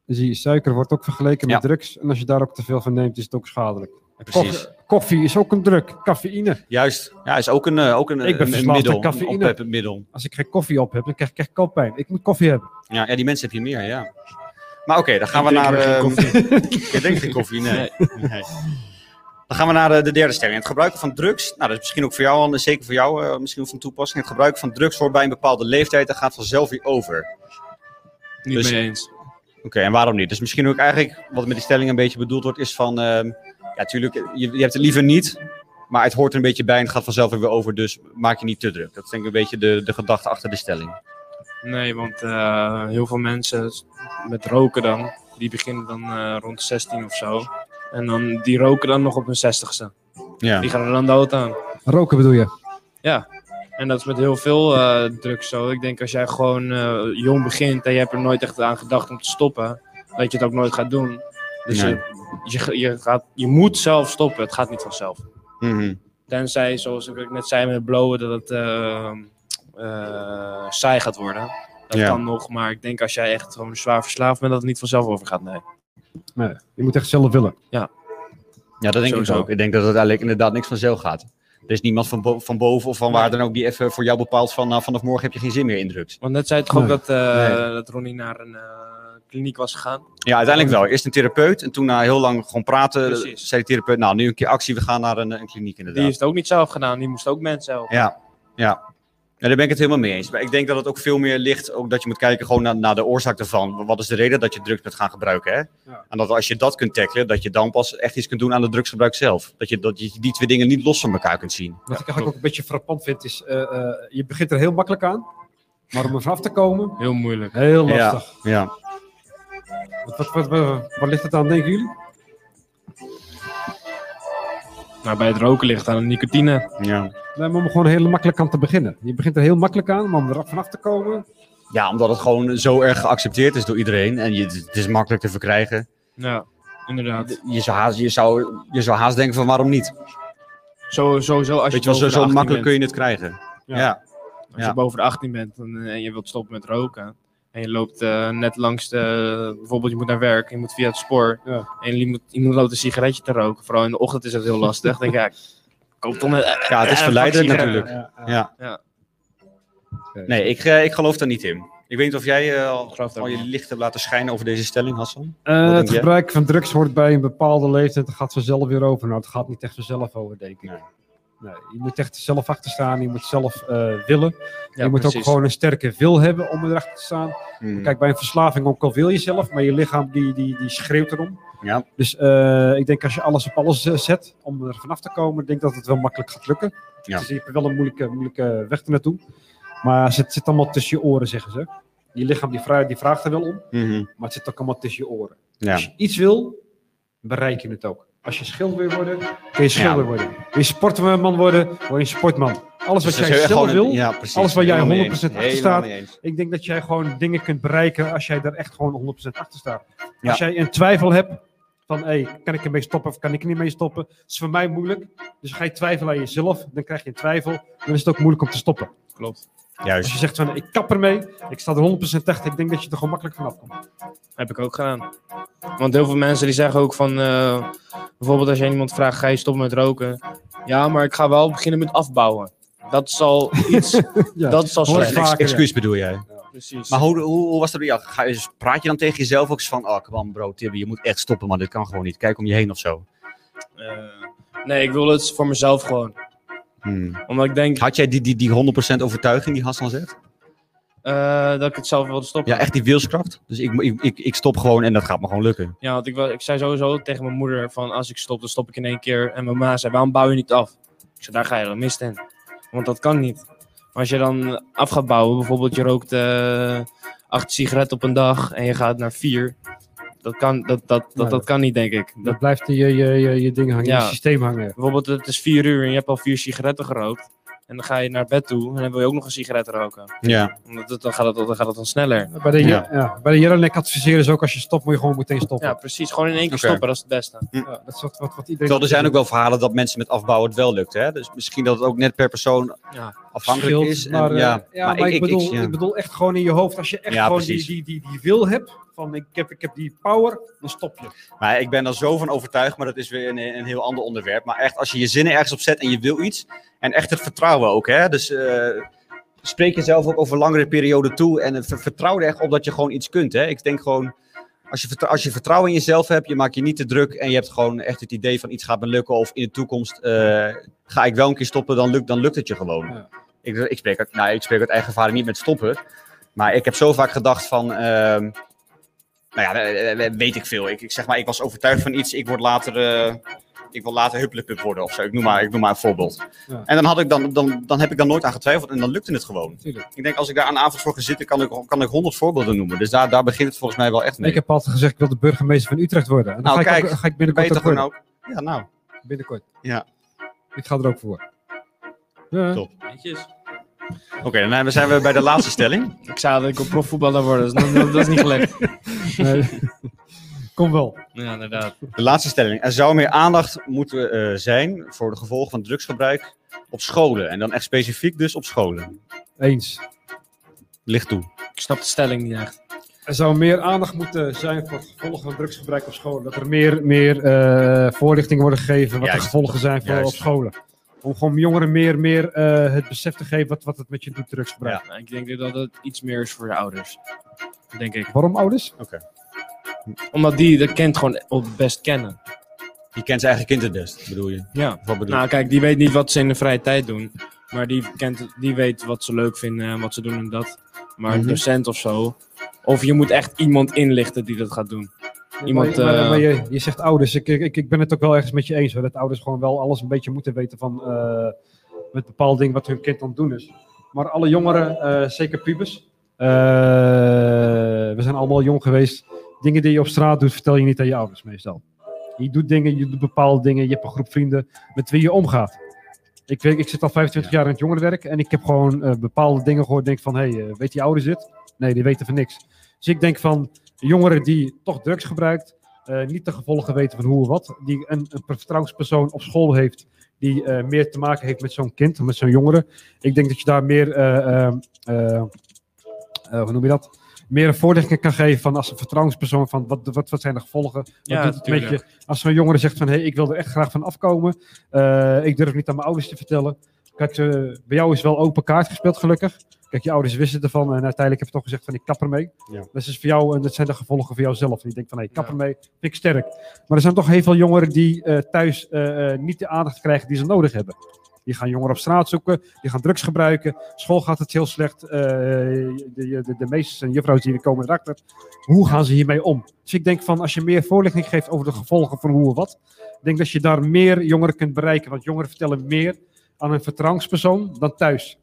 A: Dan zie je, suiker wordt ook vergeleken met
B: Ja.
A: drugs. En als je daar ook te veel van neemt, is het ook schadelijk.
B: Precies.
A: Koff- koffie is ook een druk. Cafeïne.
B: Juist. Ja, is ook een, eh, ook een,
A: Ik ben
B: een- een
A: verslaafd
B: middel.
A: aan
B: Een
A: cafeïne.
B: opheppend middel.
A: Als ik geen koffie op heb, dan krijg ik echt koppijn. Ik moet koffie hebben.
B: Ja, ja, die mensen heb je meer, ja. Maar oké, dan gaan
C: Ik
B: we
C: drink
B: naar...
C: maar geen
B: ehm, Ik drink geen koffie, nee. Nee. Dan gaan we naar de, de derde stelling. Het gebruiken van drugs, nou dat is misschien ook voor jou, Anne, zeker voor jou eh, misschien ook van toepassing. Het gebruik van drugs hoort bij een bepaalde leeftijd en gaat vanzelf weer over.
C: Niet
B: Dus-
C: mee eens.
B: Oké, en waarom niet? Dus misschien ook eigenlijk, wat met die stelling een beetje bedoeld wordt, is van, ehm, ja tuurlijk, je, je hebt het liever niet, maar het hoort er een beetje bij en het gaat vanzelf weer over, dus maak je niet te druk. Dat is denk ik een beetje de, de gedachte achter de stelling.
C: Nee, want eh, heel veel mensen met roken dan, die beginnen dan eh, rond 16 of zo. En dan, die roken dan nog op hun 60ste.
B: Ja.
C: Die gaan er dan dood aan.
A: Roken bedoel je?
C: En dat is met heel veel eh, drugs zo. Ik denk als jij gewoon eh, jong begint en je hebt er nooit echt aan gedacht om te stoppen, dat je het ook nooit gaat doen. Dus
B: Nee.
C: je, je, ge- je, gaat, je moet zelf stoppen, het gaat niet vanzelf.
B: Mhm.
C: Tenzij, zoals ik ook net zei met het blowen, dat het eh, eh, saai gaat worden. Dat
B: Ja.
C: kan nog, maar ik denk als jij echt gewoon zwaar verslaafd bent, dat het niet vanzelf overgaat. Nee.
A: Nee, je moet echt zelf willen.
B: Ja, dat denk
C: Sowieso.
B: ik ook. Ik denk dat het eigenlijk inderdaad niks vanzelf gaat. Er is niemand van, bo- van boven of van waar dan ook die even voor jou bepaalt van nou, vanaf morgen heb je geen zin meer in drugs.
C: Want net zei je toch ook
A: Nee.
C: dat, eh,
B: Nee.
C: dat Ronnie naar een eh, kliniek was gegaan?
B: Ja, uiteindelijk wel. Eerst een therapeut en toen na heel lang gewoon praten
C: Precies.
B: zei de therapeut nou nu een keer actie, we gaan naar een, een kliniek
C: Die
B: inderdaad.
C: heeft het ook niet zelf gedaan, die moest ook mensen helpen.
B: Ja, ja. Ja, daar ben ik het helemaal mee eens. Maar ik denk dat het ook veel meer ligt, ook dat je moet kijken gewoon naar, naar de oorzaak daarvan. Wat is de reden dat je drugs bent gaan gebruiken? Hè?
A: Ja.
B: En dat als je dat kunt tackelen, dat je dan pas echt iets kunt doen aan het drugsgebruik zelf. Dat je, dat je die twee dingen niet los van elkaar kunt zien.
A: Wat ik eigenlijk ook een beetje frappant vind, is... eh, eh, je begint er heel makkelijk aan. Maar om er vanaf te komen,
C: Heel moeilijk.
A: heel lastig.
B: Ja.
A: Wat, wat, wat, wat- waar ligt het aan, denken jullie?
C: Nou, bij het roken ligt aan de nicotine.
B: ja.
A: Nee, maar om er gewoon heel makkelijk aan te beginnen. Je begint er heel makkelijk aan, maar om er vanaf te komen...
B: Ja, omdat het gewoon zo erg geaccepteerd is door iedereen. En je, het is makkelijk te verkrijgen.
C: Ja, inderdaad.
B: Je zou haast, je zou, je zou haast denken van waarom niet?
C: Zo, sowieso als je,
B: Weet je wel, zo,
C: boven de
B: zo
C: 18
B: makkelijk kun
C: bent,
B: je het krijgen. Ja.
A: Ja.
C: als
B: ja.
C: je boven de 18 bent en, eh, en je wilt stoppen met roken. En je loopt eh, net langs de, bijvoorbeeld je moet naar werk, je moet via het spoor.
A: Ja.
C: En je moet, iemand loopt een sigaretje te roken. Vooral in de ochtend is dat heel lastig. denk ik, ja, koop dan een-
B: Ja, het is
C: Eh,
B: verleidend
C: vaccin,
B: natuurlijk.
A: Ja, ja.
B: Ja.
C: Ja.
B: Nee, ik, eh, ik geloof daar niet in. Ik weet niet of jij eh, al,
C: geloof het
B: al
C: ook
B: je
C: niet.
B: licht hebt laten schijnen over deze stelling, Hassan.
A: Eh,
B: denk
A: het
B: jij?
A: gebruik van drugs hoort bij een bepaalde leeftijd. Het gaat vanzelf weer over. Nou, het gaat niet echt vanzelf over, denk ik.
B: Nee.
A: Nee. Nee, je moet echt zelf achter staan, je moet zelf eh, willen.
C: Ja,
A: je moet ook
C: precies.
A: gewoon een sterke wil hebben om erachter te staan.
B: Hmm.
A: Kijk, bij een verslaving, ook al wil je zelf, maar je lichaam die, die, die schreeuwt erom.
B: Ja.
A: Dus eh, ik denk als je alles op alles eh, zet om er vanaf te komen, ik denk dat het wel makkelijk gaat lukken.
B: Ja.
A: Dus je hebt wel een moeilijke, moeilijke weg ernaartoe. Maar het zit, zit allemaal tussen je oren, zeggen ze. Je lichaam die vraagt, die vraagt er wel om,
B: Mhm.
A: maar het zit ook allemaal tussen je oren.
B: ja.
A: Als je iets wil, bereik je het ook. Als je schilder wil worden, kun je schilder
B: Ja.
A: worden. Wil je sportman worden, word je een sportman. Alles wat
B: Dus dat is
A: jij zelf
B: gewoon een-
A: wil,
B: ja, precies.
A: alles waar jij
B: Helemaal mee
A: 100%
B: eens.
A: achter
B: Helemaal
A: staat.
B: mee eens.
A: ik denk dat jij gewoon dingen kunt bereiken als jij daar echt gewoon 100% achter staat.
B: Ja.
A: Als jij een twijfel hebt van, hey, kan ik ermee stoppen of kan ik er niet mee stoppen? Dat is voor mij moeilijk. Dus ga je twijfelen aan jezelf, dan krijg je een twijfel. Dan is het ook moeilijk om te stoppen.
C: Klopt.
A: Als
B: Juist.
A: je zegt van, ik kap ermee, ik sta er 100% achter, ik denk dat je er gewoon makkelijk vanaf komt.
C: Heb ik ook gedaan. Want heel veel mensen die zeggen ook van, eh, bijvoorbeeld als je aan iemand vraagt, ga je stoppen met roken? Ja, maar ik ga wel beginnen met afbouwen. Dat is al iets,
A: Ja.
C: dat is al
A: Hoor ik
C: slecht.
A: vaak.
B: Ex-
A: vaker,
B: excuus bedoel jij.
C: Precies.
B: Maar hoe, hoe, hoe was dat bij jou? Ga je- praat je dan tegen jezelf ook eens van, oh, kom bro, Tibby, je moet echt stoppen, maar dit kan gewoon niet. Kijk om je heen of zo.
C: Eh, nee, ik wil het voor mezelf gewoon.
B: Hmm.
C: Omdat ik denk
B: Had jij die, die, die 100% overtuiging die Hassan zegt?
C: eh, dat ik het zelf wilde stoppen.
B: Ja, echt die wilskracht. Dus ik, ik, ik, ik stop gewoon en dat gaat me gewoon lukken.
C: Ja, want ik, wa- ik zei sowieso tegen mijn moeder van als ik stop, dan stop ik in één keer. En mijn ma zei, waarom bouw je niet af? Ik zei, daar ga je dan mis in. Want dat kan niet. Maar als je dan af gaat bouwen, bijvoorbeeld je rookt eh, acht sigaretten op een dag en je gaat naar vier. Dat kan, dat, dat, dat,
A: Nee.
C: dat kan niet, denk ik. Dat,
A: Dan blijft je, je, je, je ding hangen,
C: Ja.
A: je systeem hangen.
C: bijvoorbeeld het is vier uur en je hebt al vier sigaretten gerookt. En dan ga je naar bed toe en dan wil je ook nog een sigaret roken.
B: Ja.
C: Omdat het- dan, gaat het, dan gaat het dan sneller.
A: Bij de,
B: Ja.
A: ja. bij de Jelinek adviseren ze ook, als je stopt, moet je gewoon meteen stoppen.
C: Ja, precies. Gewoon in één keer
B: Oké.
C: stoppen, dat is het beste.
A: Ja, dat is wat, wat, wat iedereen...
B: Terwijl er zijn ook wel verhalen dat mensen met afbouwen het wel lukt. Hè? Dus misschien dat het ook net per persoon
C: Ja.
B: afhankelijk
A: scheelt,
B: is. En,
A: maar, eh,
B: ja.
A: maar ik, bedoel, ik,
B: ja.
A: bedoel echt gewoon in je hoofd. Als je echt
B: Ja,
A: gewoon die,
B: precies.
A: die, die, die wil hebt, van ik heb, ik heb die power, dan stop je.
B: Maar ik ben er zo van overtuigd, maar dat is weer een, een heel ander onderwerp. Maar echt, als je je zinnen ergens op zet en je wil iets. En echt het vertrouwen ook, hè. Dus eh, spreek jezelf ook over langere perioden toe. En ver- vertrouw er echt op dat je gewoon iets kunt, hè. Ik denk gewoon, als je, vertrou- als je vertrouwen in jezelf hebt, je maakt je niet te druk. En je hebt gewoon echt het idee van iets gaat me lukken. Of in de toekomst eh, ga ik wel een keer stoppen, dan lukt, dan lukt het je gewoon.
A: Ja.
B: Ik, ik, spreek uit, nou, ik spreek uit eigen ervaring niet met stoppen. Maar ik heb zo vaak gedacht van... ehm, nou ja, eh, eh, weet ik veel. Ik, ik zeg maar, ik was overtuigd van iets. Ik word later, eh, ik wil later hupplepup worden of zo. Ik noem maar, ik noem maar een voorbeeld.
A: Ja.
B: En dan, had ik dan, dan, dan heb ik daar nooit aan getwijfeld en dan lukte het gewoon.
A: Tuurlijk.
B: Ik denk, als ik daar aan avond voor ga zitten, kan ik, kan ik honderd voorbeelden noemen. Dus daar, daar begint het volgens mij wel echt mee.
A: Ik heb altijd gezegd, ik wil de burgemeester van Utrecht worden. En dan
B: Nou,
A: ga, ik
B: kijk,
A: ook- ga ik
B: Ben je
A: binnenkort
B: toch
A: ook worden.
B: gewoon ook- Ja, nou.
A: Binnenkort.
B: Ja.
A: Ik ga er ook voor. Ja.
B: Top.
C: Netjes.
B: Oké, dan hebben- zijn we bij de laatste stelling.
C: Ik zei dat ik op profvoetballer word, dus dat, dat is niet gelukt.
A: Nee. Kom wel.
C: Ja, inderdaad.
B: De laatste stelling. Er zou meer aandacht moeten eh, zijn voor de gevolgen van drugsgebruik op scholen. En dan echt specifiek dus op scholen.
A: Eens.
B: Licht toe.
C: Ik snap de stelling niet echt.
A: Er zou meer aandacht moeten zijn voor het gevolg van drugsgebruik op school. Dat er meer, meer eh, voorlichting wordt gegeven wat
B: Juist.
A: de gevolgen zijn voor
B: Juist.
A: op scholen. Om gewoon jongeren meer, meer eh, het besef te geven wat, wat het met je doet, drugsgebruik.
C: Nou, ik denk dat het iets meer is voor de ouders. Denk ik.
A: Waarom ouders?
C: Omdat die dat kind gewoon op het best kennen.
B: Je kent zijn eigen kind het best, bedoel je?
C: Ja.
B: Of Wat bedoel je?
C: Nou, kijk, die weet niet wat ze in de vrije tijd doen. Maar die, kent, die weet wat ze leuk vinden en wat ze doen en dat. Maar een
B: Mhm.
C: docent of zo. Of je moet echt iemand inlichten die dat gaat doen.
A: Nee,
C: Iemand,
A: maar, maar-
C: eh,
A: maar je, je zegt ouders. Ik, ik, ik ben het ook wel ergens met je eens. Hoor, dat ouders gewoon wel alles een beetje moeten weten van eh, met bepaalde dingen wat hun kind aan het doen is. Maar alle jongeren, eh, zeker pubers. eh, we zijn allemaal jong geweest. Dingen die je op straat doet, vertel je niet aan je ouders meestal. Je doet dingen, je doet bepaalde dingen. Je hebt een groep vrienden met wie je omgaat. Ik, weet, ik zit al 25 jaar in het jongerenwerk en ik heb gewoon eh, bepaalde dingen gehoord. Denk van, hé, hey, eh, weet die ouders dit? Nee, die weten van niks. Dus ik denk van, jongeren die toch drugs gebruikt, eh, niet de gevolgen weten van hoe of wat, die een, een vertrouwenspersoon op school heeft, die eh, meer te maken heeft met zo'n kind, met zo'n jongere. Ik denk dat je daar meer, eh, eh, eh, eh, hoe noem je dat? Meer een voorlichting kan geven van als een vertrouwenspersoon van wat, wat, wat zijn de gevolgen? Wat
C: Ja,
A: doet het met je?
C: tuurlijk.
A: Als zo'n jongere zegt van hé, hey, ik wil er echt graag van afkomen, eh, ik durf niet aan mijn ouders te vertellen. Kijk, eh, bij jou is wel open kaart gespeeld gelukkig. Kijk, je ouders wisten ervan en uiteindelijk heb je toch gezegd van ik kap ermee. Dat is dus voor jou en dat zijn de gevolgen voor jouzelf. En je denkt van, hé, kap
C: Ja.
A: ermee, vind ik sterk. Maar er zijn toch heel veel jongeren die eh, thuis eh, eh, niet de aandacht krijgen die ze nodig hebben. Die gaan jongeren op straat zoeken. Die gaan drugs gebruiken. School gaat het heel slecht. eh, de, de, de meesters en juffrouwen die hier komen erachter. Hoe gaan ze hiermee om? Dus ik denk van als je meer voorlichting geeft over de gevolgen van hoe en wat. Ik denk dat je daar meer jongeren kunt bereiken. Want jongeren vertellen meer aan een vertrouwenspersoon dan thuis.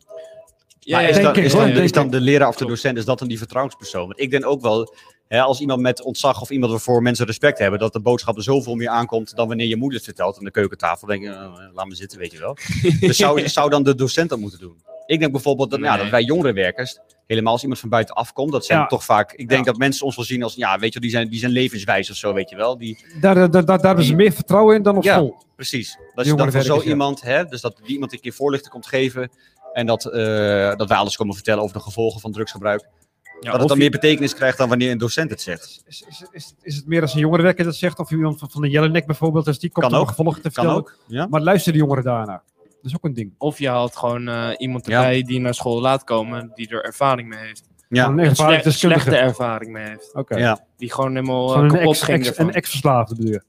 C: Ja,
B: maar
C: ja,
B: is,
C: ja,
A: denk
B: dan,
A: ik,
B: is,
A: hoor,
B: dan,
A: denk
B: is dan
A: ik.
B: de leraar of de
C: Klopt.
B: docent, is dat dan die vertrouwenspersoon? Want ik denk ook wel, hè, als iemand met ontzag of iemand waarvoor mensen respect hebben, dat de boodschap er zoveel meer aankomt dan wanneer je moeder het vertelt aan de keukentafel. Dan denk je, eh, laat me zitten, weet je wel. dus zou, zou dan de docent dat moeten doen? Ik denk bijvoorbeeld dat, nou ja,
C: Nee.
B: dat wij jongerenwerkers, helemaal als iemand van buiten afkomt, dat zijn
A: Ja.
B: toch vaak, ik denk
A: Ja.
B: dat mensen ons wel zien als, ja, weet je, wel, die zijn, die zijn levenswijs of zo, weet je wel. Die,
A: Daar, daar, daar, daar hebben ze meer vertrouwen in dan op
B: Ja.
A: school.
B: Precies. Dat je dan voor
A: Jongerenwerkers,
B: zo
A: ja.
B: iemand, hè, dus dat die iemand een keer voorlichting komt geven. En dat, eh, dat wij alles komen vertellen over de gevolgen van drugsgebruik. dat het
A: of
B: dan
A: je-
B: meer betekenis krijgt dan wanneer een docent het zegt.
A: Is, is, is, is het meer als een jongerenwerker dat zegt, of iemand van, van de Jellenek bijvoorbeeld, als die komt
B: Kan
A: om
B: ook.
A: gevolgen te
B: Kan
A: vertellen.
B: ook. Ja?
A: Maar luisteren de jongeren daarna? Dat is ook een ding.
C: Of je haalt gewoon eh, iemand
B: Ja.
C: erbij die naar school laat komen, die er ervaring mee heeft.
A: Van
B: Ja.
A: een ervaring
C: Sle-
A: deskundige.
C: slechte ervaring mee heeft.
A: Oké.
B: ja.
C: Die gewoon helemaal
A: Van
C: eh,
A: een
C: kapot
A: ex,
C: ging
A: ex,
C: ervan.
A: een ex-verslaafde bedoel je.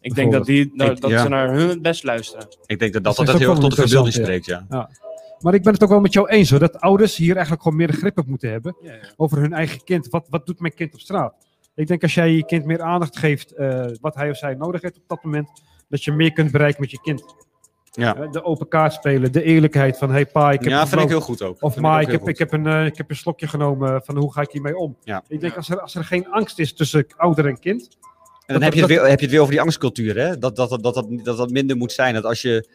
C: ik denk dat, die, dat, dat
B: Ja.
C: ze naar hun het best luisteren.
B: Ik denk dat
A: Dat
B: dat, dat,
A: is ook
B: heel erg
A: wel
B: tot de verbeelding
A: interessant,
B: spreekt. Ja.
A: Maar ik ben het ook wel met jou eens hoor, dat ouders hier eigenlijk gewoon meer grip op moeten hebben over hun eigen kind. Wat, wat doet mijn kind op straat? Ik denk als jij je kind meer aandacht geeft eh, wat hij of zij nodig heeft op dat moment, dat je meer kunt bereiken met je kind.
B: Ja.
A: Eh, De open kaart spelen, de eerlijkheid van hey pa, ik heb
B: Ja, vind ik
A: gebroken.
B: heel goed ook.
A: Of
B: Vind
A: maar
B: ook
A: ik
B: heel
A: heb, ik,
B: goed.
A: heb een, eh, ik heb een slokje genomen eh, van hoe ga ik hiermee om.
B: Ja.
A: Ik denk
C: Ja.
A: als er, als er geen angst is tussen ouder en kind.
B: En dan heb je, het weer, heb je het weer over die angstcultuur. Hè? Dat, dat, dat, dat, dat, dat dat minder moet zijn. Dat als je,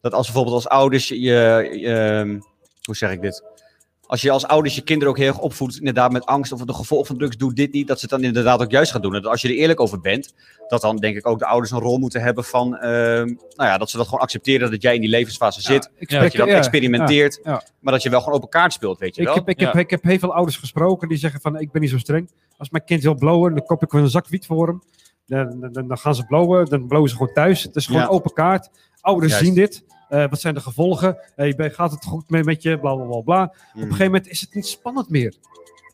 B: dat als bijvoorbeeld als ouders je, je, ehm, hoe zeg ik dit? Als je als ouders je kinderen ook heel erg opvoedt, inderdaad met angst of de gevolgen van drugs, doe dit niet, dat ze het dan inderdaad ook juist gaan doen. En dat als je er eerlijk over bent, dat dan denk ik ook de ouders een rol moeten hebben van, ehm, nou ja, dat ze dat gewoon accepteren dat jij in die levensfase zit,
A: ik
C: Ja,
B: dat je dan
A: ja,
B: experimenteert,
A: ja, ja.
B: maar dat je wel gewoon open kaart speelt, weet je
A: Ik
B: wel?
A: heb, ik, heb,
C: Ja.
A: ik heb heel veel ouders gesproken die zeggen van ik ben niet zo streng. Als mijn kind wil blowen, dan koop ik wel een zak wiet voor hem. Dan, dan- dan, dan gaan ze blowen, dan blowen ze gewoon thuis. Het is gewoon
B: Ja.
A: open kaart. Ouders
B: Juist.
A: zien dit. Eh, wat zijn de gevolgen? Hey, ben- gaat het goed mee met je? Bla bla bla. bla. Op
B: Mm.
A: een
B: Hm.
A: gegeven moment is het niet spannend meer.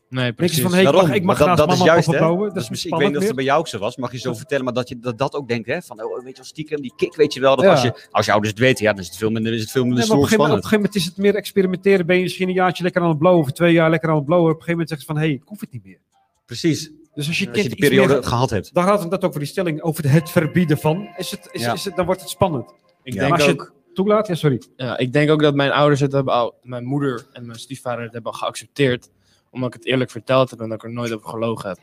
C: Nee,
A: Denk je
C: precies.
A: van hey, ik
B: Daarom,
A: mag, ik mag
B: dat,
A: naast
B: dat is
A: mama
B: juist,
A: of
B: hè?
A: papa blowen.
B: Dat is
A: niet
B: misschien- ik weet niet of
A: spannend
B: het bij jou ook zo was, mag je zo vertellen, maar dat je dat, dat ook denkt, hè? Van, oh, weet je wel, stiekem, die kick, weet je wel. Dat
A: Ja.
B: als, je, als je ouders het weten, ja, dan is het veel minder, is het veel minder
A: Nee, maar op, een
B: stoer
A: gegeven moment,
B: spannend.
A: op een gegeven moment is het meer experimenteren. Ben je misschien een jaartje lekker aan het blowen, of twee jaar lekker aan het blowen. Op een gegeven moment zegt ze van, hé, hey, ik hoef het niet meer.
B: Precies,
A: Dus als je
B: dat
A: kind
B: je die
A: iets
B: periode
A: meer-
B: gehad hebt.
A: dan gaat het dat ook voor die stelling over het verbieden van. Is het, is,
B: Ja.
A: is het, dan wordt het spannend.
C: Ik,
B: Ja.
A: Maar
C: denk
A: als je-
C: ook,
A: Toelaat? Ja, sorry.
C: ja, ik denk ook dat mijn ouders het hebben, al- mijn moeder en mijn stiefvader het hebben geaccepteerd. Omdat ik het eerlijk verteld heb en dat ik er nooit over gelogen heb.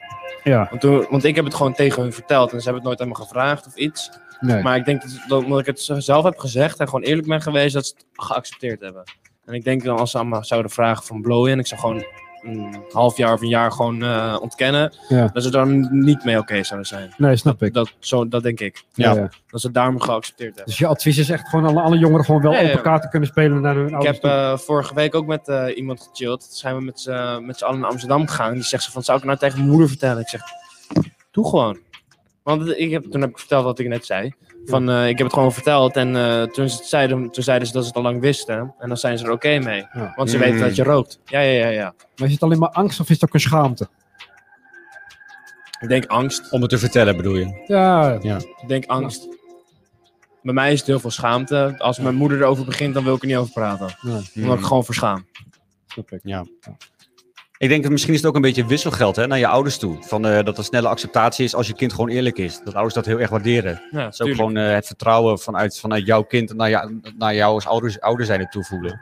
A: Ja,
C: Want, toen, want ik heb het gewoon tegen hun verteld en ze hebben het nooit aan me gevraagd of iets.
A: nee.
C: Maar ik denk dat, dat omdat ik het z- zelf heb gezegd en gewoon eerlijk ben geweest, dat ze het geaccepteerd hebben. En ik denk dan als ze aan me zouden vragen van blowen en ik zou gewoon een half jaar of een jaar gewoon eh, ontkennen,
A: Ja.
C: dat ze daar niet mee oké zouden zijn.
A: nee, snap ik.
C: Dat, zo, dat denk ik.
B: Ja.
C: Dat ze het daarom geaccepteerd hebben.
A: Dus je advies is echt gewoon alle, alle jongeren gewoon wel
C: Ja, ja.
A: open kaart te kunnen spelen naar hun
C: Ik
A: ouders
C: heb eh, vorige week ook met eh, iemand gechilled. Toen zijn we met z'n met z'n allen naar Amsterdam gegaan. Die zegt ze van, zou ik het nou tegen mijn moeder vertellen? Ik zeg, doe gewoon. Want het- ik heb, toen heb ik verteld wat ik net zei. Van, eh, ik heb het gewoon verteld. En eh, toen, ze het zeiden, toen zeiden ze dat ze het al lang wisten. En dan zijn ze er oké mee.
A: Ja.
C: Want ze
B: Mm.
C: weten dat je rookt. Ja, ja, ja, ja.
A: toe. Maar is het alleen maar angst of is het ook een schaamte?
C: Ik denk angst.
B: Om het te vertellen, bedoel je?
A: Ja,
C: Ik denk angst. Bij mij is het heel veel schaamte. Als mijn moeder erover begint, dan wil ik er niet over praten. Omdat
B: Mm. Hmm.
C: ik gewoon verschaam.
A: snap ik.
B: Ja. Ik denk dat misschien is het ook een beetje wisselgeld hè, naar je ouders toe. Van, eh, dat er snelle acceptatie is als je kind gewoon eerlijk is. Dat ouders dat heel erg waarderen.
C: Ja,
B: Dat is ook
C: tuurlijk.
B: gewoon eh, het vertrouwen vanuit, vanuit jouw kind naar, jou- naar jou als ouders, ouder zijn toevoelen.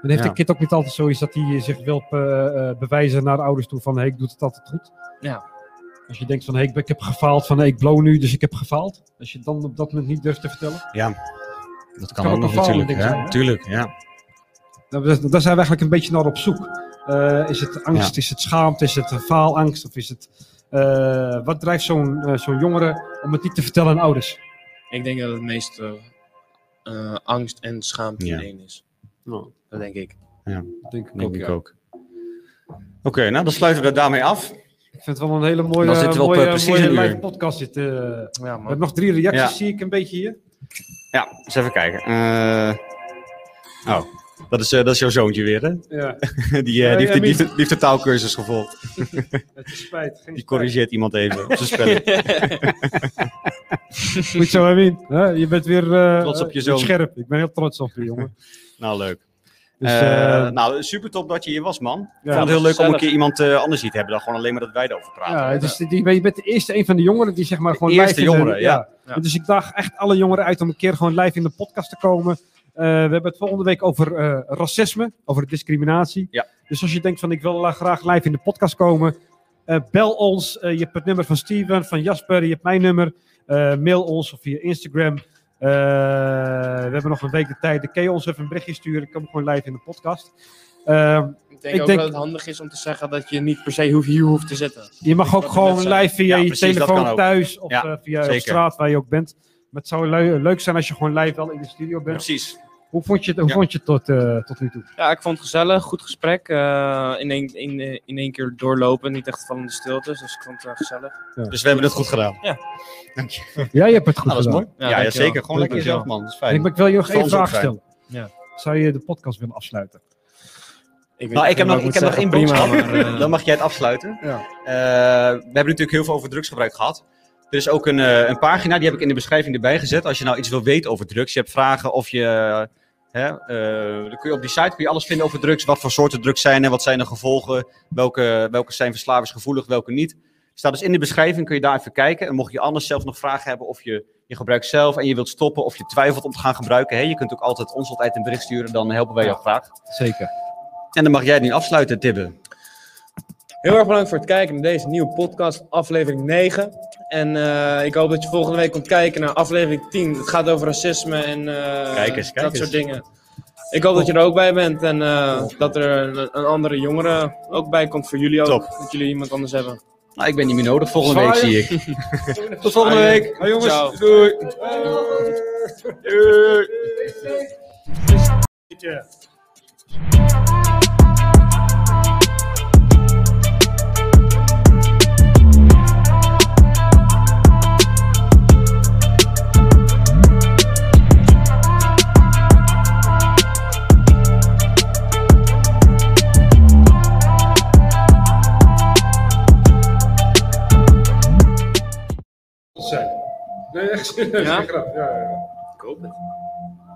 A: Dan heeft
B: Ja.
A: een kind ook niet altijd zoiets dat hij zich wil eh, eh, bewijzen naar de ouders toe van, hé, ik doe het altijd goed.
C: Ja.
A: Als je denkt van, hé, ik, ben- ik heb gefaald, van hé, ik blow nu, dus ik heb gefaald. Als je het dan op dat moment niet durft te vertellen.
B: Dat
A: kan ook een bepaalde ding zijn, hè?
B: Tuurlijk, ja.
A: Nou, daar daar zijn we eigenlijk een beetje naar op zoek. Eh, is het angst, is het schaamte, is het faalangst of is het... eh, wat drijft zo'n eh, zo'n jongere om het niet te vertellen aan ouders?
C: Ik denk dat het meest eh, eh, angst en schaamte
B: Ja.
C: in één is. Dat denk ik.
A: denk ik,
B: Denk
A: ook,
B: ik
A: ja.
B: ook. Oké, nou dan sluiten we daarmee af.
A: ik vind het wel een hele mooie,
B: Dan zitten we op,
A: mooie,
B: eh, precies
A: mooie
B: een uur.
A: live podcast. Dit, eh. we
C: Ja,
A: hebben nog drie reacties,
B: Ja.
A: zie ik een beetje hier.
B: Ja, eens even kijken. Eh, oh. Dat is, eh, dat is jouw zoontje weer, hè?
A: Ja,
B: Die, eh,
A: Ja,
B: die, heeft,
A: ja,
B: die, heeft- die heeft de taalkursus gevolgd.
A: het is spijt. Geen
B: Die corrigeert iemand even op zijn spelling.
A: Goed zo, Armin. Hè, Je bent weer eh,
B: Trots op je
A: eh,
B: zoon.
A: scherp. Ik ben heel trots op je, jongen.
B: Nou, leuk.
A: Dus,
B: Eh,
A: eh,
B: nou, super top dat je hier was, man. Ik
A: Ja.
B: vond het heel leuk om een
C: Gezellig.
B: keer iemand eh, anders hier te hebben dan gewoon alleen maar dat wij erover praten.
A: ja, het is, die- je bent de eerste een van de jongeren die zeg maar gewoon
B: eerste
A: live in
B: jongeren, ja.
C: Ja.
A: Dus ik daag echt alle jongeren uit om een keer gewoon live in de podcast te komen. Eh, we hebben het volgende week over eh, racisme, over discriminatie.
B: Ja.
A: Dus als je denkt van ik wil la- graag live in de podcast komen, eh, bel ons. Eh, je hebt het nummer van Steven, van Jasper, je hebt mijn nummer. Eh, mail ons of via Instagram. Eh, we hebben nog een week de tijd. Dan kun je ons even een berichtje sturen. Ik kom gewoon live in de podcast. Ehm,
C: Ik denk
A: Ik
C: ook
A: denk-
C: dat het handig is om te zeggen dat je niet per se hoef- hier hoeft te zitten.
A: Je mag ook
C: Dat
A: gewoon
C: net zijn.
A: live via
B: Ja,
A: je
B: precies, dat kan
A: telefoon
B: ook.
A: thuis of
B: Ja,
A: eh, via op
B: zeker.
A: straat waar je ook bent. Maar het zou leu- leuk zijn als je gewoon live wel in de studio bent.
B: Precies.
A: Hoe vond je het, hoe
B: Ja.
A: vond je het tot, eh, tot nu toe?
C: Ja, ik vond het gezellig, goed gesprek. eh, in, één, in, eh, in één keer doorlopen, niet echt vallende stiltes, dus ik vond het wel gezellig.
B: Dus we hebben het goed gedaan.
A: Ja, je hebt het goed
B: Nou, dat is
A: gedaan.
B: mooi. Ja, ja,
C: dankjewel.
B: zeker. Gewoon lekker
C: Dankjewel.
B: jezelf, man. Dat is
A: Ik,
B: fijn.
A: ik wil je nog
B: Zal
A: één
B: ons ook zijn.
A: vraag stellen.
C: Ja.
A: Zou je de podcast willen afsluiten?
C: weet
B: Nou,
C: niet
B: ik heb nog,
C: wat
B: ik
C: moet
B: heb nog één
C: zeggen,
B: boodschap.
C: prima, maar, eh,
B: Dan mag jij het afsluiten.
A: Ja.
B: Eh, we hebben natuurlijk heel veel over drugsgebruik gehad. Er is ook een, eh, een pagina, die heb ik in de beschrijving erbij gezet. Als je nou iets wil weten over drugs, je hebt vragen of je... Hè, eh, dan kun je op die site kun je alles vinden over drugs. Wat voor soorten drugs zijn er, wat zijn de gevolgen. Welke, welke zijn verslavingsgevoelig, welke niet. Staat dus in de beschrijving, kun je daar even kijken. En mocht je anders zelf nog vragen hebben of je, je gebruikt zelf... en je wilt stoppen of je twijfelt om te gaan gebruiken... Hè, je kunt ook altijd ons altijd een bericht sturen, dan helpen wij jou graag.
A: Zeker.
B: En dan mag jij het nu afsluiten, Tibbe.
C: Heel erg bedankt voor het kijken naar deze nieuwe podcast, aflevering 9. En eh, ik hoop dat je volgende week komt kijken naar aflevering 10. Het gaat over racisme en eh,
B: Kijk eens, kijk
C: dat
B: eens.
C: soort dingen. Ik hoop dat je er ook bij bent en eh, dat er een, een andere jongere ook bij komt voor jullie ook.
B: Top.
C: Dat jullie iemand anders hebben.
B: Nou, ik ben niet meer nodig. Volgende week zie ik. Tot volgende
C: Zwaaien.
B: week.
A: Hoi jongens.
C: Ciao.
B: Doei. Doei.
A: Nee, echt
C: Ja?
A: grap. Ja, ja.
C: Ik hoop het.